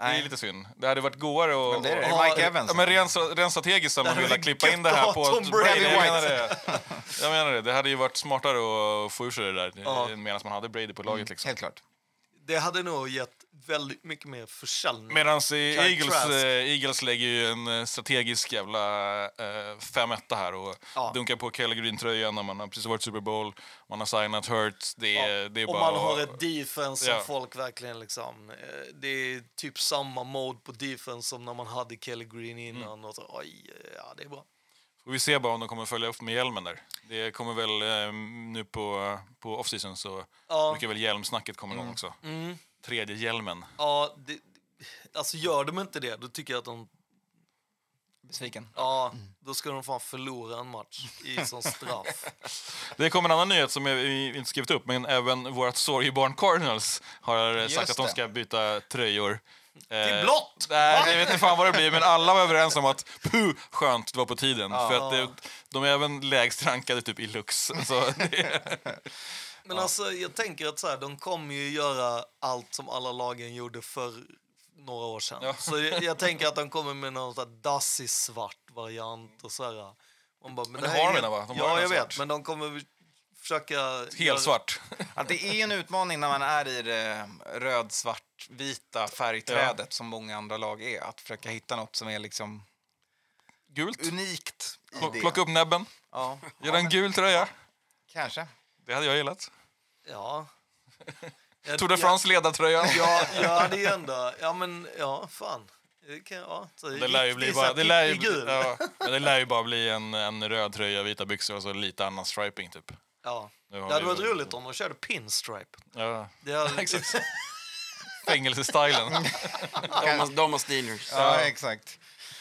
S4: Det är lite synd. Det hade varit goare och...
S3: det är det.
S4: och-
S3: Det är Mike Evans.
S4: Ja, men rent, rent strategiskt hade man
S5: hade
S4: velat
S5: varit
S4: klippa
S5: gött
S4: in det
S5: att
S4: här
S5: ha
S4: på...
S5: Tom Brady
S4: Nej, Jag
S5: White.
S4: menar, det. jag menar det. Det hade ju varit smartare att få ur sig det där
S5: Ja. Mm.
S4: medan man hade Brady på laget. Liksom.
S3: Helt klart.
S5: Det hade nog gett väldigt mycket mer försäljning.
S4: Medan Eagles,
S5: Trask.
S4: eh, Eagles lägger ju en eh, strategisk jävla eh, 5-1 här och
S5: Ja.
S4: dunkar på Kelly Green-tröjan när man har precis varit i Super Bowl, man har signat Hurts. Det är, det är
S5: Om
S4: bara
S5: man har ett defense som
S4: Ja.
S5: folk verkligen liksom... eh, Det är typ samma mode på defense som när man hade Kelly Green
S4: Mm.
S5: innan. Och så, oj, ja, det är bra.
S4: Får vi se bara om de kommer följa upp med hjälmen där. Det kommer väl eh, nu på, på off-season så
S5: Ja. Mm.
S4: brukar väl hjälmsnacket komma igång också. Tredje hjälmen.
S5: Ja, det, alltså gör de inte det, då tycker jag att de...
S3: Besviken.
S5: Ja,
S4: Mm.
S5: då ska de fan förlora en match i som
S4: Eh,
S5: straff.
S4: Det kom en annan nyhet som jag- vi inte skrivit upp, men även vårt sorgebarn Cardinals har eh, sagt
S3: Just
S4: att de
S3: det.
S4: ska byta tröjor.
S5: är
S4: Eh,
S5: blått!
S4: Nej, jag vet inte fan vad det blir, men alla var överens om att puh, skönt, det var på tiden. För att det, de är även lägst rankade typ i Lux. Så det,
S5: Men alltså, jag tänker att så här, de kommer ju göra allt som alla lagen gjorde för några år sedan. Så jag, jag tänker att de kommer med någon sån här dassig svart variant och så här. Man bara, men det
S4: det
S5: här
S4: har
S5: är
S4: de
S5: inget-
S4: redan, va? De har
S5: ja, jag
S4: redan
S5: vet.
S4: svart.
S5: Men de kommer väl försöka... göra-
S4: helt svart.
S3: Att det är en utmaning när man är i det röd, svart, vita färgträdet som många andra lag är. Att försöka hitta något som är liksom
S4: Gult.
S3: unikt i
S4: Pl-
S3: det.
S4: Plocka upp näbben,
S3: Ja,
S4: göra en gul tröja.
S3: kanske.
S4: Det hade jag gillat.
S5: Ja. Jag,
S4: Tour de France ledartröjan.
S5: Ja, ja, jag hade ju ändå... Ja, men ja, fan. Det kan, ja, så
S4: Det lär ju bli
S5: riktigt så
S4: bara,
S5: här
S4: det lär ju,
S5: prickig gul.
S4: ja, men det lär ju bara bli en, en röd tröja, vita byxor och så lite annan striping typ.
S5: Ja.
S4: Nu har
S5: Det hade
S4: vi-
S5: varit roligt om de körde pinstripe.
S4: Ja.
S5: Det hade,
S4: Exakt. Fängelsestilen.
S6: De har- De har Steelers.
S3: Ja, exakt.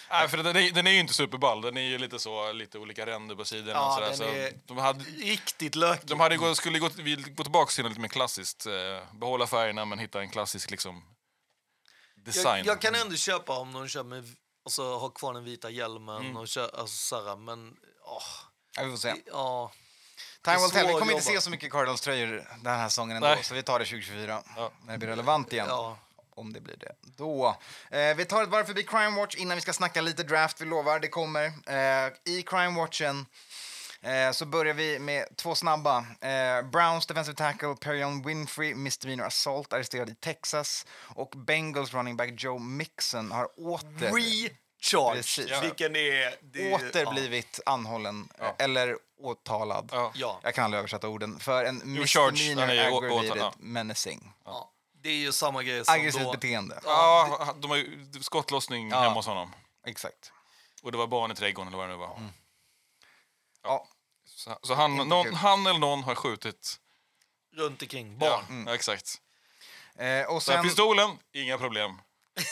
S4: Nej, för den, är- den är ju inte superball. Den är ju lite så, lite olika ränder på sidorna
S5: Ja,
S4: och sådär.
S5: den
S4: Så
S5: är-
S4: de hade,
S5: riktigt lökigt.
S4: De hade gå, skulle gå, vi gå tillbaka till något lite mer klassiskt. Eh, behålla färgerna men hitta en klassisk liksom, design.
S5: Jag, jag kan ändå köpa om de kör med, alltså, har kvar den vita hjälmen
S4: Mm.
S5: och kör, alltså, såhär, men åh,
S3: Ja, vi får se.
S5: ja.
S3: Time
S5: är
S3: will tell. Vi
S5: svår
S3: kommer inte
S5: jobbat.
S3: se så mycket Cardinals-tröjor den här säsongen ändå,
S4: Nej.
S3: så vi tar det 2024
S4: Ja.
S3: när det blir relevant igen.
S5: Ja.
S3: Om det blir det då. Eh, vi tar ett varv förbi Crime Watch innan vi ska snacka lite draft, vi lovar, det kommer. Eh, I Crime Watchen eh, så börjar vi med två snabba. Eh, Browns defensive tackle Perion Winfrey, misdemeanor assault, arresterad i Texas. Och Bengals running back Joe Mixon har åter... Precis.
S5: Recharge, vilken är... det är-
S3: åter blivit anhållen eh, eller åtalad.
S4: Ja.
S5: Ja, ja,
S3: Jag kan aldrig översätta orden. För en
S4: charged,
S3: misdemeanor
S4: han är ju å- åtal,
S3: aggravated
S4: ja.
S3: menacing.
S5: ja. Det är ju samma grej som
S3: Aggressivt
S5: då.
S3: beteende.
S4: Ja, de har ju skottlossning hemma hos honom.
S3: Exakt.
S4: Och det var barn i trädgården eller vad det nu var.
S5: Mm.
S3: Ja.
S4: Så, så han, någon,
S3: kul.
S4: han eller någon har skjutit.
S5: Runt omkring barn.
S4: Ja, Mm, ja, exakt.
S3: Eh, och
S4: Så här,
S3: sen...
S4: pistolen, inga problem.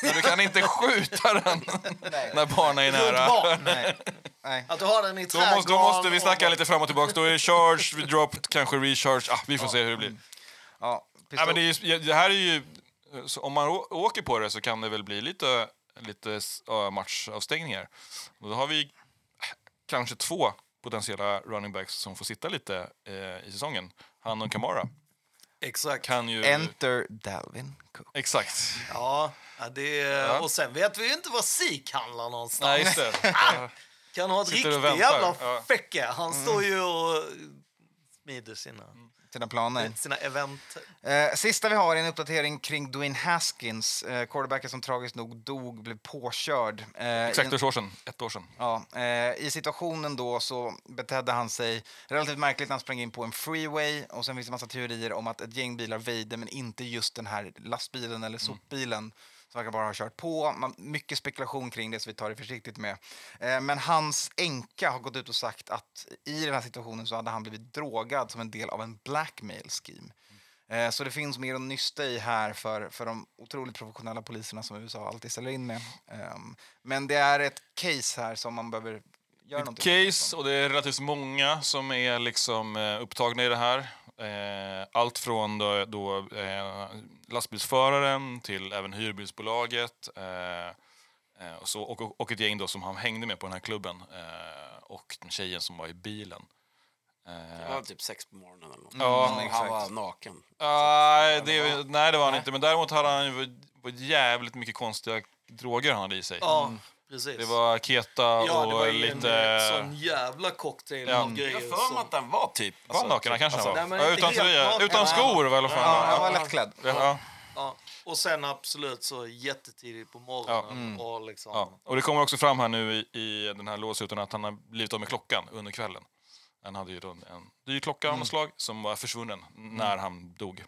S4: Men du kan inte skjuta den när barnen är nära.
S5: Runt barn.
S3: Nej. Nej.
S5: Att du har den i
S4: Då måste, då måste vi
S5: och
S4: snacka
S5: bara-
S4: lite fram och tillbaka. Då är det charge, drop, kanske recharge. Ah, vi får se hur det blir.
S3: Ja,
S4: Ja,
S3: pistol...
S4: men det, är, ju- det här är ju eh, så om man å- åker på det så kan det väl bli lite, lite s- ja, matchavstängningar. Och då har vi eh, kanske två potentiella running backs som får sitta lite eh, i säsongen. Han och Kamara
S5: Exakt.
S4: kan ju...
S3: Enter Dalvin Cook.
S4: Exakt.
S5: Ja, ja, det Och sen vet vi ju inte var SIK handlar någonstans.
S4: Nej, just det. Ja.
S5: Kan ha ett
S4: Sitter och
S5: riktigt
S4: väntar,
S5: jävla
S4: ja. Mm.
S5: fäcke. Han står ju och smider sina,
S3: Sina planer.
S4: Mm.
S5: sina event.
S3: Eh, sista vi har är en uppdatering kring Dwayne Haskins, eh, quarterbacken som tragiskt nog dog, blev påkörd. Eh, i en-
S4: Exakt ett år sedan. Ett år sedan.
S3: Ja, eh, I situationen då så betedde han sig relativt märkligt när han sprang in på en freeway och sen finns det massa teorier om att ett gäng bilar väjde men inte just den här lastbilen eller sopbilen som verkar bara ha kört på. Man, mycket spekulation kring det så vi tar det försiktigt med. Eh, men hans änka har gått ut och sagt att i den här situationen så hade han blivit drogad som en del av en blackmail scheme. Eh, Så det finns mer att nysta i här för, för de otroligt professionella poliserna som USA alltid ställer in med. Ehm, Men det är ett case här som man behöver göra
S4: Ett
S3: någonting åt.
S4: case och det är relativt många som är liksom eh, upptagna i det här. Eh, Allt från då, då eh, lastbilsföraren till även hyrbilsbolaget eh, eh, och, så, och- och, och ett gäng då som han hängde med på den här klubben eh, och den tjejen som var i bilen.
S6: Det var typ sex på morgonen eller något.
S4: Ja,
S6: Och han var naken.
S5: Ah,
S4: Nej, det, nej, det var han inte. Men däremot hade han ju var jävligt mycket konstiga droger han hade i sig.
S5: Ja, precis.
S4: Det var keta och
S5: ja, det var ju
S4: lite... alltså,
S5: en eh, sån jävla cocktail
S4: Ja.
S5: av grejer.
S6: Jag har för mig
S5: som-
S6: att han var typ...
S4: Var han naken? Han kanske
S5: alltså,
S4: han var.
S5: nej, men
S4: Ja,
S5: inte
S4: utan
S5: helt
S4: tröja.
S5: naken.
S4: Utan skor var i alla fall.
S3: Ja, han var
S4: Ja,
S3: lättklädd.
S4: ja. Ja.
S5: Ja. Och sen absolut så jättetidigt på morgonen.
S4: Ja,
S3: Mm.
S5: Och liksom,
S4: Ja. Och det kommer också fram här nu i, i den här låsuten att han har blivit av med klockan under kvällen. Han hade ju då en, en dyr klocka av något
S3: Mm.
S4: slag som var försvunnen när han dog.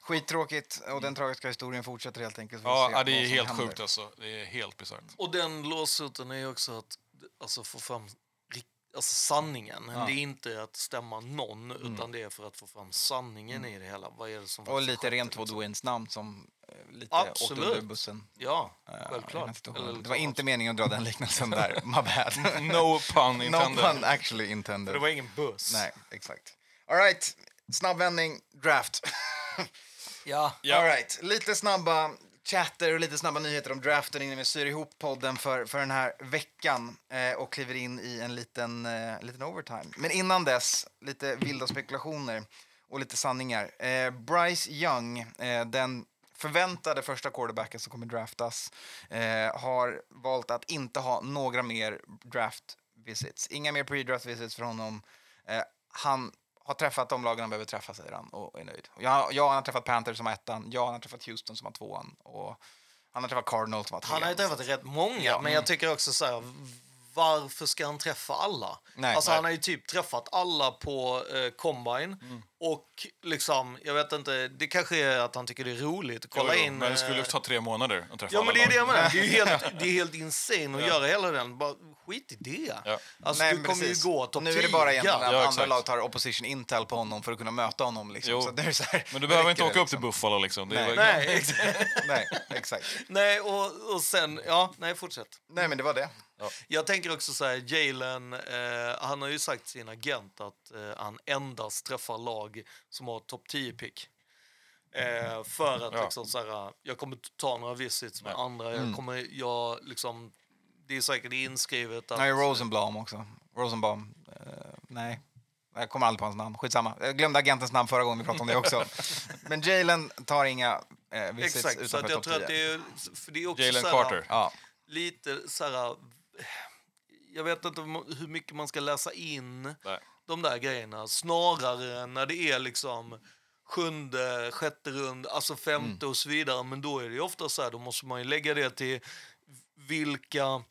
S3: Skittråkigt och den tragiska historien fortsätter helt enkelt. Vi får
S4: Ja,
S3: se
S4: ja, det är
S3: vad som
S4: helt
S3: händer.
S4: sjukt alltså. Det är helt bisarrt.
S5: Och den låsuten är ju också att alltså, få fram rik- alltså, sanningen. Det är inte att stämma någon, utan det är för att få fram sanningen i det hela. Vad är det som
S3: Mm. Och
S5: faktiskt
S3: lite
S5: skedde,
S3: rent på
S5: liksom?
S3: Dwaynes namn som eh, lite
S5: Absolut.
S3: åkte under bussen.
S5: Ja,
S3: eh, i den här
S5: självklart.
S3: situationen.
S5: Eller
S3: det var
S5: liksom
S3: inte meningen att dra den liknelsen där. My bad.
S4: No pun
S3: no
S4: intended.
S3: pun actually intended.
S5: Det var ingen buss.
S3: Nej, exakt. All right, snabb vändning, draft.
S5: Ja.
S4: Ja.
S3: All right. Lite snabba chatter och lite snabba nyheter om draften innan vi syr ihop podden för, för den här veckan eh, och kliver in i en liten, eh, liten overtime. Men innan dess, lite vilda spekulationer och lite sanningar. Eh, Bryce Young, eh, den förväntade första quarterbacken som kommer draftas eh, har valt att inte ha några mer draft visits. Inga mer pre-draft visits för honom. Eh, han har träffat de lagen han behöver träffa, säger han, och är nöjd. Jag, jag har träffat Panthers som har ettan, jag har träffat Houston som har tvåan och han har träffat Cardinals som har trean.
S5: Han har ju träffat rätt många, men jag tycker också så här, varför ska han träffa alla?
S3: Nej,
S5: alltså,
S3: nej. Mm.
S5: Han har ju typ träffat alla på eh, Combine. Och liksom, jag vet inte, det kanske är att han tycker det är roligt att
S4: Jo,
S5: kolla
S4: jo,
S5: in...
S4: men det
S5: eh,
S4: skulle ta tre månader att träffa
S5: Ja,
S4: alla
S5: men det är det
S4: lag.
S5: jag menar. Det är ju helt, det är helt insane att göra hela den. Bara, skit i det.
S4: Ja.
S5: Alltså,
S3: Nej,
S5: du
S3: men
S5: kommer
S3: precis.
S5: ju gå topp
S3: Nu är det bara
S5: 10.
S3: egentligen att
S4: Ja,
S3: andra
S4: exakt.
S3: lag tar opposition intel på honom för att kunna möta honom. Liksom.
S4: Jo.
S3: Så att det är så här,
S4: Men du behöver
S3: räcker
S4: inte åka
S3: det,
S4: upp till Buffalo liksom. Det
S3: Nej.
S4: var,
S5: Nej, exakt.
S3: liksom. Nej, exakt.
S5: nej och, och sen... Ja, nej, fortsätt.
S3: Nej, men det var det.
S5: Jag tänker också så här, Jalen, eh, han har ju sagt till sin agent att eh, han endast träffar lag som har topp 10-pick. Eh, för att
S4: Ja.
S5: liksom så här, jag kommer inte ta några visits med andra. Jag
S3: Mm.
S5: kommer, jag liksom, det är säkert inskrivet att...
S3: Nej, Rosenblom också. Rosenbaum. Eh, nej, jag kommer aldrig på hans namn. Skitsamma. Jag glömde agentens namn förra gången vi pratade om det också. men Jalen tar inga uh, visits
S5: exakt, så
S3: utanför
S5: att jag
S3: topp
S5: tror att
S3: 10.
S5: det är... För det är också
S4: Jalen
S5: så här,
S4: Carter.
S3: Ja.
S5: lite så här... Jag vet inte mo- hur mycket man ska läsa in
S4: Nej.
S5: de där grejerna. Snarare än när det är liksom sjunde, sjätte rund, alltså
S3: Mm.
S5: femte och så vidare. Men då är det ju ofta så här, då måste man ju lägga det till vilka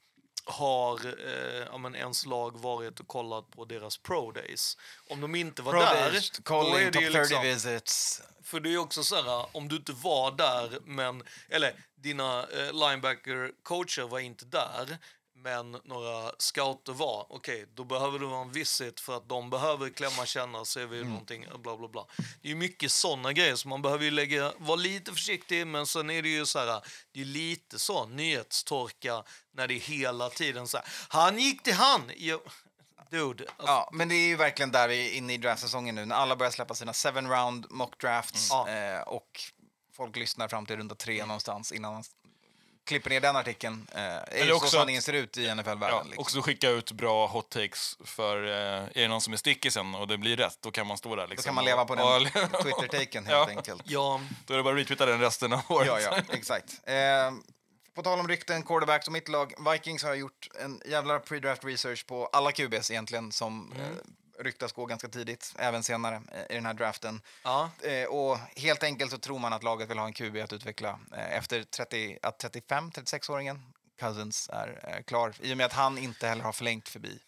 S5: har eh, ja, men ens lag varit och kollat på deras pro days. Om de inte var
S3: Pro
S5: där,
S3: days,
S5: då är
S3: calling,
S5: det
S3: top
S5: ju
S3: 30
S5: liksom...
S3: visits.
S5: För det är ju också så här, om du inte var där, men, eller dina eh, linebacker-coacher var inte där, men några scouter var, okej, då behöver du ha en visit för att de behöver klämma, känna, se vi mm. någonting, bla bla bla. Det är ju mycket sådana grejer, så man behöver ju lägga, vara lite försiktig, men sen är det ju så här, det är lite så nyhetstorka när det är hela tiden så här, han gick till han! Jo, dude, alltså,
S3: Ja, men det är ju verkligen där vi är inne i draftsäsongen nu när alla börjar släppa sina seven round mock drafts
S5: Mm. Ja.
S3: eh, och folk lyssnar fram till runda tre någonstans innan man s- klipper ner den artikeln. Eh, är ju så
S4: också att-
S3: sanningen ser ut i NFL-världen.
S4: Ja,
S3: liksom.
S4: också skicka ut bra hot takes för eh, är det någon som är stickisen och det blir rätt, då kan man stå där. Liksom.
S3: Då kan man leva på den
S4: Ja,
S3: Twitter-taken helt
S4: Ja.
S3: enkelt.
S5: Ja,
S4: Då är det bara att retweeta den resten av året.
S3: Ja, ja, exakt. Eh, på tal om rykten, quarterbacks och mitt lag. Vikings har gjort en jävla pre-draft research på alla QBs egentligen som
S5: Mm.
S3: eh, ryktas gå ganska tidigt, även senare eh, i den här draften.
S5: ja.
S3: Eh, och helt enkelt så tror man att laget vill ha en QB att utveckla eh, efter 30, att 35-36-åringen Cousins är eh, klar, i och med att han inte heller har förlängt förbi.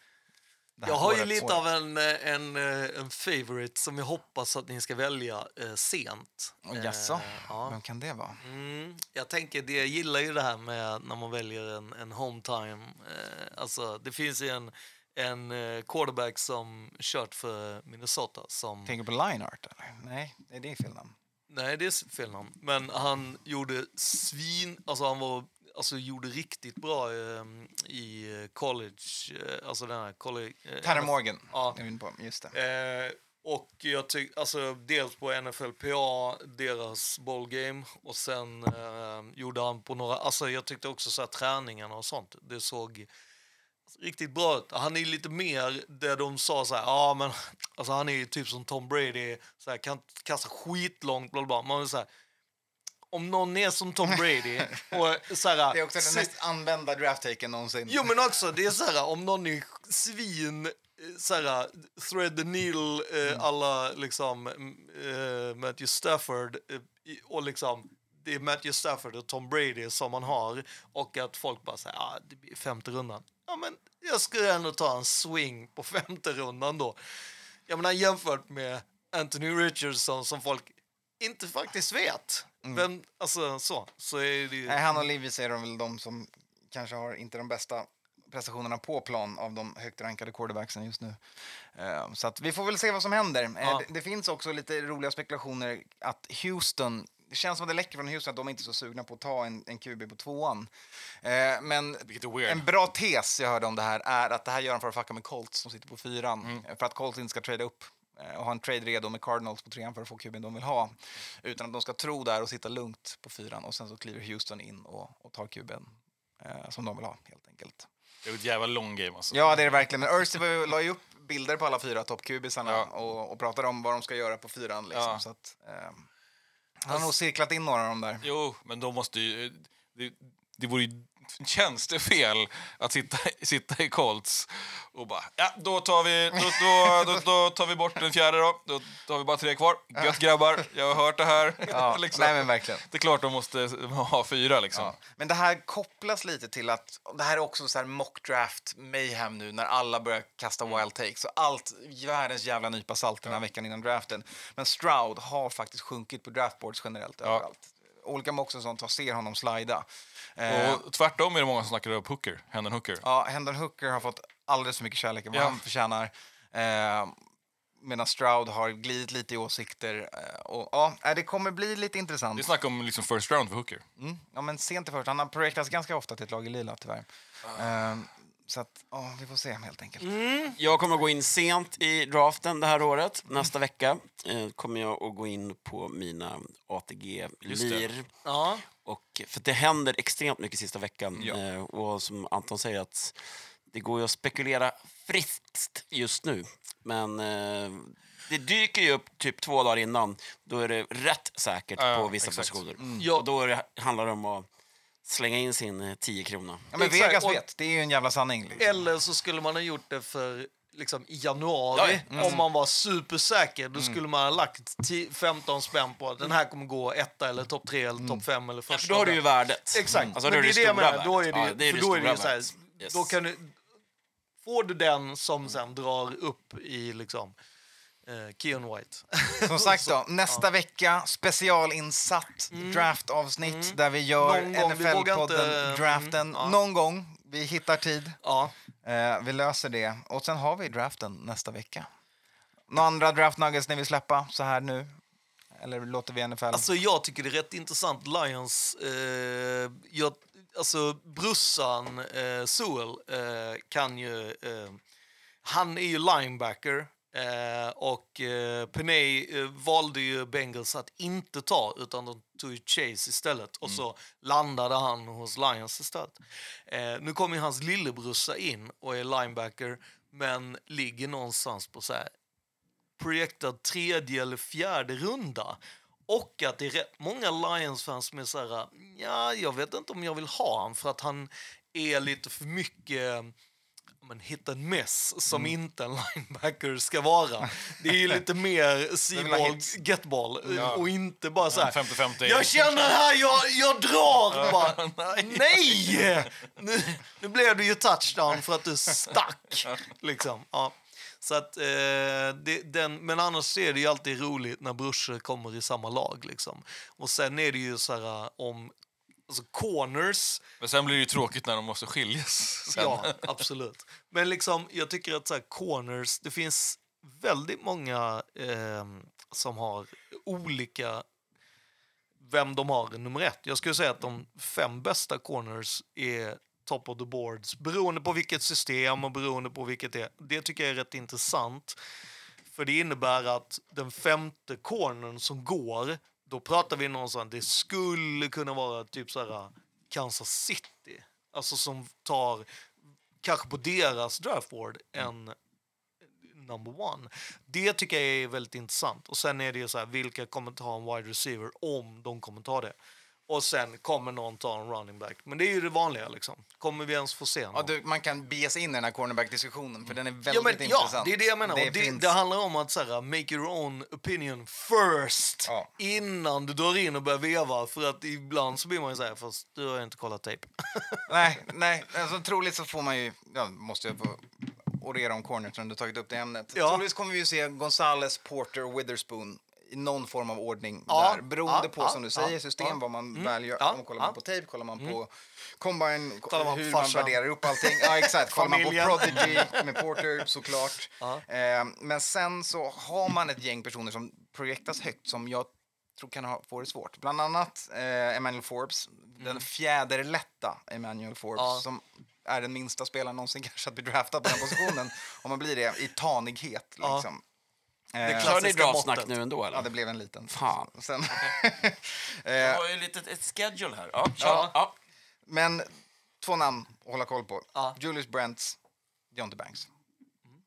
S3: det här
S5: Jag har ju
S3: året-
S5: lite
S3: året.
S5: av en, eh, en, eh, en favorite som jag hoppas att ni ska välja eh, sent.
S3: Åh, Jaså,
S5: eh, ja.
S3: vem kan det vara?
S5: Mm, jag tänker, det, jag gillar ju det här med när man väljer en, en home time. Eh, alltså, det finns ju en, en eh, quarterback som kört för Minnesota som...
S3: Tänker du på Lineart? Eller? Nej, det är det fel namn.
S5: Nej, det är fel namn. Men han gjorde svin... Alltså han var... Alltså gjorde riktigt bra eh, i college... Eh, alltså den här college... Eh,
S3: Tanner Morgan
S5: Ja.
S3: är vi inne på, just det.
S5: Eh, och jag tycker, alltså dels på NFLPA, deras ballgame och sen eh, gjorde han på några, alltså jag tyckte också så här träningarna och sånt, det såg riktigt bra ut. Han är ju lite mer där de sa så här, ja men alltså han är ju typ som Tom Brady, så här, kan kasta skitlångt, bla bla, bla. Man vill säga om någon är som Tom Brady och så här,
S3: Det är också den
S5: sit-
S3: mest använda draft-taken någonsin.
S5: Jo, men också, det är så här, om någon är svin, eh, så här, thread the needle, eh, alla liksom eh, Matthew Stafford eh, i- och liksom det är Matthew Stafford och Tom Brady som man har och att folk bara säger ah, det blir femte rundan. Ja, men jag skulle ändå ta en swing på femte rundan då. Jag menar jämfört med Anthony Richardson som folk inte faktiskt vet. Vem, alltså så, så är det ju...
S3: Nej, han och Livis är de väl de som kanske har inte de bästa prestationerna på plan av de högt rankade quarterbacksen just nu. Eh, Så att vi får väl se vad som händer. Eh,
S5: Ja.
S3: Det, det finns också lite roliga spekulationer att Houston det känns som att det läcker från Houston att de inte är så sugna på att ta en, en QB på tvåan. Eh, men
S4: Vilket är weird.
S3: en bra tes jag hörde om det här är att det här gör de för att fucka med Colts som sitter på fyran. Eh, För att Colts inte ska trada upp eh, och ha en trade redo med Cardinals på trean för att få QB'n de vill ha. Utan att de ska tro där och sitta lugnt på fyran och sen så kliver Houston in och, och tar QB'n eh, som de vill ha helt enkelt.
S4: Det är ju ett jävla long game alltså.
S3: Ja, det är det verkligen. Men Ursi var ju- la ju upp bilder på alla fyra toppkubisarna
S4: Ja.
S3: och, och pratade om vad de ska göra på fyran. Liksom,
S4: Ja.
S3: så att, ehm, han har nog cirklat in några av dem där.
S4: Jo, men de måste ju... Det, det vore ju tjänstefel att sitta, sitta i Colts och bara... Ja, då tar vi, då, då, då, då tar vi bort den fjärde då. Då har vi bara tre kvar. Gött grabbar, jag har hört det här.
S3: Ja,
S4: Liksom.
S3: nej, men verkligen.
S4: Det är klart de måste ha fyra liksom.
S3: Ja. Men det här kopplas lite till att det här är också så här mock draft mayhem nu när alla börjar kasta
S4: Mm.
S3: wild takes. Så allt världens jävla nypa salt den här veckan innan draften. Men Stroud har faktiskt sjunkit på draftboards generellt överallt. Olika mocks och sånt har- ser honom slida. Eh,
S4: Och tvärtom är det många som snackar upp Hooker, Hendon Hooker.
S3: ja, Hendon Hooker har fått alldeles för mycket kärlek än vad
S4: Ja.
S3: han förtjänar. Eh, Medan Stroud har glidit lite i åsikter. Eh, och, ja, nej, det kommer bli lite intressant.
S4: Det är snack om liksom first round för Hooker.
S3: Mm. Ja, men sent i första. Han har projektats ganska ofta till ett lag i lila, tyvärr.
S5: Ah.
S3: Ehm, så att, ja, vi får se helt enkelt.
S5: Mm,
S6: Jag kommer gå in sent i draften det här året. Nästa vecka eh, kommer jag att gå in på mina
S4: Just det.
S6: ATG-lir.
S5: Ja.
S6: Och, för det händer extremt mycket sista veckan.
S4: Ja.
S6: Eh, och som Anton säger, att det går ju att spekulera friskt just nu. Men eh, det dyker ju upp typ två dagar innan. Då är det rätt säkert
S4: Ja,
S6: på vissa
S4: exakt.
S6: positioner.
S5: Ja.
S6: Och då är det, handlar det om att slänga in sin eh, 10 krona.
S3: Ja, men
S5: Exakt,
S3: Vegas
S5: och-
S3: vet, det är ju en jävla sanning. Liksom.
S5: Eller så skulle man ha gjort det för liksom, i januari.
S6: Ja,
S5: Om man var supersäker,
S6: Mm.
S5: då skulle man ha lagt 10, 15 spänn på att den här kommer gå etta eller topp tre eller topp fem eller första.
S6: Mm. För då har du ju värdet.
S5: Exakt,
S6: Alltså, då
S5: men
S6: är
S5: det är det jag
S6: stora
S5: menar. Då är
S6: värdet.
S5: det, ju-
S6: Ja, det är
S5: för
S6: det
S5: då är det
S6: stora
S5: ju så här,
S6: värdet. Yes.
S5: då kan du, Får du den som sen drar upp i liksom eh, Keon White.
S3: Som sagt då, nästa vecka specialinsatt draftavsnitt där vi gör
S5: Mm. Någon gång, vi vågar inte-
S3: NFL-podden Draften.
S5: Mm, ja.
S3: Någon gång, vi hittar tid,
S5: ja.
S3: Eh, vi löser det. Och sen har vi draften nästa vecka. Några andra draft nuggets ni vill släppa så här nu? Eller låter vi NFL?
S5: Alltså jag tycker det är rätt intressant, Lions. Eh, jag, alltså brussan eh, Sewell eh, kan ju... Eh, han är ju linebacker. Eh, och eh, Penay eh, valde ju Bengals att inte ta, utan de tog ju Chase istället. Och så landade han hos Lions istället. Eh, nu kommer ju hans lillebrorsa in och är linebacker, men ligger någonstans på så här projektad tredje eller fjärde runda. Och att det är rätt många Lions-fans som är så här, ja, jag vet inte om jag vill ha han för att han är lite för mycket ja, men hit and miss som
S4: Mm.
S5: inte en linebacker ska vara. Det är ju lite mer
S3: vill ha
S5: see-ball,
S3: hits.
S5: get-ball
S4: Ja.
S5: och inte bara så här.
S4: 50-50.
S5: Jag känner här, jag, jag drar! Bara, nej! Nu, nu blev det ju touchdown för att du stack. Liksom. Ja. Så att, eh, det, den, men annars är det ju alltid roligt när brorsor kommer i samma lag. Liksom. Och sen är det ju så här eh, om alltså corners,
S4: Men sen blir det ju tråkigt när de måste skiljas. Sen.
S5: Ja, absolut. Men liksom, jag tycker att så här, corners, det finns väldigt många ehm, som har olika vem de har i nummer ett. Jag skulle säga att de fem bästa corners är top of the boards beroende på vilket system och beroende på vilket det är. Det tycker jag är rätt intressant. För det innebär att den femte cornern som går, då pratar vi någonstans, det skulle kunna vara typ så här Kansas City. Alltså som tar, kanske på deras draftboard, en number one. Det tycker jag är väldigt intressant. Och sen är det ju så här, vilka kommer ta en wide receiver om de kommer ta det? Och sen kommer någon ta en running back. Men det är ju det vanliga liksom. Kommer vi ens få se någon?
S3: Ja, du, man kan bege sig in i den här cornerback-diskussionen för den är väldigt
S5: Ja, men,
S3: intressant.
S5: ja, det är det jag menar. Det, det,
S3: finns-
S5: det handlar om att så här, make your own opinion first
S3: Ja.
S5: innan du drar in och börjar veva. För att ibland så blir man ju så här, fast du har ju inte kollat tejp.
S3: Nej, nej. Alltså, troligt så får man ju... Ja, måste jag få orera om corners när du tagit upp det ämnet.
S5: Ja.
S3: Troligtvis kommer vi ju se Gonzales, Porter och Witherspoon i någon form av ordning
S5: Ja,
S3: där. Beroende
S5: ja,
S3: på,
S5: ja,
S3: som du
S5: ja,
S3: säger, system,
S5: ja. Mm.
S3: vad man väljer.
S5: ja,
S3: om kollar man
S5: ja. Mm.
S3: på tape, kollar man på combine,
S5: Kollar man på
S3: hur man
S5: farsan.
S3: värderar upp allting. Ja, exakt. kollar man på
S5: Familjen.
S3: Prodigy med Porter, såklart.
S5: Ja.
S3: Eh, men sen så har man ett gäng personer som projektas högt som jag tror kan ha, få det svårt. Bland annat eh, Emmanuel Forbes, den fjäderlätta Emmanuel Forbes
S5: Mm. Ja.
S3: som är den minsta spelaren någonsin kanske att bli draftad på den positionen, om man blir det, i tanighet.
S5: Ja.
S3: Liksom.
S5: är
S3: Eh,
S5: klart.
S6: Kör ni
S5: klassiska
S6: draftsnack
S5: måttet.
S6: nu ändå, eller?
S3: Ja, det blev en liten.
S6: Fan.
S3: Sen,
S6: Jag
S3: eh,
S6: har ju lite ett schedule här. Ja, kör.
S3: Ja.
S6: Ja.
S3: men två namn att hålla koll på.
S5: Ja.
S3: Julius Brents, Deontay Banks.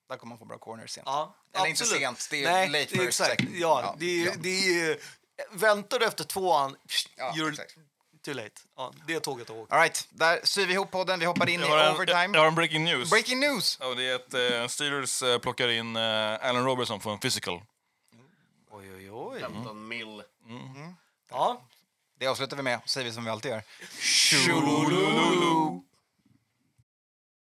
S3: Där kommer man få bra corners sen.
S5: Ja,
S3: Eller inte
S5: absolut.
S3: sent, det är
S5: Nej,
S3: late
S5: det är
S3: first,
S5: exakt.
S3: second.
S5: Ja,
S3: Ja,
S5: det är,
S3: ja.
S5: Det är, väntar du efter tvåan,
S3: Ja,
S5: you're
S3: exakt.
S5: too late. Ja, det tåget har åkt.
S3: All right, där syr vi ihop podden. Vi hoppar in i
S4: Jag har, en,
S3: overtime.
S4: jag jag har en breaking news.
S3: Breaking news!
S4: Ja, det är att eh, Steelers eh, plockar in eh, Allen Robertson för en physical.
S5: Oj, oj, oj.
S7: 15 mil.
S5: Ja.
S3: Det avslutar vi med, säger vi som vi alltid gör.